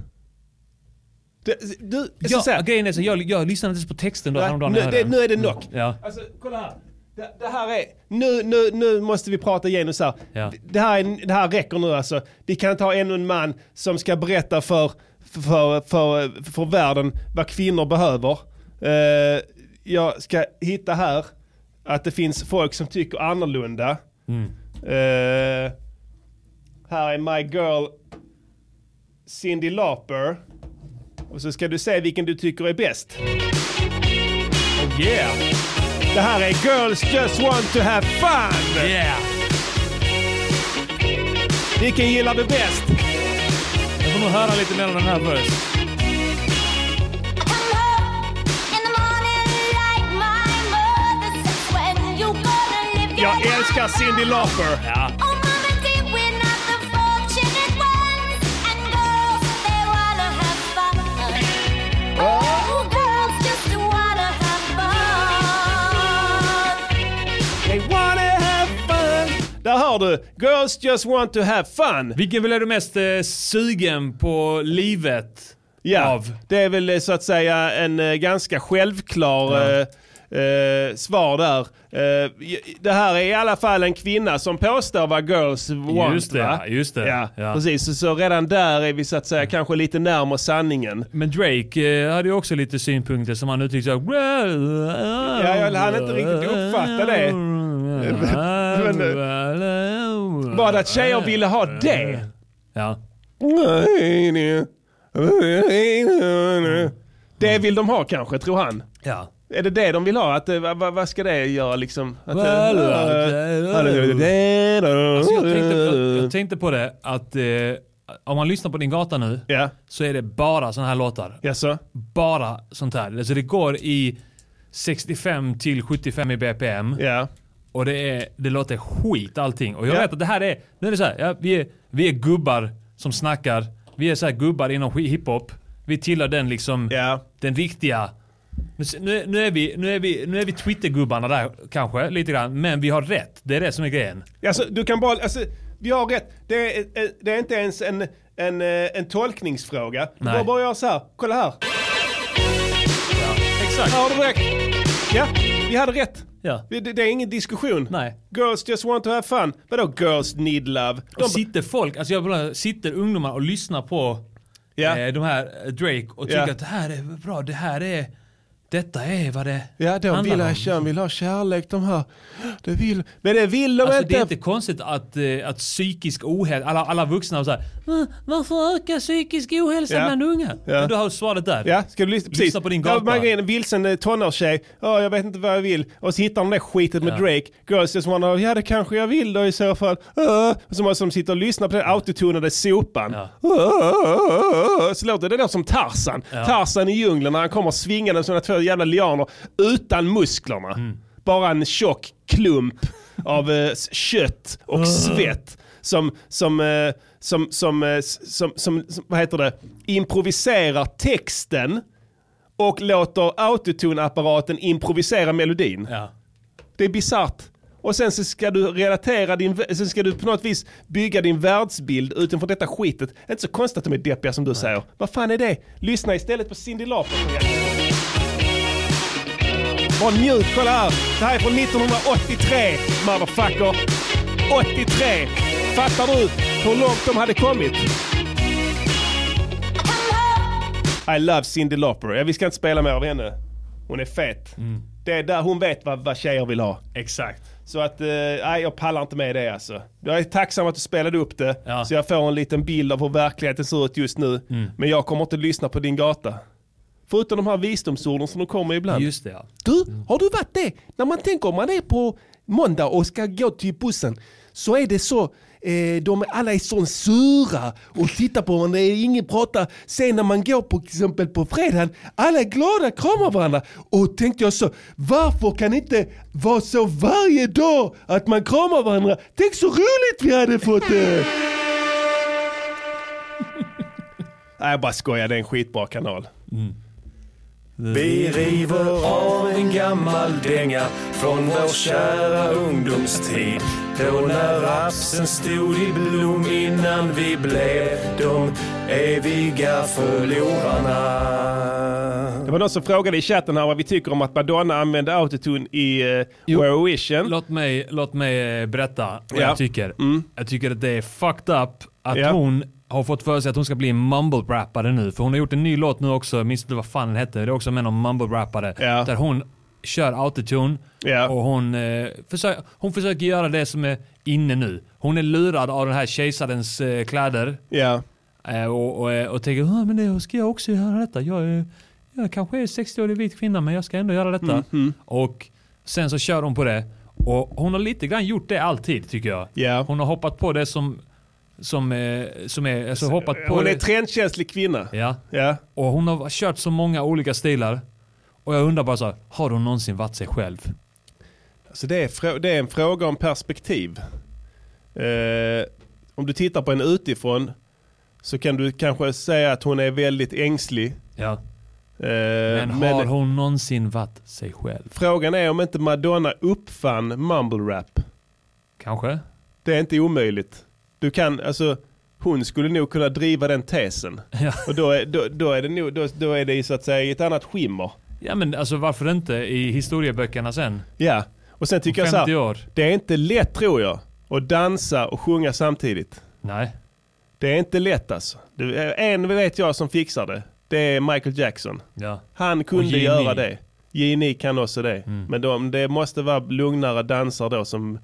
[SPEAKER 1] Det, du,
[SPEAKER 4] Ja,
[SPEAKER 1] så här-
[SPEAKER 4] grejen är så, jag, jag lyssnade inte ens på texten då
[SPEAKER 1] Nej,
[SPEAKER 4] häromdagen.
[SPEAKER 1] nu-
[SPEAKER 4] jag
[SPEAKER 1] det-
[SPEAKER 4] hörde den.
[SPEAKER 1] nu är det knock.
[SPEAKER 4] Ja.
[SPEAKER 1] Alltså, kolla här. Det, det här är... Nu, nu, nu måste vi prata genus här.
[SPEAKER 4] Ja.
[SPEAKER 1] Det, här är, det här räcker nu alltså. Vi kan inte ha ännu en man som ska berätta för, för, för, för världen vad kvinnor behöver. Eh, jag ska hitta här att det finns folk som tycker annorlunda.
[SPEAKER 4] Mm.
[SPEAKER 1] Eh, här är My Girl Cindy Lauper. Och så ska du se vilken du tycker är bäst. Oh yeah! Det här är Girls Just Want To Have Fun!
[SPEAKER 4] Yeah!
[SPEAKER 1] Vilken gillar du bäst?
[SPEAKER 4] Jag får nog höra lite mer av den här först.
[SPEAKER 1] Jag älskar Cindy Lauper! Ja. They wanna have fun! Där hör du! Girls Just Want To Have Fun!
[SPEAKER 4] Vilken vill är du mest eh, sugen på livet?
[SPEAKER 1] Ja,
[SPEAKER 4] Av?
[SPEAKER 1] det är väl eh, så att säga en eh, ganska självklar eh, eh, svar där. Eh, j- det här är i alla fall en kvinna som påstår vad girls want.
[SPEAKER 4] Just det,
[SPEAKER 1] va?
[SPEAKER 4] ja, just det.
[SPEAKER 1] Ja,
[SPEAKER 4] Ja.
[SPEAKER 1] Precis, så, så redan där är vi så att säga kanske lite närmare sanningen.
[SPEAKER 4] Men Drake eh, hade ju också lite synpunkter som han uttryckte såhär...
[SPEAKER 1] Ja, jag hann inte riktigt uppfatta det. Men, eh, bara att tjejer ville ha det.
[SPEAKER 4] Ja. Mm.
[SPEAKER 1] Det vill de ha kanske, tror han.
[SPEAKER 4] Ja.
[SPEAKER 1] Är det det de vill ha? Att, eh, vad, vad- vad ska det göra liksom? Att, eh,
[SPEAKER 4] Well, Alltså jag, tänkte, jag, jag
[SPEAKER 1] Alltså,
[SPEAKER 4] tänkte på det att eh, om man lyssnar på din gata nu så är det bara såna här låtar.
[SPEAKER 1] Jaså?
[SPEAKER 4] Bara sånt här. Alltså det går i 65 till 75 i BPM.
[SPEAKER 1] Ja.
[SPEAKER 4] Och det, är, det låter skit allting. Och jag vet att det här är, nu är det så här, ja, vi, är, vi är gubbar som snackar. Vi är så här gubbar inom sk- hiphop. Vi tillhör den liksom, den riktiga. Nu, s- nu, är- nu är vi, nu är vi, nu är vi Twittergubbarna där kanske, lite grann. Men vi har rätt. Det är det som är grejen.
[SPEAKER 1] Alltså, du kan bara, alltså, vi har rätt. Det är, eh, det är inte ens en, en, eh, en tolkningsfråga. Du
[SPEAKER 4] Nej.
[SPEAKER 1] bara bara gör så här, kolla här.
[SPEAKER 4] Exakt.
[SPEAKER 1] Ja, du rätt. Ja, vi hade rätt.
[SPEAKER 4] Ja.
[SPEAKER 1] Det, det det är ingen diskussion.
[SPEAKER 4] Nej.
[SPEAKER 1] Girls just want to have fun. Vadå girls need love?
[SPEAKER 4] Och sitter folk, alltså jag bara, sitter ungdomar och lyssnar på
[SPEAKER 1] Ja.
[SPEAKER 4] eh, de här eh, Drake och tycker
[SPEAKER 1] Ja.
[SPEAKER 4] att det här är bra, det här är, detta är vad det
[SPEAKER 1] Ja, de
[SPEAKER 4] handlar
[SPEAKER 1] vill,
[SPEAKER 4] om.
[SPEAKER 1] ha, kärn, vill ha kärlek de här. Det vill, men det vill de
[SPEAKER 4] Alltså
[SPEAKER 1] inte.
[SPEAKER 4] det är inte konstigt att, eh, att psykisk ohälsa, alla, alla vuxna och så här, "Va- varför ökar psykisk ohälsa
[SPEAKER 1] Ja.
[SPEAKER 4] bland unga?
[SPEAKER 1] Ja.
[SPEAKER 4] Men Du har svaret där.
[SPEAKER 1] Ja, ska du lyssna? Precis.
[SPEAKER 4] Lyssna på din
[SPEAKER 1] Ja,
[SPEAKER 4] gata.
[SPEAKER 1] man är en vilsen eh, tonårstjej. Ja, jag vet inte vad jag vill. Och så hittar de det skitet med
[SPEAKER 4] Ja.
[SPEAKER 1] Drake. Girls just wanna, ja det kanske jag vill då i så fall. Uh, och så måste de sitta och lyssna på den autotonade sopan. Uh, så låter det då som Tarzan.
[SPEAKER 4] Ja.
[SPEAKER 1] Tarzan i djungeln när han kommer svingande med sina två jävla lianer utan musklerna.
[SPEAKER 4] Mm.
[SPEAKER 1] Bara en tjock klump av eh, s- kött
[SPEAKER 4] Ah.
[SPEAKER 1] och svett. Som, som, eh, som, som, eh, s- som, som, som, vad heter det, improviserar texten och låter autotune-apparaten improvisera melodin.
[SPEAKER 4] Ja.
[SPEAKER 1] Det är bisarrt. Och sen så ska du relatera din, sen ska du på något vis bygga din världsbild utifrån detta skitet. Det är inte så konstigt att de är deppiga som du säger. Vad fan är det? Lyssna istället på Cyndi Lauper. Bara njut, kolla här. Det här är från 1983, motherfucker. 83! Fattar du hur långt de hade kommit? I love Cyndi Lauper. Ja, vi ska inte spela mer av henne. Hon är fet. Det är där hon vet vad, vad tjejer vill ha.
[SPEAKER 4] Mm. Exakt.
[SPEAKER 1] Så att, eh, nej jag pallar inte med det alltså. Jag är tacksam att du spelade upp det,
[SPEAKER 4] Ja. Mm.
[SPEAKER 1] så jag får en liten bild av hur verkligheten ser ut just nu. Men jag kommer inte lyssna på din gata. Förutom de här visdomsorden som de kommer ibland.
[SPEAKER 4] Just det ja.
[SPEAKER 1] Du, har du varit det? När man tänker om man är på måndag och ska gå till bussen så är det så, eh, de alla är så sura och tittar på varandra, det är ingen pratar. Sen när man går på till exempel på fredagen, alla är glada, kramar varandra. Och tänkte jag så, varför kan det inte vara så varje dag att man kramar varandra? Tänk så roligt vi hade fått det! [laughs] Nej jag bara skojar, det är en skitbra kanal.
[SPEAKER 3] Vi river av en gammal dänga från vår kära ungdomstid. Då när rapsen stod i blom innan vi blev de eviga förlorarna.
[SPEAKER 1] Det var någon som frågade i chatten här vad vi tycker om att Madonna använde autotune i uh, Eurovision.
[SPEAKER 4] Låt mig, låt mig eh, berätta vad
[SPEAKER 1] Ja.
[SPEAKER 4] jag tycker. Jag tycker att det är fucked up att
[SPEAKER 1] Mm. Ja.
[SPEAKER 4] hon har fått för sig att hon ska bli en mumble-rappare nu. För hon har gjort en ny låt nu också, jag minns inte vad fan den hette. Det är också med någon mumble-rappare.
[SPEAKER 1] Ja.
[SPEAKER 4] Där hon kör autotune och hon, eh, försöker, hon försöker göra det som är inne nu. Hon är lurad av den här kejsarens eh, kläder.
[SPEAKER 1] Ja.
[SPEAKER 4] Eh, och, och, eh, och tänker "Ah, men det ska jag också göra detta. Jag, är, jag kanske är 60-årig vit kvinna men jag ska ändå göra
[SPEAKER 1] Mm,
[SPEAKER 4] detta. Och sen så kör hon på det. Och hon har lite grann gjort det alltid tycker jag. Hon har hoppat på det som, som, eh, som är, alltså hoppat på
[SPEAKER 1] Hon
[SPEAKER 4] det.
[SPEAKER 1] är trendkänslig kvinna.
[SPEAKER 4] Ja.
[SPEAKER 1] Ja.
[SPEAKER 4] Och hon har kört så många olika stilar. Och jag undrar bara så här, har hon någonsin varit sig själv?
[SPEAKER 1] Alltså det, är frå- det är en fråga om perspektiv. Eh, om du tittar på henne utifrån så kan du kanske säga att hon är väldigt ängslig.
[SPEAKER 4] Ja.
[SPEAKER 1] Eh,
[SPEAKER 4] Men har hon någonsin varit sig själv?
[SPEAKER 1] Frågan är om inte Madonna uppfann mumble rap.
[SPEAKER 4] Kanske.
[SPEAKER 1] Det är inte omöjligt. Du kan, alltså, hon skulle nog kunna driva den tesen. Och då är, då, då är det nog, då, då är det i så att säga i ett annat skimmer.
[SPEAKER 4] Ja men alltså varför inte i historieböckerna sen?
[SPEAKER 1] Ja, och sen tycker
[SPEAKER 4] Om
[SPEAKER 1] jag så
[SPEAKER 4] 50
[SPEAKER 1] här,
[SPEAKER 4] år.
[SPEAKER 1] det är inte lätt tror jag att dansa och sjunga samtidigt.
[SPEAKER 4] Nej.
[SPEAKER 1] Det är inte lätt alltså. Det, är- en vet jag som fixar det. Det är Michael Jackson.
[SPEAKER 4] Ja.
[SPEAKER 1] Han kunde
[SPEAKER 4] Genie.
[SPEAKER 1] göra det. Genie kan också det. Men de, det måste vara lugnare danser då som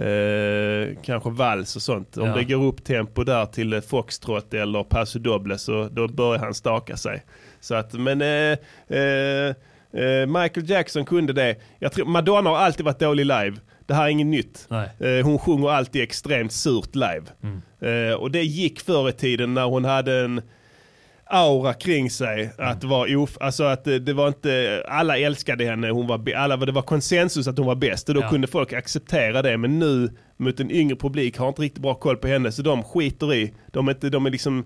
[SPEAKER 1] eh, kanske vals och sånt. Om
[SPEAKER 4] Ja.
[SPEAKER 1] det går upp tempo där till eh, foxtrot eller paso doble så då börjar han staka sig. Så att, men eh, eh, eh, Michael Jackson kunde det. Jag tror, Madonna har alltid varit dålig live. Det här är inget nytt. Eh, hon sjunger alltid extremt surt live. Eh, och det gick förr i tiden när hon hade en aura kring sig. Att vara of, alltså att det, det var inte, alla älskade henne, hon var, be- alla, det var konsensus att hon var bäst och då
[SPEAKER 4] Ja.
[SPEAKER 1] kunde folk acceptera det. Men nu mot en yngre publik har inte riktigt bra koll på henne så de skiter i, de är inte, de är liksom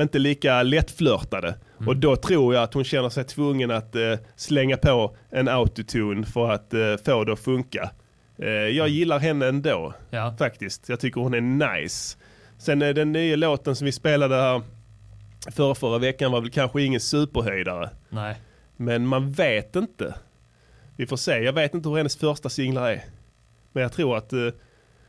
[SPEAKER 1] inte lika lättflörtade. Och då tror jag att hon känner sig tvungen att eh, slänga på en autotune för att eh, få det att funka. Eh, jag gillar henne ändå, faktiskt. Jag tycker hon är nice. Sen eh, den nya låten som vi spelade här förra, förra veckan var väl kanske ingen superhöjdare.
[SPEAKER 4] Nej.
[SPEAKER 1] Men man vet inte. Vi får se. Jag vet inte hur hennes första singlar är. Men jag tror att eh,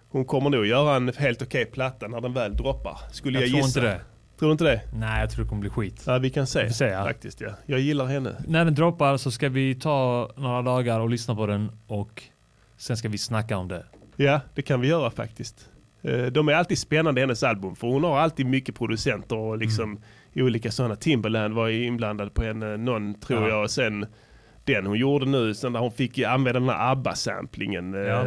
[SPEAKER 1] hon kommer nog göra en helt okej platta när den väl droppar. Skulle jag,
[SPEAKER 4] Jag tror
[SPEAKER 1] gissa.
[SPEAKER 4] inte det.
[SPEAKER 1] Tror du inte det?
[SPEAKER 4] Nej, jag tror det kommer bli skit.
[SPEAKER 1] Ja, vi kan se.
[SPEAKER 4] Vi får se, ja.
[SPEAKER 1] Faktiskt ja. Jag gillar henne.
[SPEAKER 4] När den droppar så ska vi ta några dagar och lyssna på den och sen ska vi snacka om det.
[SPEAKER 1] Ja, det kan vi göra faktiskt. Eh, De är alltid spännande hennes album för hon har alltid mycket producenter och liksom
[SPEAKER 4] Mm.
[SPEAKER 1] olika sådana. Timberland var ju inblandad på henne, någon tror
[SPEAKER 4] Ja.
[SPEAKER 1] jag. Och sen den hon gjorde nu, sen när hon fick ju använda den här ABBA-samplingen. eh,
[SPEAKER 4] Ja.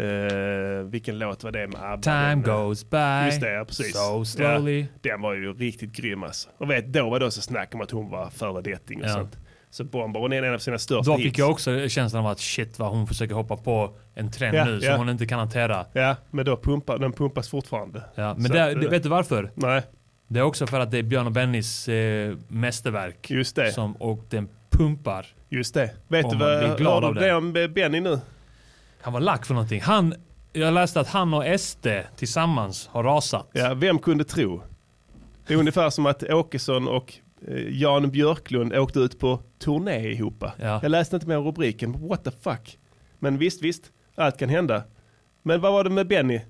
[SPEAKER 1] eh, vilken låt var det med ABBA?
[SPEAKER 4] Time
[SPEAKER 1] Den, eh,
[SPEAKER 4] goes by
[SPEAKER 1] Just det, ja, precis.
[SPEAKER 4] so slowly.
[SPEAKER 1] Ja, den var ju riktigt grym alltså. Och vet, då var det också snack om att hon var föredetting och
[SPEAKER 4] Ja.
[SPEAKER 1] sånt. Så bombar hon är en av sina största
[SPEAKER 4] Då
[SPEAKER 1] hits.
[SPEAKER 4] fick jag också känslan av att shit vad hon försöker hoppa på en trend
[SPEAKER 1] Ja,
[SPEAKER 4] nu
[SPEAKER 1] ja.
[SPEAKER 4] som hon inte kan hantera.
[SPEAKER 1] Ja, men då pumpar, den pumpas fortfarande.
[SPEAKER 4] Ja, men
[SPEAKER 1] Så
[SPEAKER 4] det,
[SPEAKER 1] att,
[SPEAKER 4] det,
[SPEAKER 1] eh,
[SPEAKER 4] vet du varför?
[SPEAKER 1] Nej.
[SPEAKER 4] Det är också för att det är Björn och Bennys eh, mästerverk.
[SPEAKER 1] Just det.
[SPEAKER 4] Som, och den pumpar.
[SPEAKER 1] Just det. Vet
[SPEAKER 4] Och
[SPEAKER 1] du
[SPEAKER 4] man
[SPEAKER 1] vad
[SPEAKER 4] blir glad
[SPEAKER 1] hörde
[SPEAKER 4] av
[SPEAKER 1] du
[SPEAKER 4] det.
[SPEAKER 1] det om eh, Benny nu?
[SPEAKER 4] Han var lack för någonting. Han, jag läste att han och SD tillsammans har rasat.
[SPEAKER 1] Ja, vem kunde tro? Det är ungefär som att Åkesson och eh, Jan Björklund åkte ut på turné ihop. Jag läste inte mer om rubriken, what the fuck. Men visst, visst, allt kan hända. Men vad var det med Benny?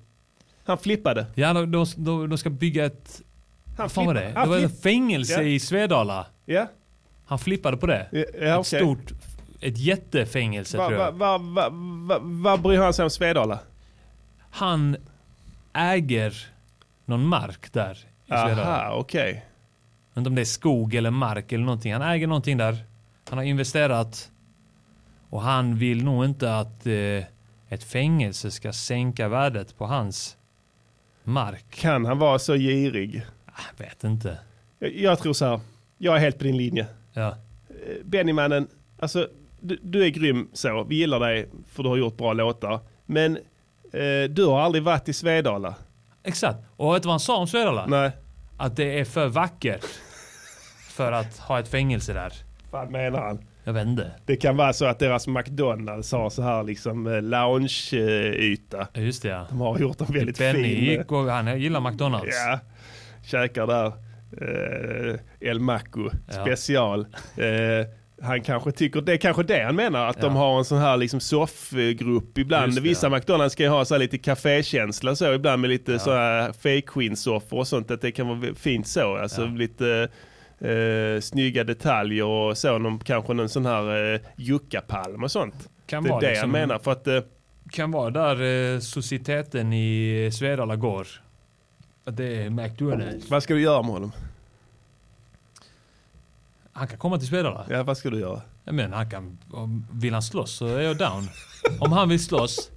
[SPEAKER 1] Han flippade.
[SPEAKER 4] Ja, de, de, de, de ska bygga ett...
[SPEAKER 1] Han
[SPEAKER 4] fan var
[SPEAKER 1] flippar.
[SPEAKER 4] det?
[SPEAKER 1] Han
[SPEAKER 4] Det var ett
[SPEAKER 1] flipp-
[SPEAKER 4] fängelse
[SPEAKER 1] Ja.
[SPEAKER 4] i Svedala.
[SPEAKER 1] Ja.
[SPEAKER 4] Han flippade på det.
[SPEAKER 1] ja,
[SPEAKER 4] ett
[SPEAKER 1] okej.
[SPEAKER 4] stort... Ett jättefängelse
[SPEAKER 1] Vad
[SPEAKER 4] tror
[SPEAKER 1] va,
[SPEAKER 4] jag.
[SPEAKER 1] va, va, va, vad bryr han sig om Svedala?
[SPEAKER 4] Han äger någon mark där. i
[SPEAKER 1] Aha,
[SPEAKER 4] Svedala.
[SPEAKER 1] okej.
[SPEAKER 4] Jag vet inte om det är skog eller mark eller någonting. Han äger någonting där. Han har investerat. Och han vill nog inte att eh, ett fängelse ska sänka värdet på hans mark.
[SPEAKER 1] Kan han vara så girig?
[SPEAKER 4] Jag vet inte.
[SPEAKER 1] Jag, jag tror så här. Jag är helt på din linje.
[SPEAKER 4] Ja.
[SPEAKER 1] Eh, Bennymannen, alltså du, du är grym så. Vi gillar dig för du har gjort bra låtar. Men eh, du har aldrig varit i Svedala.
[SPEAKER 4] Exakt. Och vet du vad han sa om Svedala?
[SPEAKER 1] Nej.
[SPEAKER 4] Att det är för vackert för att ha ett fängelse där.
[SPEAKER 1] Vad menar han?
[SPEAKER 4] Jag vet inte.
[SPEAKER 1] Det kan vara så att deras McDonalds har så här liksom eh, loungeyta.
[SPEAKER 4] Just det ja.
[SPEAKER 1] De har gjort en väldigt fin...
[SPEAKER 4] Benny
[SPEAKER 1] eh,
[SPEAKER 4] gick och han gillar McDonalds.
[SPEAKER 1] Ja, käkar där. Eh, El Maco
[SPEAKER 4] Ja.
[SPEAKER 1] special. Eh, han kanske tycker, det är kanske det han menar, att de har en sån här liksom soffgrupp ibland.
[SPEAKER 4] Just det,
[SPEAKER 1] Vissa McDonalds ska ju ha så här lite cafékänsla så ibland med lite så här fake queen soffor och sånt. Att det kan vara fint så. Alltså lite eh, snygga detaljer och så. Någon, kanske någon sån här eh, juckapalm och sånt.
[SPEAKER 4] Kan
[SPEAKER 1] det är
[SPEAKER 4] vara
[SPEAKER 1] det
[SPEAKER 4] liksom-
[SPEAKER 1] han menar. För att, eh,
[SPEAKER 4] Kan vara där eh, societeten i Svedala går. Att Det är McDonalds.
[SPEAKER 1] vad ska du göra med honom?
[SPEAKER 4] Han kan komma till Svedala.
[SPEAKER 1] Ja, vad ska du göra?
[SPEAKER 4] Jag menar, han kan, om, vill han slåss så är jag down. Om han vill slåss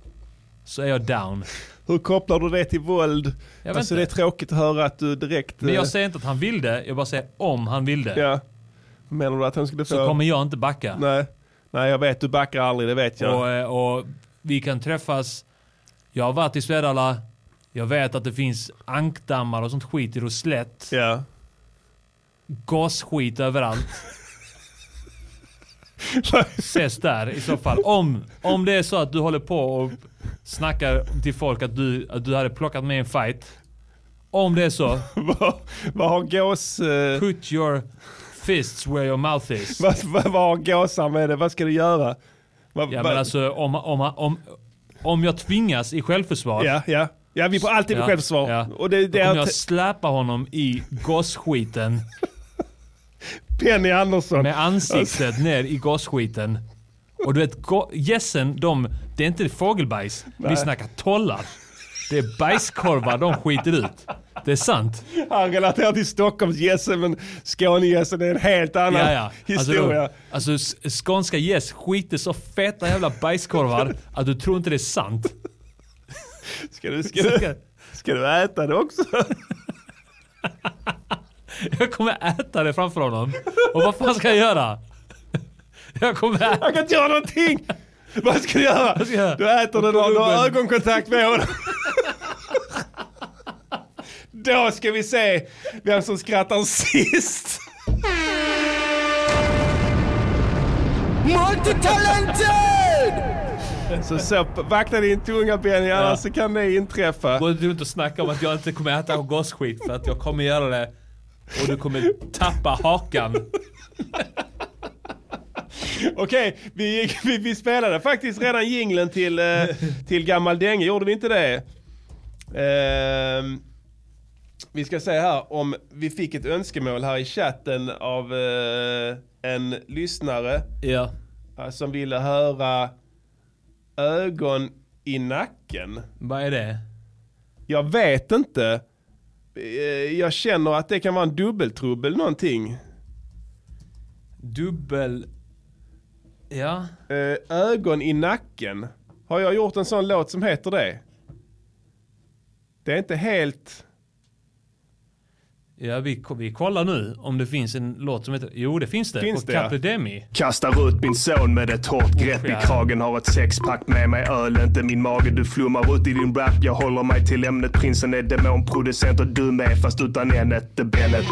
[SPEAKER 4] så är jag down.
[SPEAKER 1] Hur kopplar du det till våld?
[SPEAKER 4] Jag vet
[SPEAKER 1] Alltså det är
[SPEAKER 4] inte.
[SPEAKER 1] tråkigt att höra att du direkt...
[SPEAKER 4] Men
[SPEAKER 1] eh,
[SPEAKER 4] jag säger inte att han vill det. Jag bara säger om han vill det.
[SPEAKER 1] Ja. Menar du att han skulle få...
[SPEAKER 4] Så kommer jag inte backa.
[SPEAKER 1] Nej. Nej, jag vet. Du backar aldrig, det vet jag.
[SPEAKER 4] Och, eh, och vi kan träffas. Jag har varit i Svedala. Jag vet att det finns ankdammar och sånt skit i Roslett.
[SPEAKER 1] Ja. [laughs]
[SPEAKER 4] Gasskit överallt. Ses där i så fall. Om, om det är så att du håller på och snackar till folk att du, att du hade plockat med en fight. Om det är så.
[SPEAKER 1] vad, vad har gås... eh,
[SPEAKER 4] Put your fists where your mouth is.
[SPEAKER 1] vad, vad, vad har gåsar med det? Vad ska du göra? Vad,
[SPEAKER 4] Ja
[SPEAKER 1] vad-
[SPEAKER 4] men alltså om, om, om, om jag tvingas i självförsvar.
[SPEAKER 1] Ja, ja. Ja, vi får alltid
[SPEAKER 4] Ja,
[SPEAKER 1] självsvar.
[SPEAKER 4] ja.
[SPEAKER 1] Och det, det
[SPEAKER 4] Då
[SPEAKER 1] är
[SPEAKER 4] kommer jag släpa honom i gasskiten
[SPEAKER 1] Penny Andersson.
[SPEAKER 4] med
[SPEAKER 1] Alltså.
[SPEAKER 4] ansiktet ner i gasskiten. Och du vet, go- gässen de, det är inte fågelbajs.
[SPEAKER 1] Nej.
[SPEAKER 4] Vi snackar tollar. Det är bajskorvar de skiter ut. Det är sant.
[SPEAKER 1] Han relaterar till Stockholmsgässen, men Skånegässen är en helt annan
[SPEAKER 4] Ja, ja. Alltså,
[SPEAKER 1] historia.
[SPEAKER 4] de, alltså s- skånska gäss skiter så feta jävla bajskorvar att du tror inte det är sant.
[SPEAKER 1] Ska du, ska, du, ska du äta det också?
[SPEAKER 2] Jag kommer äta det framför honom. Och vad fan ska jag göra? Jag kommer äta.
[SPEAKER 1] Jag kan inte göra någonting! Vad ska du göra?
[SPEAKER 2] Vad ska jag göra?
[SPEAKER 1] Du äter den och du har ögonkontakt med honom. Då ska vi se vem som skrattar sist.
[SPEAKER 15] Multitalented!
[SPEAKER 1] Så, så vakna din tunga Benny,
[SPEAKER 2] Ja.
[SPEAKER 1] annars så kan det inträffa.
[SPEAKER 2] Gå inte runt och snacka om att jag inte kommer äta gosskit för att jag kommer göra det. Och du kommer tappa hakan.
[SPEAKER 1] Okej, vi, [laughs] gick- vi, vi spelade faktiskt redan jinglen till, eh, till Gammal Dänge, gjorde vi inte det? Ehm, vi ska se här om vi fick ett önskemål här i chatten av eh, en lyssnare
[SPEAKER 2] Ja.
[SPEAKER 1] eh, som ville höra ögon i nacken.
[SPEAKER 2] Vad är det?
[SPEAKER 1] Jag vet inte. Eh, Jag känner att det kan vara en dubbeltrubbel någonting.
[SPEAKER 2] Dubbel... Ja.
[SPEAKER 1] Eh, ögon i nacken. Har jag gjort en sån låt som heter det? Det är inte helt...
[SPEAKER 2] Ja, vi, vi kollar nu om det finns en låt som heter... Jo, det finns det.
[SPEAKER 1] Finns
[SPEAKER 2] på
[SPEAKER 1] det, ja.
[SPEAKER 2] Capri Demi.
[SPEAKER 13] Kastar ut min son med ett hårt grepp i kragen. Har ett sexpack med mig öl, inte min mage. Du flummar ut i din rap. Jag håller mig till ämnet. Prinsen är demonproducent och du med. Fast utan ämnet. Benet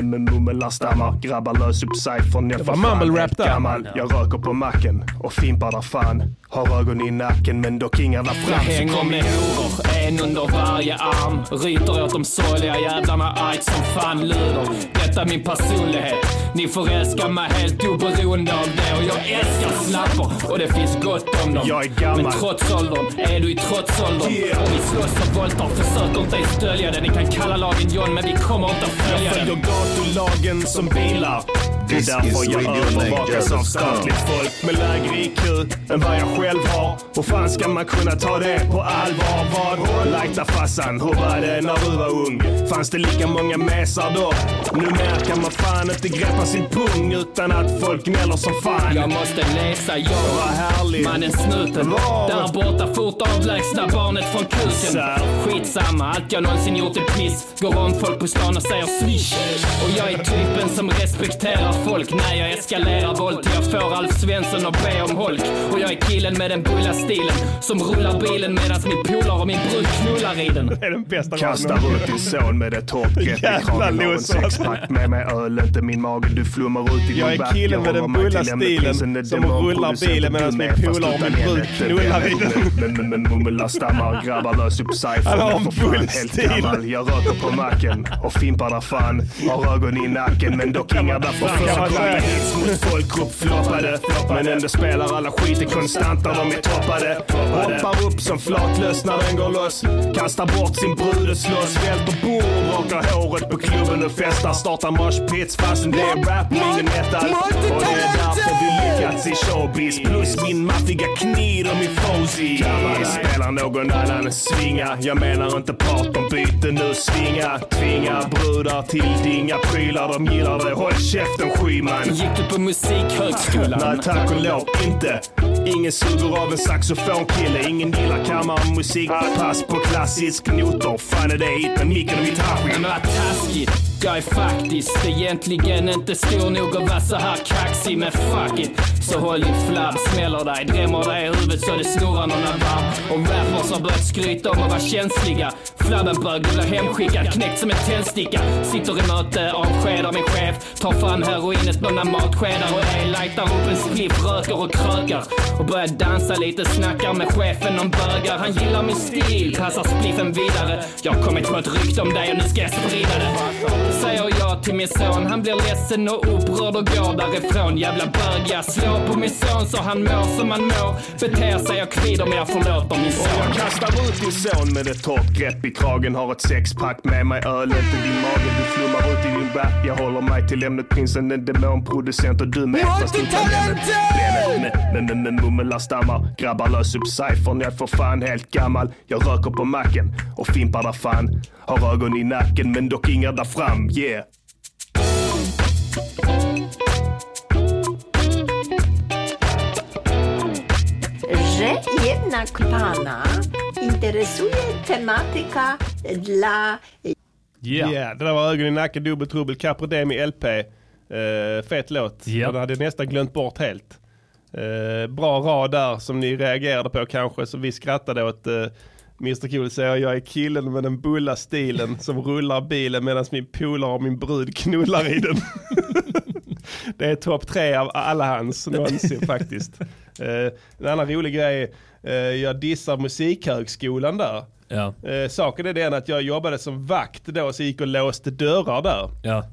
[SPEAKER 13] mumlar stammar. Grabbar lös upp cyphern. Jag
[SPEAKER 1] Det
[SPEAKER 13] för
[SPEAKER 1] var
[SPEAKER 13] fan
[SPEAKER 1] mumble
[SPEAKER 13] helt
[SPEAKER 1] rap där.
[SPEAKER 13] gammal. Jag röker på macken och fimpar där fan. Har ögon i nacken men dock inga där
[SPEAKER 3] Jag
[SPEAKER 13] fram. Så
[SPEAKER 3] hänger
[SPEAKER 13] kom
[SPEAKER 3] med horor, en under varje arm. Ryter åt de sorgliga jävlarna argt som fan luder. Detta är min personlighet. Ni får älska mig helt oberoende av det. Och jag älskar slappor och det finns gott om dem.
[SPEAKER 13] Jag är gammal.
[SPEAKER 3] Men trots åldern är du i trotsåldern.
[SPEAKER 13] Yeah.
[SPEAKER 3] Och vi slåss och våldtar. Försök inte ens dölja det. Ni kan kalla lagen John men vi kommer inte att följa
[SPEAKER 13] Jag
[SPEAKER 3] den.
[SPEAKER 13] följer gatulagen som bilar. Det är
[SPEAKER 3] This is
[SPEAKER 13] därför jag
[SPEAKER 3] Radio
[SPEAKER 13] övervakas
[SPEAKER 3] Naked
[SPEAKER 13] av
[SPEAKER 3] Sound.
[SPEAKER 13] statligt folk med lägre IQ än vad jag själv har. Och fan ska man kunna ta det på allvar? Vad? Lajta farsan, hur var det när du var ung? Fanns det lika många mesar då? Numera kan man fan inte greppa sin pung utan att folk gnäller som fan.
[SPEAKER 3] Jag måste läsa jag.
[SPEAKER 13] Vad härligt.
[SPEAKER 3] Mannen snuten.
[SPEAKER 13] Var?
[SPEAKER 3] Där borta fort avlägsna barnet från kuken.
[SPEAKER 13] Sär.
[SPEAKER 3] Skitsamma, allt jag någonsin gjort är piss. Går om folk på stan och säger swish. Och jag är typen som respekterar folk. När jag eskalerar våld till jag får Alf Svensson och be om holk. Och jag är killen med den bulla stilen. Som rullar bilen medans min polare och min brud knullar i den. Det
[SPEAKER 1] är den bästa
[SPEAKER 13] Kastar ut din son med ett hårt grepp i
[SPEAKER 3] Jävla
[SPEAKER 13] kragen. Har en
[SPEAKER 3] loser.
[SPEAKER 13] sexpack med mig öl, inte min mage. Du flummar ut i din
[SPEAKER 1] Jag är
[SPEAKER 13] back.
[SPEAKER 1] killen med
[SPEAKER 13] håller
[SPEAKER 1] den
[SPEAKER 13] mig
[SPEAKER 1] bulla
[SPEAKER 13] till ämnet.
[SPEAKER 1] stilen
[SPEAKER 13] Prinsen är
[SPEAKER 1] som
[SPEAKER 13] demon,
[SPEAKER 1] rullar
[SPEAKER 13] producenten
[SPEAKER 1] bilen medan
[SPEAKER 13] du
[SPEAKER 1] min
[SPEAKER 13] med, fast
[SPEAKER 1] polare och
[SPEAKER 13] utan
[SPEAKER 1] min brud
[SPEAKER 13] ämnet.
[SPEAKER 1] knullar i
[SPEAKER 13] Men- men- men Mumla stammar, grabbar lös upp cyphern.
[SPEAKER 1] Han har en
[SPEAKER 13] Jag får fan
[SPEAKER 1] bull
[SPEAKER 13] helt
[SPEAKER 1] stil.
[SPEAKER 13] gammal. Jag röker på macken och fimpar där fan. Har ögon i nacken men dock inga där
[SPEAKER 1] Kan man
[SPEAKER 13] fram.
[SPEAKER 1] säga.
[SPEAKER 13] hits mot folkgrupp floppade. Men ändå spelar alla skiten konstant när de är toppade. Hoppar upp som flatlös när den går loss. Kastar bort sin brud och slåss. Välter bord, rakar håret på klubben och festar. Startar moshpits fastän det är rap, ingen metal. Och det är därför vi lyckats i showbiz. Plus min maffiga kniv och min Fosie. Spelar någon annan en svinga. Jag menar inte partnerbyte nu. Svinga, tvinga brudar till dinga prylar. De gillar det. Håll käften Schyman.
[SPEAKER 3] Gick du på musikhögskolan?
[SPEAKER 13] Nej tack och lov inte. Ingen suger av en saxofonkille. Ingen gillar kammarmusik. Pass på klassisk noter. Fan är det hit med micken och gitarren.
[SPEAKER 3] Men vad taskigt. Jag är faktiskt egentligen inte stor nog att vara så här kaxig men fuck it. Så håll din flabb, smäller dig, drämmer dig i huvudet så det snurrar några varv. Och rappers har börjat skryta om att vara känsliga. Flabben bög, du blir hemskickad, knäckt som en tändsticka. Sitter i möte, avskedar min chef. Tar fram heroinet, blundar matskedar och är lightar upp en spliff, röker och krökar. Och börjar dansa lite, snackar med chefen om bögar. Han gillar min stil, passar spliffen vidare. Jag har kommit på ett rykte om dig och nu ska jag sprida det. Säger jag till min son, han blir ledsen och upprörd och går därifrån. Jävla bög, jag slår på min son så han mår som han mår. Beter sig, jag kvider men jag förlåter min son.
[SPEAKER 13] Jag kastar ut din son med ett hårt grepp i kragen. Har ett sexpack med mig öl, inte din mage. Du flummar ut i din rap. Jag håller mig till ämnet. Prinsen är demonproducent och du med. Fast utan ämnet. Benet med- med- med- med mumlar stammar. Grabbar lös upp cyphern. Jag är för fan helt gammal. Jag röker på macken och fimpar där fan. Har ögon i nacken men dock inga där fram. Yeah.
[SPEAKER 7] Że jednak pana interesuje tematyka dla
[SPEAKER 1] Yeah. yeah. Det där var Ögon i nacken, Dubbeltrubbel, Caprodemi LP. Uh, fet låt.
[SPEAKER 4] Yep.
[SPEAKER 1] Den hade jag nästan glömt bort helt. Uh, bra rad där som ni reagerade på kanske, så vi skrattade åt uh, Mr Cool säger jag är killen med den bulla stilen som rullar bilen medan min polare och min brud knullar i den. [laughs] det är topp tre av alla hans någonsin faktiskt. Uh, en annan rolig grej, uh, jag dissar musikhögskolan där.
[SPEAKER 4] Ja.
[SPEAKER 1] Eh, saken är den att jag jobbade som vakt då, så jag gick och låste dörrar där.
[SPEAKER 4] Ja.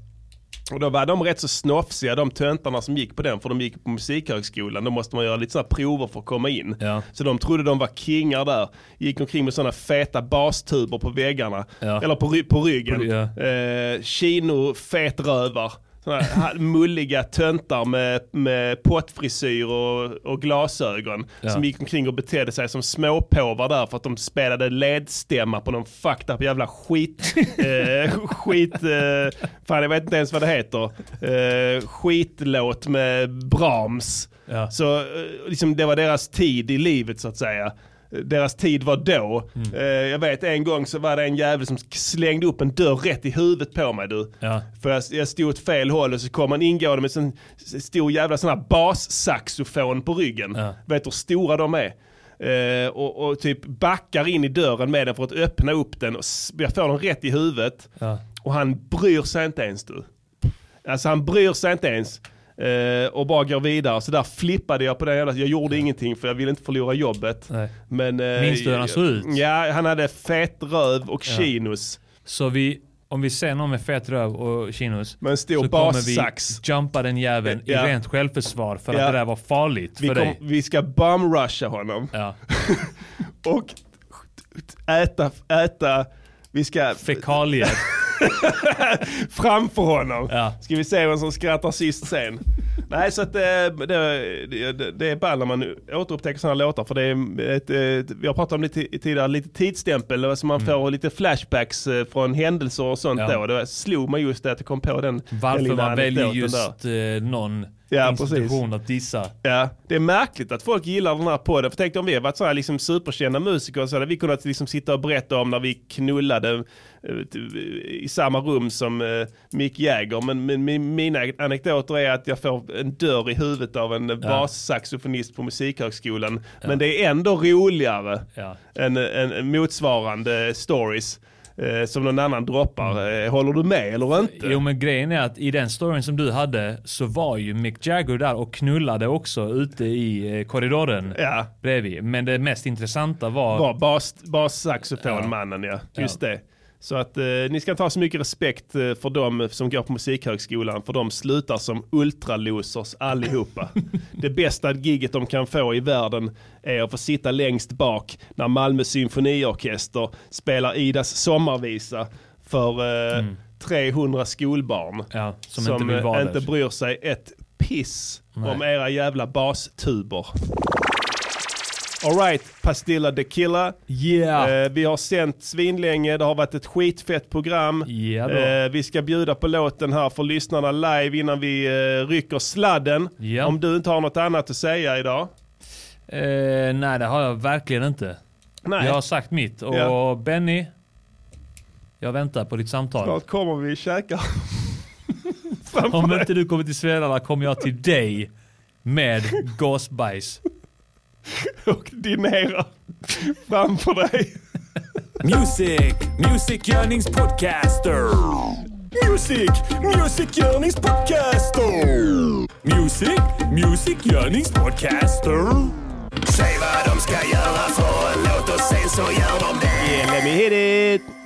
[SPEAKER 1] Och då var de rätt så snofsiga de töntarna som gick på den, för de gick på musikhögskolan. Då måste man göra lite sådana prover för att komma in.
[SPEAKER 4] Ja.
[SPEAKER 1] Så de trodde de var kingar där. Gick omkring med sådana feta bastuber på väggarna.
[SPEAKER 4] Ja.
[SPEAKER 1] Eller på, ry- på ryggen.
[SPEAKER 4] På- ja.
[SPEAKER 1] Eh, Chino fetrövar. Sådana här mulliga töntar med, med pottfrisyr och, och glasögon.
[SPEAKER 4] Ja.
[SPEAKER 1] Som gick omkring och betedde sig som småpåvar där för att de spelade ledstämma på någon fucked up jävla skit... eh, skit... Eh, fan jag vet inte ens vad det heter. Eh, skitlåt med Brahms.
[SPEAKER 4] Ja.
[SPEAKER 1] Så eh, liksom, det var deras tid i livet så att säga. Deras tid var då.
[SPEAKER 4] Mm.
[SPEAKER 1] Eh, jag vet en gång så var det en jävel som slängde upp en dörr rätt i huvudet på mig du.
[SPEAKER 4] Ja.
[SPEAKER 1] För jag, jag stod åt fel håll och så kom han ingående med en stor jävla sån här bassaxofon på ryggen.
[SPEAKER 4] Ja.
[SPEAKER 1] Vet du hur stora de är? Eh, och, och typ backar in i dörren med den för att öppna upp den och s- jag får den rätt i huvudet.
[SPEAKER 4] Ja.
[SPEAKER 1] Och han bryr sig inte ens du. Alltså han bryr sig inte ens. eh, och bara går vidare. Så där flippade jag på den jävla... Jag gjorde ingenting för jag ville inte förlora jobbet.
[SPEAKER 4] Nej.
[SPEAKER 1] Men, eh,
[SPEAKER 4] Minns du hur han såg ut?
[SPEAKER 1] Ja, han hade fet röv och chinos.
[SPEAKER 4] Så vi, om vi ser någon med fet röv och chinos.
[SPEAKER 1] Med en stor
[SPEAKER 4] så kommer
[SPEAKER 1] bassax.
[SPEAKER 4] vi jumpa den jäveln
[SPEAKER 1] Ja.
[SPEAKER 4] i rent självförsvar för
[SPEAKER 1] Ja.
[SPEAKER 4] att det där var farligt
[SPEAKER 1] Vi,
[SPEAKER 4] för
[SPEAKER 1] kom,
[SPEAKER 4] dig.
[SPEAKER 1] vi ska bumrusha honom.
[SPEAKER 4] Ja.
[SPEAKER 1] och äta, äta, vi ska
[SPEAKER 4] Fekalier.
[SPEAKER 1] framför honom.
[SPEAKER 4] Ja.
[SPEAKER 1] Ska vi se vem som skrattar sist sen. Nej, så att eh, det, det, det är ball när man återupptäcker sådana låtar. För det är ett, eh, jag pratade om lite tidigare, lite tidsstämpel. Så man får lite flashbacks eh, från händelser och sånt
[SPEAKER 4] Mm. Ja.
[SPEAKER 1] då. Det slog mig just det att jag kom på den den
[SPEAKER 4] Varför
[SPEAKER 1] lilla
[SPEAKER 4] man väljer
[SPEAKER 1] anekdoten där.
[SPEAKER 4] just eh, någon
[SPEAKER 1] Ja,
[SPEAKER 4] institution att dissa.
[SPEAKER 1] Ja, det är märkligt att folk gillar den här podden. För tänk dig om vi hade varit så här liksom superkända musiker så hade vi kunnat liksom sitta och berätta om när vi knullade eh, t- i samma rum som eh, Mick Jagger. Men, men min- mina anekdoter är att jag får en dörr i huvudet av en bassaxofonist på Musikhögskolan. Men det är ändå roligare
[SPEAKER 4] Ja.
[SPEAKER 1] än, än, än motsvarande stories eh, som någon annan droppar. Eh, Håller du med eller inte?
[SPEAKER 4] Jo men grejen är att i den storyn som du hade så var ju Mick Jagger där och knullade också ute i eh, korridoren
[SPEAKER 1] Ja.
[SPEAKER 4] bredvid. Men det mest intressanta var...
[SPEAKER 1] Var bas, bassaxofonmannen ja. Just det. Så att eh, ni ska ta så mycket respekt eh, för dem som går på Musikhögskolan för de slutar som ultralosers [laughs] allihopa. det bästa giget de kan få i världen är att få sitta längst bak när Malmö symfoniorkester spelar Idas sommarvisa för eh, 300 skolbarn
[SPEAKER 4] Ja, som, inte vill vara
[SPEAKER 1] eh, inte
[SPEAKER 4] där.
[SPEAKER 1] bryr sig ett piss
[SPEAKER 4] Nej.
[SPEAKER 1] om era jävla bastuber. Alright, Pastilla de Killa.
[SPEAKER 4] Yeah.
[SPEAKER 1] Eh, vi har sänt svinlänge, det har varit ett skitfett program.
[SPEAKER 4] Ja då.
[SPEAKER 1] Eh, vi ska bjuda på låten här för lyssnarna live innan vi eh, rycker sladden.
[SPEAKER 4] Ja.
[SPEAKER 1] Om du inte har något annat att säga idag.
[SPEAKER 4] Eh, nej, det har jag verkligen inte.
[SPEAKER 1] Nej.
[SPEAKER 4] Jag har sagt mitt. Och
[SPEAKER 1] Ja.
[SPEAKER 4] Benny, jag väntar på ditt samtal.
[SPEAKER 1] Snart kommer vi käka. [laughs]
[SPEAKER 4] Om inte du kommer till Svedala kommer jag till dig med gasbajs.
[SPEAKER 1] och dinera framför dig.
[SPEAKER 9] Music, Music Yearnings Podcaster. Music, Music Yearnings Podcaster. Music, Music Yearnings Podcaster. Säg vad de ska göra för en låt och sen så gör de det.
[SPEAKER 1] Yeah, let me hit it!